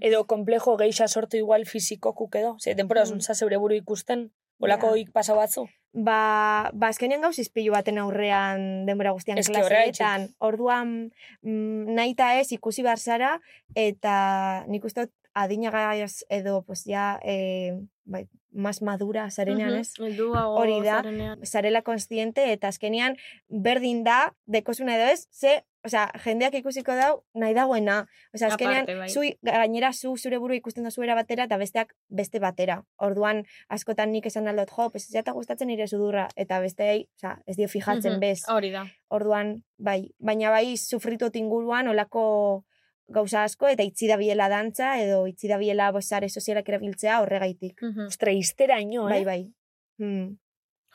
S7: Edo komplejo geixa sortu igual fizikokuk edo, ze denpora mm. zeure buru ikusten, bolako
S8: Ja.
S7: ik pasa batzu.
S8: Ba, ba azkenean gauz izpilu baten aurrean denbora guztian
S7: Eske
S8: klaseetan. Orduan mm, nahi eta ez ikusi behar zara eta nik uste dut adinagaz edo pues ja eh, bai, mas madura zarenean
S3: Mhm,
S8: ez.
S3: helduago
S8: Hori da.
S3: zarenean.
S8: Zarela konstiente eta azkenean berdin da dekosuna edo ez, ze Osea, jendeak ikusiko dau nahi dagoena. Osea, azkenean,
S3: Aparte, bai.
S8: zu, gainera zu zure buru ikusten duzu era batera eta besteak beste batera. Orduan, askotan nik esan aldot, jo, pues ez jata gustatzen nire sudurra, eta besteei, osea, ez dio fijatzen
S3: Mhm,
S8: bez.
S3: Hori da.
S8: Orduan, bai, baina bai sufritu inguruan olako gauza asko, eta itzi da biela dantza, edo itzi da biela bosare sozialak erabiltzea horregaitik.
S3: Mhm.
S7: Bai, Ostra, iztera ino, eh?
S8: Bai, bai. Hmm.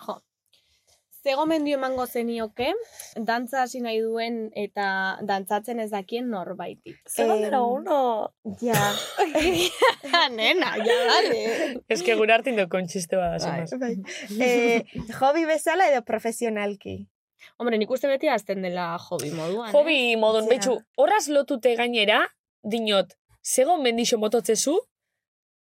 S3: Jo. Ze zegomendio emango zenioke, dantza hasi nahi duen eta dantzatzen ez dakien norbaiti.
S7: bai.
S8: Zegaldera uno. Ja.
S3: [LAUGHS] Nena, ja, dale.
S7: Ez que gure hartin dut kontxiste bada, zenaz.
S8: eh, hobi bezala edo profesionalki.
S3: Hombre, nik uste beti azten dela hobi moduan. eh?
S7: Hobi modun,
S8: Ja.
S7: betxu, horraz lotute gainera, dinot, zego mendixo mototzezu,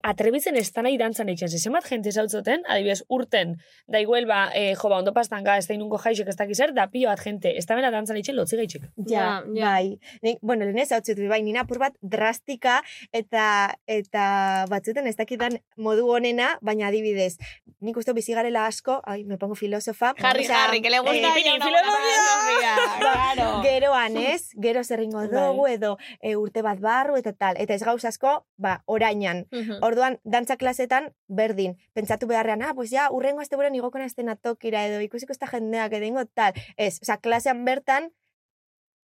S7: atrebitzen ez da nahi dantzan eitzen. Zemat jente zautzoten, adibidez, urten, da iguel ba, eh, jo, ba, ondo pastanka, ez da inungo jaixek ez dakizer, da pilo bat jente, ez da bera dantzan eitzen lotzi gaitxik.
S8: Ja,
S3: Ja, ja.
S8: bai. Nik, bueno, lehen ez hau bai, nina apur bat drastika eta eta batzutan ez dakitan modu honena, baina adibidez, nik uste bizi garela asko, ai, me pongo filosofa.
S3: Harry,
S8: Osea,
S3: Harry, que le gusta
S8: eh,
S3: a ella una buena filosofía, claro. Bai.
S8: Geroan ez, gero zer egingo dugu edo e, urte bat barru eta tal. Eta ez gauz asko, ba, orainan.
S3: Mhm.
S8: Orduan, dantza klasetan berdin. Pentsatu beharrean, ah, pues ja, urrengo azte buren igoko nazten atokira edo ikusiko esta jendeak edo ingo tal. Ez, oza, klasean bertan,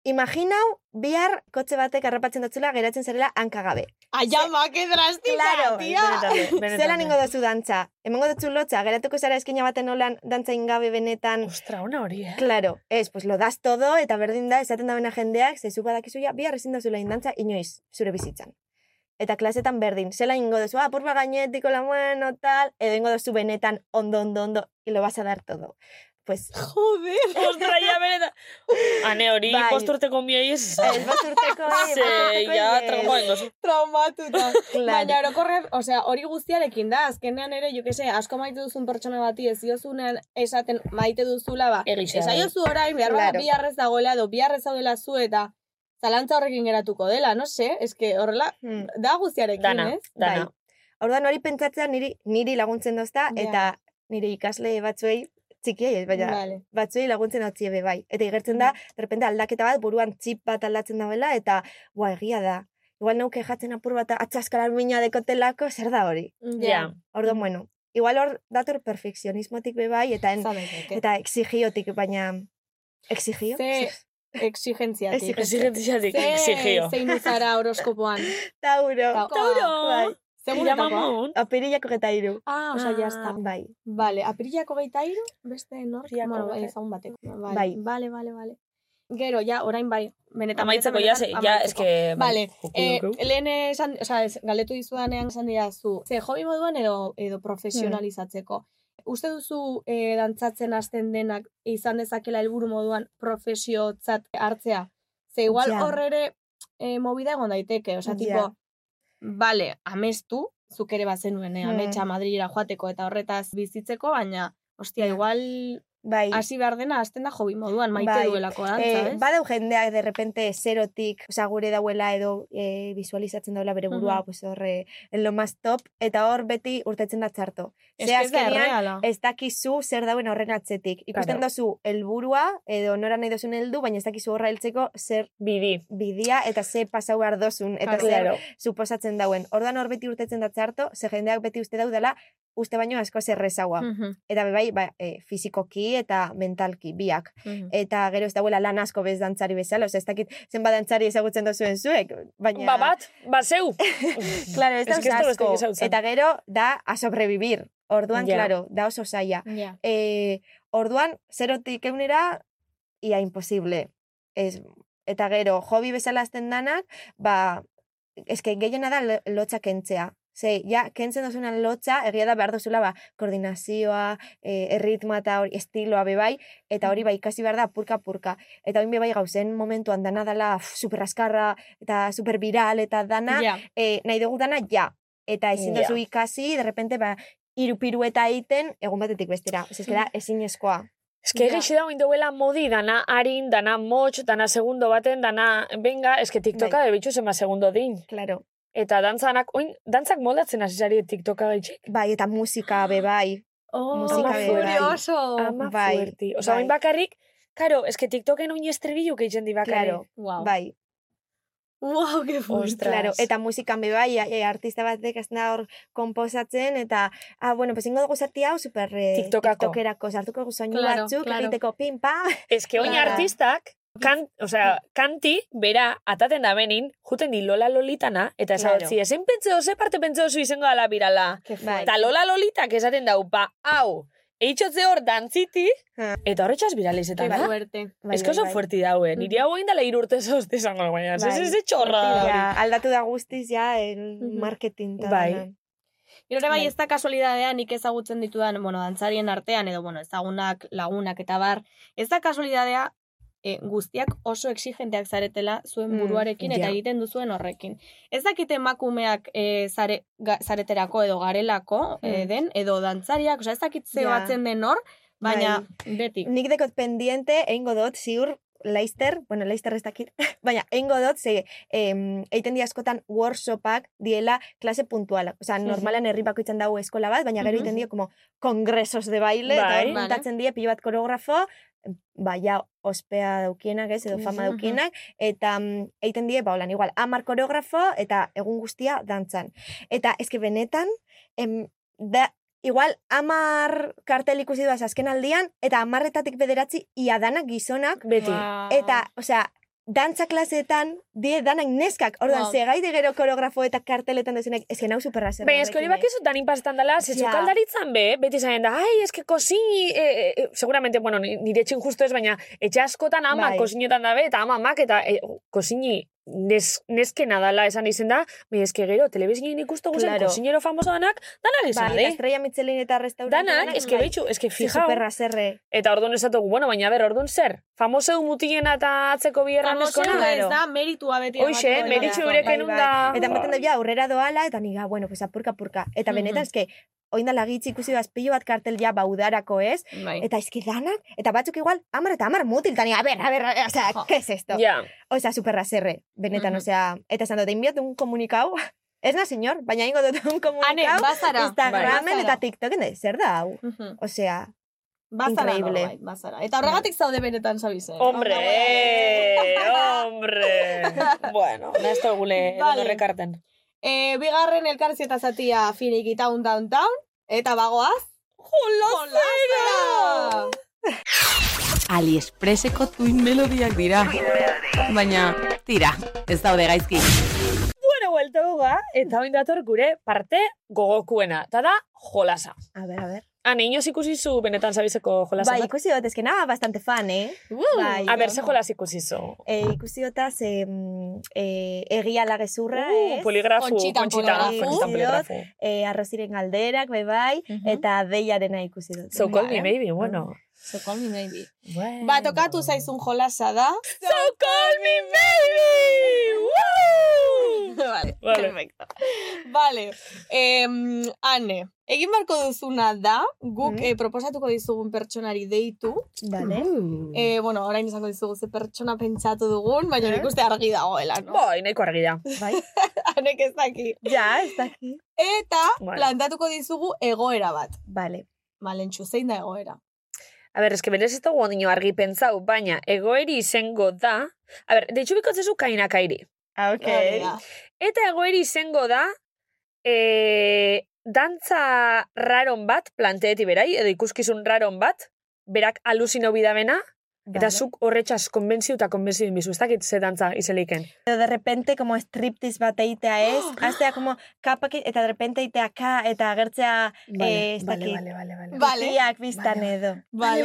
S8: imaginau, bihar kotxe batek arrapatzen datzula geratzen zarela hankagabe.
S3: Aiama, que drástica,
S8: Claro,
S3: tía.
S8: Zelan ingo dozu dantza? Emango dutzu lotza, geratuko zara eskina baten olan dantza ingabe benetan.
S7: Ostra, ona hori,
S8: [LAUGHS]
S7: eh?
S8: Claro, ez, pues lo das todo, eta berdin da, esaten da bena jendeak, zezu badakizu ja, bihar ezin dozula indantza inoiz, zure bizitzan. Eta klasetan berdin, zela ingo duzu, ah, purba gainetiko la mano, tal, edo ingo duzu benetan ondo, ondo, ondo, y lo vas a dar todo. Pues,
S3: Joder.
S7: Ostra, ja, benetan. Ane hori,
S8: Bai.
S7: posturteko miei ez.
S8: ez bat urteko,
S7: Ze,
S8: bai,
S7: ja, trauma ingo zu.
S3: Traumatuta.
S8: Claro,
S3: Baina orokorrean, osea, hori guztiarekin da, azkenean ere, jo que se, asko maite duzun pertsona bati ez diozunean esaten maite duzula, ba,
S7: Egixe,
S3: esaiozu orain, behar bada
S8: Claro.
S3: biharrez dagoela edo biharrez zaudela zu eta zalantza horrekin geratuko dela, no se, eske horrela,
S8: Hmm.
S3: da guztiarekin,
S7: Dana,
S3: ez?
S7: dana.
S8: Bai. Orduan hori pentsatzea niri, niri laguntzen dozta,
S3: Ja.
S8: eta nire ikasle batzuei, txikiei, ez, baina
S3: Vale.
S8: batzuei laguntzen dautzie be bai. Eta igertzen da, derrepente aldaketa bat, buruan txip bat aldatzen dabela, eta, bua, egia da. Igual neuke jatzen apur bat atxaskalar mina dekotelako, zer da hori.
S7: Ja.
S8: Orduan, bueno, igual hor dator perfekzionismotik be bai, eta, en,
S3: Zabezeke.
S8: eta exigiotik, baina... Exigio?
S3: Ze- Exigentziatik.
S8: Exige-
S7: Exigentziatik,
S3: Ze-
S7: exigio.
S3: Zein uzara horoskopoan.
S8: Tauro.
S3: Tau-
S8: Bai.
S7: Ira
S3: Seguretakoa.
S7: mamun.
S8: Apirilako geta iru.
S3: Ah, osea, jazta.
S8: Bai.
S3: Vale, apirillako gaita iru, beste nor,
S7: Apirilak
S3: bueno,
S7: hogeita-
S3: ez haun bateko. Vale,
S8: Bai.
S3: vale, vale, vale. Gero, ja, orain bai, benetan.
S7: Amaitzako, ja, bai,
S3: benetan,
S7: ze,
S3: benetan
S7: ja,
S3: amaitzeko.
S7: eske...
S8: Bai,
S3: Vale,
S7: Joku
S3: eh,
S7: daukagu.
S3: lehen esan, o sea, ez, galdetu dizudanean esan dira zu, ze hobi moduan edo,
S8: Hmm.
S3: edo profesionalizatzeko. Uste duzu eh, dantzatzen hasten denak izan dezakela helburu moduan profesiotzat hartzea? Ze igual
S8: Ja.
S3: hor ere eh, movida egon daiteke, osea,
S8: Ja.
S3: tipo, bale, amestu, zuk ere bazenuen, eh,
S8: Mm.
S3: ametsa Madrilera joateko eta horretaz bizitzeko, baina, ostia, igual
S8: Bai.
S3: hasi behar dena hasten da hobi moduan, maite
S8: Bai.
S3: duelako dantza,
S8: Eh,
S3: ez?
S8: badau jendeak de repente zerotik, osea, gure dauela edo eh, visualizatzen dauela bere burua,
S3: Mhm.
S8: pues hor, eh, en lo más top, eta hor beti urtetzen da txarto.
S3: Ez
S8: Ze
S3: que ez da
S8: azkenean,
S3: erreala.
S8: ez dakizu zer dauen horren atzetik. Ikusten
S7: Claro.
S8: duzu helburua edo nora nahi dozun heldu, baina ez dakizu horra heltzeko zer
S7: Bidi.
S8: bidia eta ze pasau behar dozun, eta
S3: Claro.
S8: zer suposatzen dauen. Orduan hor beti urtetzen da txarto, ze jendeak beti uste daudela, uste baino asko zerrezaua.
S3: Mhm,
S8: Eta be bai, ba, eh, fizikoki eta mentalki, biak
S3: mhm.
S8: eta gero ez dagoela lan asko bez dantzari bezala, osea, ez dakit zenba dantzari ezagutzen dozuen zuek, baina...
S7: Ba bat, ba zeu.
S8: [LAUGHS] Claro,
S7: Ez
S8: ez dauz
S7: que ez dago
S8: asko.
S7: besterik ezagutzen.
S8: Eta gero, da, a sobrevivir. Orduan,
S7: Ja.
S8: claro, da oso zaila.
S3: Ja.
S8: E, orduan, zerotik eunera, ia imposible. Ez, eta gero, hobi bezala azten danak, ba, eske gehiena da lo- lotza kentzea. Zei, ja, kentzen dozunan lotza, egia da behar dozula, ba, koordinazioa, eh, erritma eta hori, estiloa bebai, eta hori ba, ikasi behar da purka-purka. Eta hori bebai gauzen momentuan dana dela uf, superraskarra, eta superviral, eta dana,
S3: Ja.
S8: eh, nahi dugu dana, ja. Eta ezin
S7: Ja.
S8: duzu ikasi, de repente, ba, hiru pirueta egiten, egun batetik bestera. Ez da, ezin eskoa.
S7: Eske
S3: Ja.
S7: egixe dago indauela modi, dana harin, dana motx, dana segundo baten, dana benga, eske
S8: Bai.
S7: TikToka de bitxu zema segundo din.
S8: Claro.
S7: Eta dantzanak, oin, dantzak moldatzen hasi zari TikToka gaitxik.
S8: Bai, eta
S7: [GASPS]
S8: musika be bai.
S3: Oh,
S8: Musika
S7: ere bai.
S3: furioso.
S7: Ama
S8: bai,
S7: fuerti. Osa,
S8: bai.
S7: oin bakarrik, karo, eske TikToken oin estrebillu gehitzen di bakarrik.
S8: Claro,
S3: Wow.
S8: bai.
S3: Wow, que
S7: Ostra.
S3: fuerte.
S8: Claro,
S7: Ostras.
S8: eta musikan be bai, e, artista batek ez da hor komposatzen, eta, ah, bueno, pues ingo dugu zati hau, super eh,
S7: TikTokako.
S8: tiktokerako, sartuko dugu soinu
S3: Claro,
S8: batzuk,
S3: claro.
S8: egiteko pim, pam,
S7: Eske oin
S3: Claro.
S7: artistak, kan, osea, kanti, bera, ataten da benin, juten di Lola Lolitana, eta
S8: Claro.
S7: esabatzi, ezin pentseo, ze parte pentseo zu izango dela birala.
S3: Que
S8: Bai.
S7: Eta Lola Lolitak esaten dau, ba, hau, Eitxotze hor dantziti,
S8: Ah.
S7: eta horretxaz biralizetan, da?
S3: Fuerte.
S8: Bai,
S7: Ez que oso
S8: bai, bai.
S7: fuerti daue, nire hau egin dela irurte zozte izango da, baina, ez
S8: Bai.
S7: ez ez txorra.
S8: Ja, aldatu da guztiz, ja, el
S3: Mhm.
S8: marketing. eta
S7: Bai.
S8: dena.
S3: Gero ere bai ez da kasualidadea nik ezagutzen ditudan, bueno, dantzarien artean edo, bueno, ezagunak, lagunak eta bar, ez da kasualidadea e, guztiak oso exigenteak zaretela zuen
S8: Mm,
S3: buruarekin eta
S7: ja.
S3: egiten duzuen horrekin. Ez dakite emakumeak e, zare, ga, zareterako edo garelako e,
S8: Mm.
S3: den, edo dantzariak, oza, ez dakit ze
S8: Ja.
S3: batzen den hor, baina beti.
S8: Nik dekot pendiente, eingo dut, ziur, Leicester, bueno, Leicester ez [LAUGHS] dakit, baina eingo dut, ze, em, eiten di askotan workshopak diela klase puntualak. Osea, normalan herri bakoitzan dago eskola bat, baina gero
S3: Mhm.
S8: egiten dio como kongresos de baile, eta
S7: Bai.
S8: hor
S3: Vale.
S8: muntatzen die pilo bat koreografo, baia ospea daukienak, ez, edo fama
S3: Mhm.
S8: daukienak, eta mm, egiten die, ba, holan, igual, amar koreografo, eta egun guztia dantzan. Eta, eske benetan, em, da, igual amar kartel ikusi duaz azken aldian, eta amarretatik bederatzi ia danak gizonak,
S7: Beti.
S3: Wow.
S8: eta, osea, dantza klaseetan die danak neskak, orduan,
S3: Wow.
S8: wow. zegai de gero koreografo eta karteletan dezunek, ez genau superra zer. eh.
S7: Baina, eskori bak izu danin pasetan dela, ze
S8: Ja.
S7: sukaldaritzan be, beti zain da, ai, eske kosini, e, e, e, seguramente, bueno, ni- nire txin justu ez, baina etxe askotan ama
S8: Bai.
S7: kosinetan dabe, eta ama mak, eta e, kosini nes, neskena dala esan izen da, baina eske gero, telebizinen ikustu guzen,
S8: Claro.
S7: kosinero famoso danak, danak izan,
S8: Bai,
S7: de.
S8: eta estrella Michelin eta restaurante. bai,
S7: Danak, eske behitxu, eske fijau.
S8: Superra zerre.
S7: Eta orduan ez dugu, bueno, baina ber, orduan zer? Famoso mutilena eta atzeko biherran
S3: Famosoa
S7: eskona?
S3: ez da meritua beti.
S7: Hoxe,
S3: emateko dena.
S7: meritxu eurek
S8: Bai,
S7: enun
S8: bai.
S7: da-
S8: Eta ematen da, ja, aurrera doala, eta niga, bueno, pues apurka, apurka. Eta
S7: Mm-hmm.
S8: benetan, eske, oinda lagitzi ikusi duaz pilo bat kartel ja baudarako ez,
S3: Bai.
S8: Eta eski danak, eta batzuk igual, amar eta amar mutil, tani, a ber, a ber, o sea,
S3: Jo.
S8: ¿qué es esto?
S7: Ja,
S8: O sea, superra zerre, benetan,
S3: Mhm.
S8: o sea, eta esan dut, inbiatu un komunikau, [LAUGHS] ez na, señor, baina ingo dut
S7: Ah,
S8: un
S3: Ane,
S8: komunikau,
S7: Bai,
S3: bazara.
S8: Instagramen
S3: Bazara.
S8: eta TikToken, de, zer da hau?
S3: Mhm.
S8: O sea,
S3: Bazara
S8: Increíble.
S3: norbait, bazara. Eta horregatik zaude benetan, sabiz, eh?
S7: hombre,
S8: Ondo,
S7: hombre. bueno, ez da gule,
S3: Vale.
S7: vale. rekarten.
S3: E, bigarren elkarrizketa zatia finikita un downtown, eta bagoaz, jolazera!
S2: AliExpresseko tuin melodiak dira. Baina, tira, ez daude gaizki.
S7: Bueno, buelta guga, eta oin dator gure parte gogokuena, eta da jolasa.
S8: a ver, a ver.
S7: Han, inoz ikusi zu benetan zabizeko jolasa.
S8: Bai, ikusi dut, eske nada, bastante fan, eh? Bai,
S7: A ber, ze jolas ikusi zu.
S8: e, ikusi dut, ze, mm, e, egia lagezurra,
S7: Uh,
S8: ez?
S7: poligrafu,
S3: Kontxitan
S7: kontxita,
S8: poligrafu.
S7: kontxitan poligrafu.
S8: E, arroziren galderak, bebai, eta deiarena ikusi dut.
S7: So call me maybe, bueno.
S3: So call me maybe.
S7: bueno.
S3: Ba, tokatu zaizun jolasa da.
S7: So call me maybe!
S3: [LAUGHS]
S7: Woo!
S3: vale,
S7: Vale.
S3: perfecto. Vale, em, ane, egin barko duzuna da, guk
S7: Mm.
S8: Mhm.
S3: eh, proposatuko dizugun pertsonari deitu.
S8: Vale.
S7: Mm.
S3: Eh, bueno, orain izango dizugu ze pertsona pentsatu dugun, baina
S8: Eh?
S3: nik uste argi dagoela, [LAUGHS] no?
S7: Boi, nahiko argi da. [LAUGHS]
S8: Bai,
S3: Anek ez daki.
S8: ja, ez daki.
S3: Eta
S7: Bueno.
S3: plantatuko dizugu egoera bat.
S8: Vale.
S3: Malentxu, zein da egoera?
S7: A ber, eske berez ez dugu ondino argi pentsau, baina egoeri izango da... A ber, deitxu bikotzezu kainakairi.
S8: Ah, ok.
S3: Hori da.
S7: Eta egoeri izango da... E, dantza raron bat, planteeti berai, edo ikuskizun raron bat, berak alusino bidamena, eta
S8: Vale.
S7: zuk horretxaz konbentzio eta konbentzio inbizu. Ez dakit ze dantza izeliken.
S8: Edo de repente, como striptiz bat eitea ez, aztea como kapak, eta de repente eitea ka, eta agertzea eh, ez dakit.
S7: vale, vale, vale.
S3: Vale.
S8: guztiak biztan edo.
S3: Vale,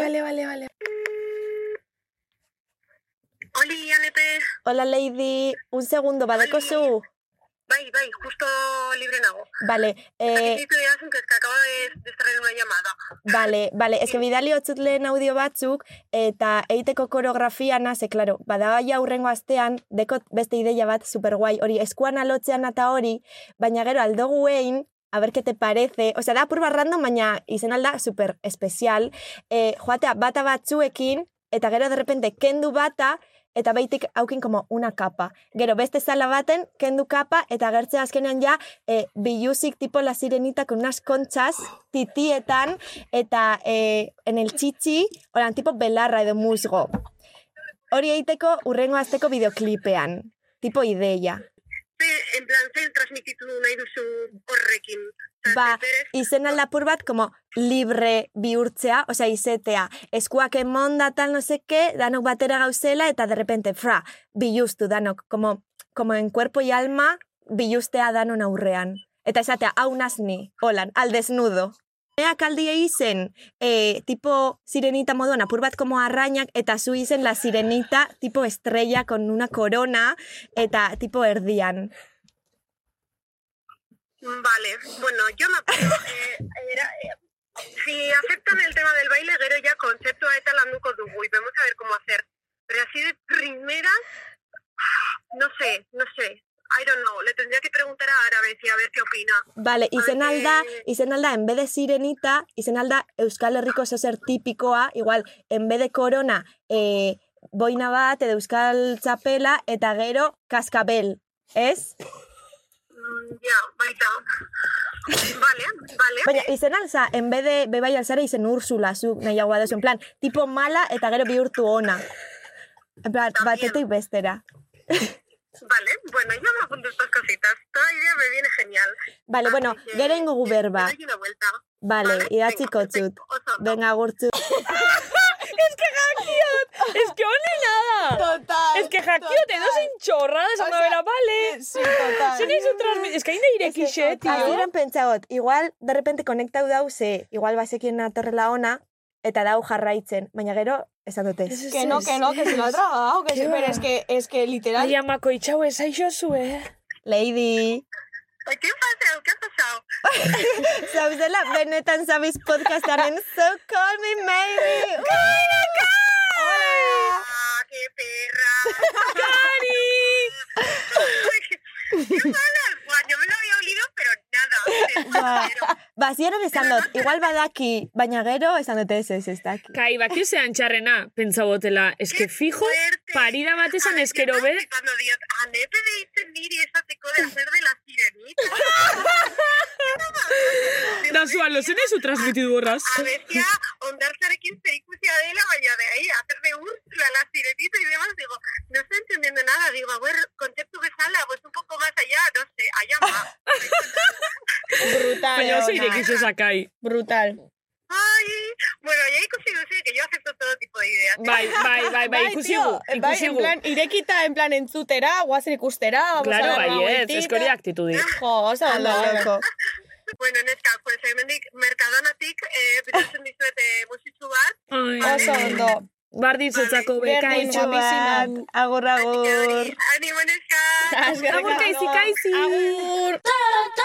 S10: Oli, Anepe,
S8: Hola, lady, un segundo, badeko zu?
S10: bai, bai, justo libre nago.
S8: Vale,
S10: Eh...
S8: eh,
S10: Ditu idazun, que es que acabo de, de estar en una llamada.
S8: vale, vale, ez que bidali hotzut lehen audio batzuk, eta eiteko koreografia naze, klaro, bada ja hurrengo astean, dekot beste ideia bat superguai, hori eskuan alotzean eta hori, baina gero aldogu egin, a ver qué te parece, osea, da apur bat random, baina izen alda super espezial, eh, joatea bata batzuekin, eta gero de repente kendu bata, eta baitik haukin como una kapa. Gero beste zala baten, kendu kapa, eta gertzea azkenean ja, e, biluzik tipo la sirenita con unas conchas, titietan, eta e, en el txitxi, oran tipo belarra edo musgo. Hori egiteko urrengo azteko bideoklipean, tipo ideia.
S10: Ze, en plan, zen transmititu nahi duzu horrekin. Osea,
S8: Ba,
S10: berez,
S8: izen aldapur bat, como libre bihurtzea, osea, izetea, eskuak emonda, tal, no seke, danok batera gauzela, eta de repente, fra, biluztu danok, como, como en cuerpo y alma, biluztea danon aurrean. Eta esatea, hau nazni, holan, al desnudo. Ea kaldia izen, e, tipo sirenita moduan, apur bat como arrainak, eta zu izen la sirenita, tipo estrella con una corona, eta tipo erdian.
S10: Vale, bueno, yo me acuerdo. eh, era- eh, si aceptan el tema del baile, gero ya concepto a eta landuko dugu y vamos a ver cómo hacer. Pero así de primera, no sé, no sé. I don't know. Le tendría que preguntar a Árabe y a ver qué opina.
S8: Vale, izen
S10: Ane-
S8: alda, izen alda, en vez de sirenita, izen alda Euskal Herriko zozer tipikoa, igual, en vez de corona, e, boina bat, edo Euskal txapela, eta gero, kaskabel, ez?
S10: Mm, Ya, baita. Vale, vale.
S8: Baina, izen alza, en vez de, bebai alzara, izen Úrsula, zu nahiagoa duzu, en plan, tipo mala, eta gero bihurtu ona. En plan, batetik bestera.
S10: Vale, bueno, yo me apunto estas cositas. Toda idea me viene genial.
S8: Vale, bueno,
S10: Así que
S8: gero ingo berba.
S10: le doy una vuelta.
S8: Vale, idatziko txut. Venga, gurtzu.
S7: Es que jakiot! Es que hone nada!
S3: Total.
S7: Es que jakiot, edo zein txorrada esan
S3: O sea, eh,
S7: bera, bale!
S3: sí, total.
S7: Zein izu transmit... Es que hain da irekixe, tio.
S8: Azieran pentsagot, igual, de repente konektau dau, ze, igual bazekien atorrela ona, eta dau jarraitzen, baina gero, esan dute.
S7: Ez, ez,
S3: Que no,
S7: ez.
S3: que no, que se lo ha
S8: [LAUGHS]
S3: tragado. Que sí,
S7: [LAUGHS] Qué
S3: pero
S7: va.
S3: es que, es que literal.
S7: Ai, amako itxau esaixo zue.
S8: Lady,
S10: Ay, ¿Qué ha pasado? ¿Qué ha pasado?
S8: zauzela benetan zabiz podcastaren So Call Me Maybe!
S3: [LAUGHS]
S8: Karaka! Hola!
S10: ¡Ah, qué perra! ¡Cari! ¡Qué mala! Buah, no me lo había olido, pero
S7: [LAUGHS]
S10: nada. Pero,
S8: Bazieran Ba, esan dut, igual badaki, baina gero esan dute ez ez ez daki.
S7: Kai, baki zean txarrena, pentsa botela. Es que fijo,
S10: fuerte.
S7: parida bat esan
S10: Ay,
S7: eskero
S10: yo
S7: be...
S10: estaba flipando, Dios, Anete de discernir y esa teco de hacer de la sirenita.
S7: [LAUGHS] Da zua, lozen ezu transmitidu borraz.
S10: Abezia, ondartzarekin zerikusia dela, baina de ahí, hacer de Úrsula, la sirenita y demás, digo, no estoy entendiendo nada, digo, a ver, concepto que sala, pues un poco más allá, no sé, allá más.
S3: Brutal.
S7: Baina oso
S3: ona.
S7: irekixe sakai.
S3: Brutal.
S10: Ay, bueno, ya ikusi duzu que yo acepto todo tipo de ideas.
S7: Bai, bai, bai, bai, ikusi
S3: tío,
S7: gu,
S3: bai,
S7: ikusi
S3: en
S7: gu.
S3: plan, irekita, en plan, entzutera, guazen ikustera, vamos a
S7: Claro,
S3: dar una
S7: bai, ez,
S3: vueltita.
S7: eskori aktitudi.
S3: Jo, oso ondo,
S8: Ala,
S3: ondo.
S8: loko.
S10: Bueno, neska, pues hemendik merkadonatik eh bilatzen dizuet eh, musitsu bat.
S7: Ai,
S3: Oso ondo.
S7: Barditzetzako beka
S3: Berdin,
S7: itxu.
S3: guapísima.
S8: Agur, agur.
S10: Animo neska.
S3: Eskerrik
S7: Agur,
S3: asko.
S7: kaizi, kaizi.
S3: Agur.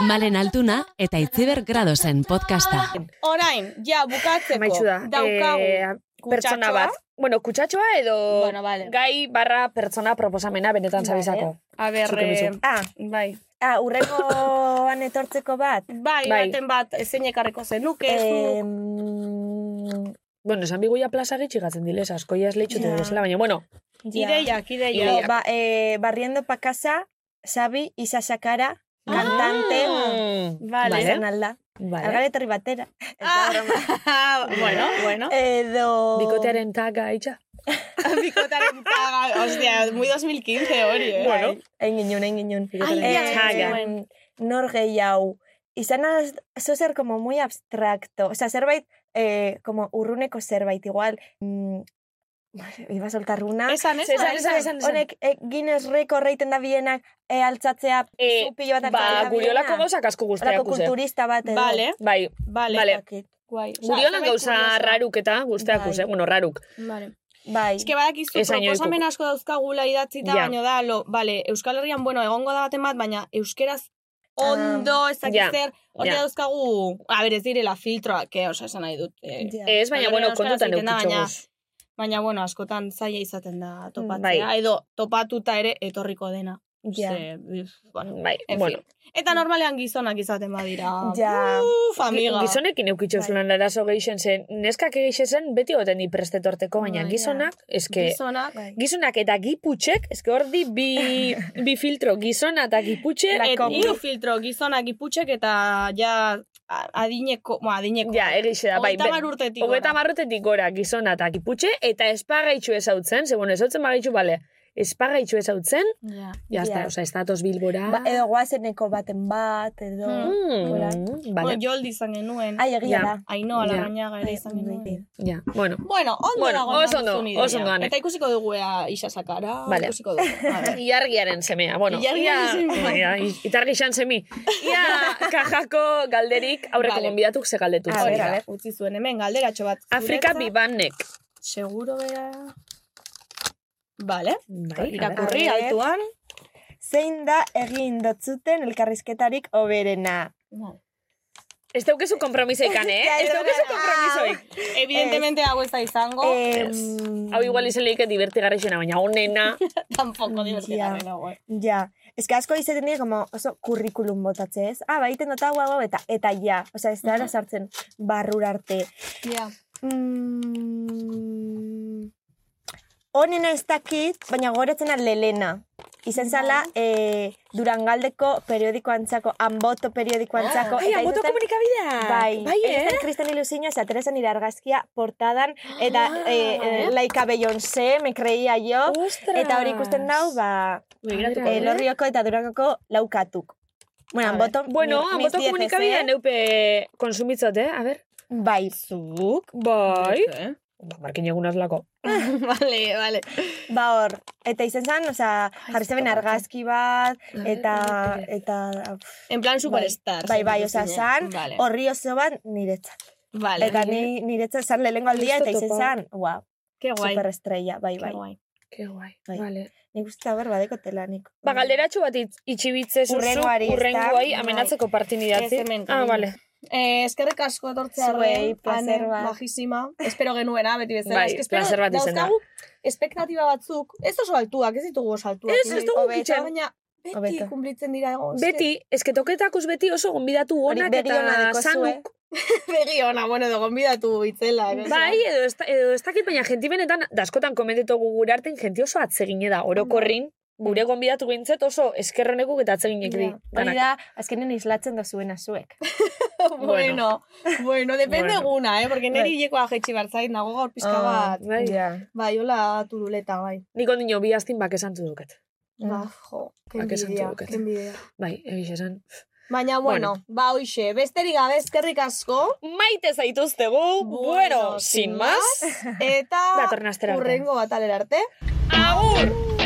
S6: Malen Altuna eta Itziber Gradosen podcasta.
S3: Orain, ja, bukatzeko.
S7: Maitxu da.
S3: Daukagu.
S7: eh, pertsona
S3: kutsatxoa.
S7: bat. Bueno, kutsatxoa edo
S3: Bueno, vale.
S7: gai barra pertsona proposamena benetan zabizako.
S3: A ber,
S7: Zuke bizu.
S3: eh,
S8: Ah,
S3: bai.
S8: ah, urrengoan etortzeko bat.
S3: Bai,
S7: Bai.
S3: baten bat, zein ekarriko zenuke,
S8: Eh,
S3: zuk.
S8: Mm,
S7: Bueno, esan biguia plaza gatzen dilez, askoia ez lehitxute
S8: Ja.
S7: bezala, baina, bueno,
S8: ja.
S3: ideiak,
S8: Jo,
S3: ideiak.
S8: ba, eh, barriendo pa casa, Xabi, Isa Sakara, cantante,
S3: Vale.
S8: izan alda.
S7: Ah. Vale.
S8: Algar etorri batera. Ez da
S3: Ah.
S8: broma.
S3: bueno, [LAUGHS] bueno.
S8: [LAUGHS] Edo...
S7: Bikotearen taga itxa.
S3: Bikotaren Eh, paga, ostia, muy 2015 hori, eh.
S7: Bueno.
S8: Egin ginen, egin ginen.
S3: Ai,
S8: Eh,
S3: ja,
S7: taga.
S8: em, Nor gehiago. Izan az, zo zer como muy abstracto. O sea, zerbait, eh, como urruneko zerbait, igual. Mm, [LAUGHS] iba a soltar una.
S3: Esan, esan,
S7: Esan, esan, esan, esan.
S8: Honek, e, Guinness Record reiten da bienak, e, altzatzea,
S7: Eh,
S8: zupillo bat
S7: Ba,
S8: altzatzen da
S7: guriolako
S8: biena.
S7: gauzak asko
S8: Horako
S7: guztiak guztiak.
S8: kulturista bat edo.
S3: Vale,
S7: Bai,
S3: vale.
S7: Vale.
S8: Dakit.
S3: Guai. Osea,
S7: guriolan
S3: zerbait
S7: gauza
S3: kuriosoa.
S7: raruk eta guztiak
S8: Bai.
S7: guztiak. Bueno, raruk.
S3: Vale.
S8: Bai.
S3: Ez que badakizu
S7: Esan joikuk.
S3: proposamen asko dauzkagula idatzita,
S7: Ja.
S3: baino da, lo, vale, Euskal Herrian, bueno, egongo da baten bat, baina euskeraz ondo, ez dakit
S7: ja,
S3: zer, hori
S7: ja.
S3: dauzkagu, a ber, ez direla filtroak, eh, osea, esan nahi dut. Eh,
S8: Ja.
S7: Ez, baina,
S3: Euskal
S7: bueno,
S3: Herrian euskaraz
S7: kontutan
S3: egiten da, baina-
S7: eukitxoguz.
S3: Baina, bueno, askotan zaila izaten da topatzea,
S7: Bai.
S3: edo topatuta ere etorriko dena.
S8: Ja.
S3: Ze, bif, bueno,
S7: Bai,
S3: en
S7: bueno.
S3: fin. Eta normalean gizonak izaten badira.
S8: Ja.
S3: Uf, amiga.
S7: Gizonekin eukitxoz
S8: Bai.
S7: lan arazo gehixen zen. Neskak egixe zen, beti goten ni prestetorteko, baina
S8: Bai, ja.
S7: gizonak, eske...
S3: Gizonak.
S8: Bai.
S7: Gizonak eta giputxek, eske hor di
S3: [LAUGHS]
S7: bi, bi filtro, gizona eta giputxe,
S3: Et,
S7: eta
S3: hiru filtro gizonak iputxek eta ja a- adineko, bueno, adineko.
S7: Ja, egixe da, bai.
S3: Hogeita hamar urtetik.
S7: Hogeta
S3: gora.
S7: marrotetik gora gizona eta giputxe, eta espagaitxu ezautzen, ze bueno, ezautzen bagaitxu, bale, espagaitxu ezautzen,
S3: Ja.
S7: jazta,
S8: Ja.
S7: oza, estatoz bilbora.
S3: eh,
S8: Ba, edo goazeneko baten bat, edo...
S7: Mm,
S8: Hola.
S7: vale.
S3: Bueno, joldi izan genuen.
S8: Ai, egia
S7: Ja.
S8: da.
S3: Ainhoa
S7: Ja.
S3: Larrañaga ere izan genuen.
S7: Ja, bueno.
S3: Bueno, ondo
S7: Bueno,
S3: dago
S7: oso
S3: eman
S7: ondo,
S3: duzun idea.
S7: oso ondo, Ane.
S3: Eta ikusiko dugu ea isa sakara,
S7: Vale.
S3: ikusiko dugu. A
S7: [COUGHS]
S3: ber.
S7: Iargiaren semea, bueno.
S3: Ilargiaren
S7: ia-
S3: semea.
S7: Ia, itargi xan semi. Ia kajako galderik aurreko
S3: Vale.
S7: gonbidatuk ze galdetu.
S8: A ber,
S3: Hori
S8: a
S3: da,
S8: ber.
S3: Utzi zuen hemen galderatxo bat.
S7: Afrika
S3: zuretzat.
S7: bibanek.
S3: Seguro bera... Vale,
S7: Bai,
S3: irakurri
S8: a ber.
S3: altuan.
S8: Zein da egin dotzuten elkarrizketarik oberena?
S7: Ez daukezu
S8: [LAUGHS]
S7: kompromisoikan, eh?
S8: Ja,
S7: Ez daukezu kompromisoik.
S3: Evidentemente hau ez da izango,
S8: Em,
S7: Oh, Hau igual izan lehike divertigarrixena, baina
S8: [LAUGHS]
S7: honena.
S8: Eh, mm,
S3: tampoco divertigarrena.
S8: ja.
S3: dago, eh.
S8: Ja, ez que asko izaten dira, como oso kurrikulum botatze ez. Ah, ba, iten dut hau, hau, hau, eta, eta ja. Osa, ez da sartzen barrura arte. Mm, Honena ez dakit, baina goretzen al Lelena. Izen zala,
S7: Bai.
S8: eh, Durangaldeko periodiko antzako, Anboto periodiko antzako.
S7: Ai,
S8: eta
S7: agoto
S8: izan zen-
S7: komunikabidea.
S8: Bai,
S7: bai,
S8: egin
S7: eh?
S8: zen Kristen ilusioa, eta Teresa nire argazkia portadan, eta
S7: Ah.
S8: eh, eh, laika Beyoncé, me creía yo,
S7: Ostras.
S8: eta hori ikusten dau, ba,
S7: Begiratuko
S8: eh,
S7: dut.
S8: lorrioko eta durangako laukatuk. Bueno,
S7: A ber.
S8: anboto...
S7: Bueno,
S8: mi- mis
S7: anboto
S8: dieces,
S7: komunikabidea
S8: eh?
S7: neupe konsumitzat, eh? A ber.
S8: Bai,
S7: Zuk? Bai.
S8: eh?
S7: Ba, Markin egun azlako.
S3: [LAUGHS] vale, vale.
S8: ba hor. Eta izen zen, osea, jarri zeben argazki bat, eta... eta
S3: En plan superstar.
S8: Bai, bai,
S3: sentitu
S8: osea,
S3: zinen.
S8: san, Bai,
S3: Vale,
S8: horri oso bat niretzat.
S3: vale.
S8: Eta ni, niretzat zan lehenko aldia,
S7: Listo
S8: eta izen
S7: topo.
S8: zen, wow,
S3: Qué guai.
S8: superestrella, bai, bai.
S3: Qué guai.
S7: Ke guai.
S8: Bai.
S7: Vale.
S8: Nik uste hor badeko telanik.
S7: Ba, galderatxo bat itz- itxibitze zuzu,
S8: Hurrengoari, ezta?
S7: urrengoai,
S8: Bai.
S7: amenatzeko partini datzi.
S3: Ez hemen,
S7: Ah,
S3: cariño.
S7: vale.
S3: Eh, eskerrik asko etortzea
S8: Zuei,
S3: arren,
S8: placer
S3: Ane,
S8: bat.
S3: Majísima. Espero genuena, beti bezala.
S7: Bai,
S3: Es que espero,
S7: placer bat izan da.
S3: dauzkagu espektatiba batzuk, ez oso altuak, ez ditugu oso altuak.
S7: Ez, ez dugu
S3: Hobeto,
S7: kitxen.
S3: Baina beti
S8: Hobeto.
S3: kumplitzen dira egon.
S7: Beti, eske toketakuz beti oso gonbidatu
S8: Hori
S7: gonak
S8: begi ona
S7: eta
S8: dekozu,
S7: zanuk.
S3: Begi ona, bueno, edo gonbidatu itzela. edo
S7: Bai, edo ez, da- edo ez dakit, baina jenti benetan, daskotan komentetogu gure arten, jenti oso atzegine da, orokorrin, gure gonbidatu gintzet oso eskerronekuk eta atzeginek di.
S8: Ja. Hori da, azkenen islatzen da zuena zuek.
S3: [LAUGHS] bueno, bueno, depende
S7: Bueno.
S3: eguna, eh? Porque niri
S8: Bai.
S3: hilekoa jetxi bartzait, nago gaur pixka
S8: Ah,
S3: bat.
S7: Bai.
S3: Bai, hola turuleta, bai.
S7: Nik ondino bi aztin bak esan duket.
S3: Ba, jo, que
S7: Ba, que
S3: envidia,
S7: santu duket.
S3: que envidia.
S7: Bai, egiz esan.
S3: Baina, bueno, ba, hoxe, besterik gabe eskerrik asko.
S7: Maite zaituztegu, bueno, sin más,
S3: Eta
S7: [LAUGHS] datorren astera arte.
S3: urrengo batalera arte.
S7: Agur!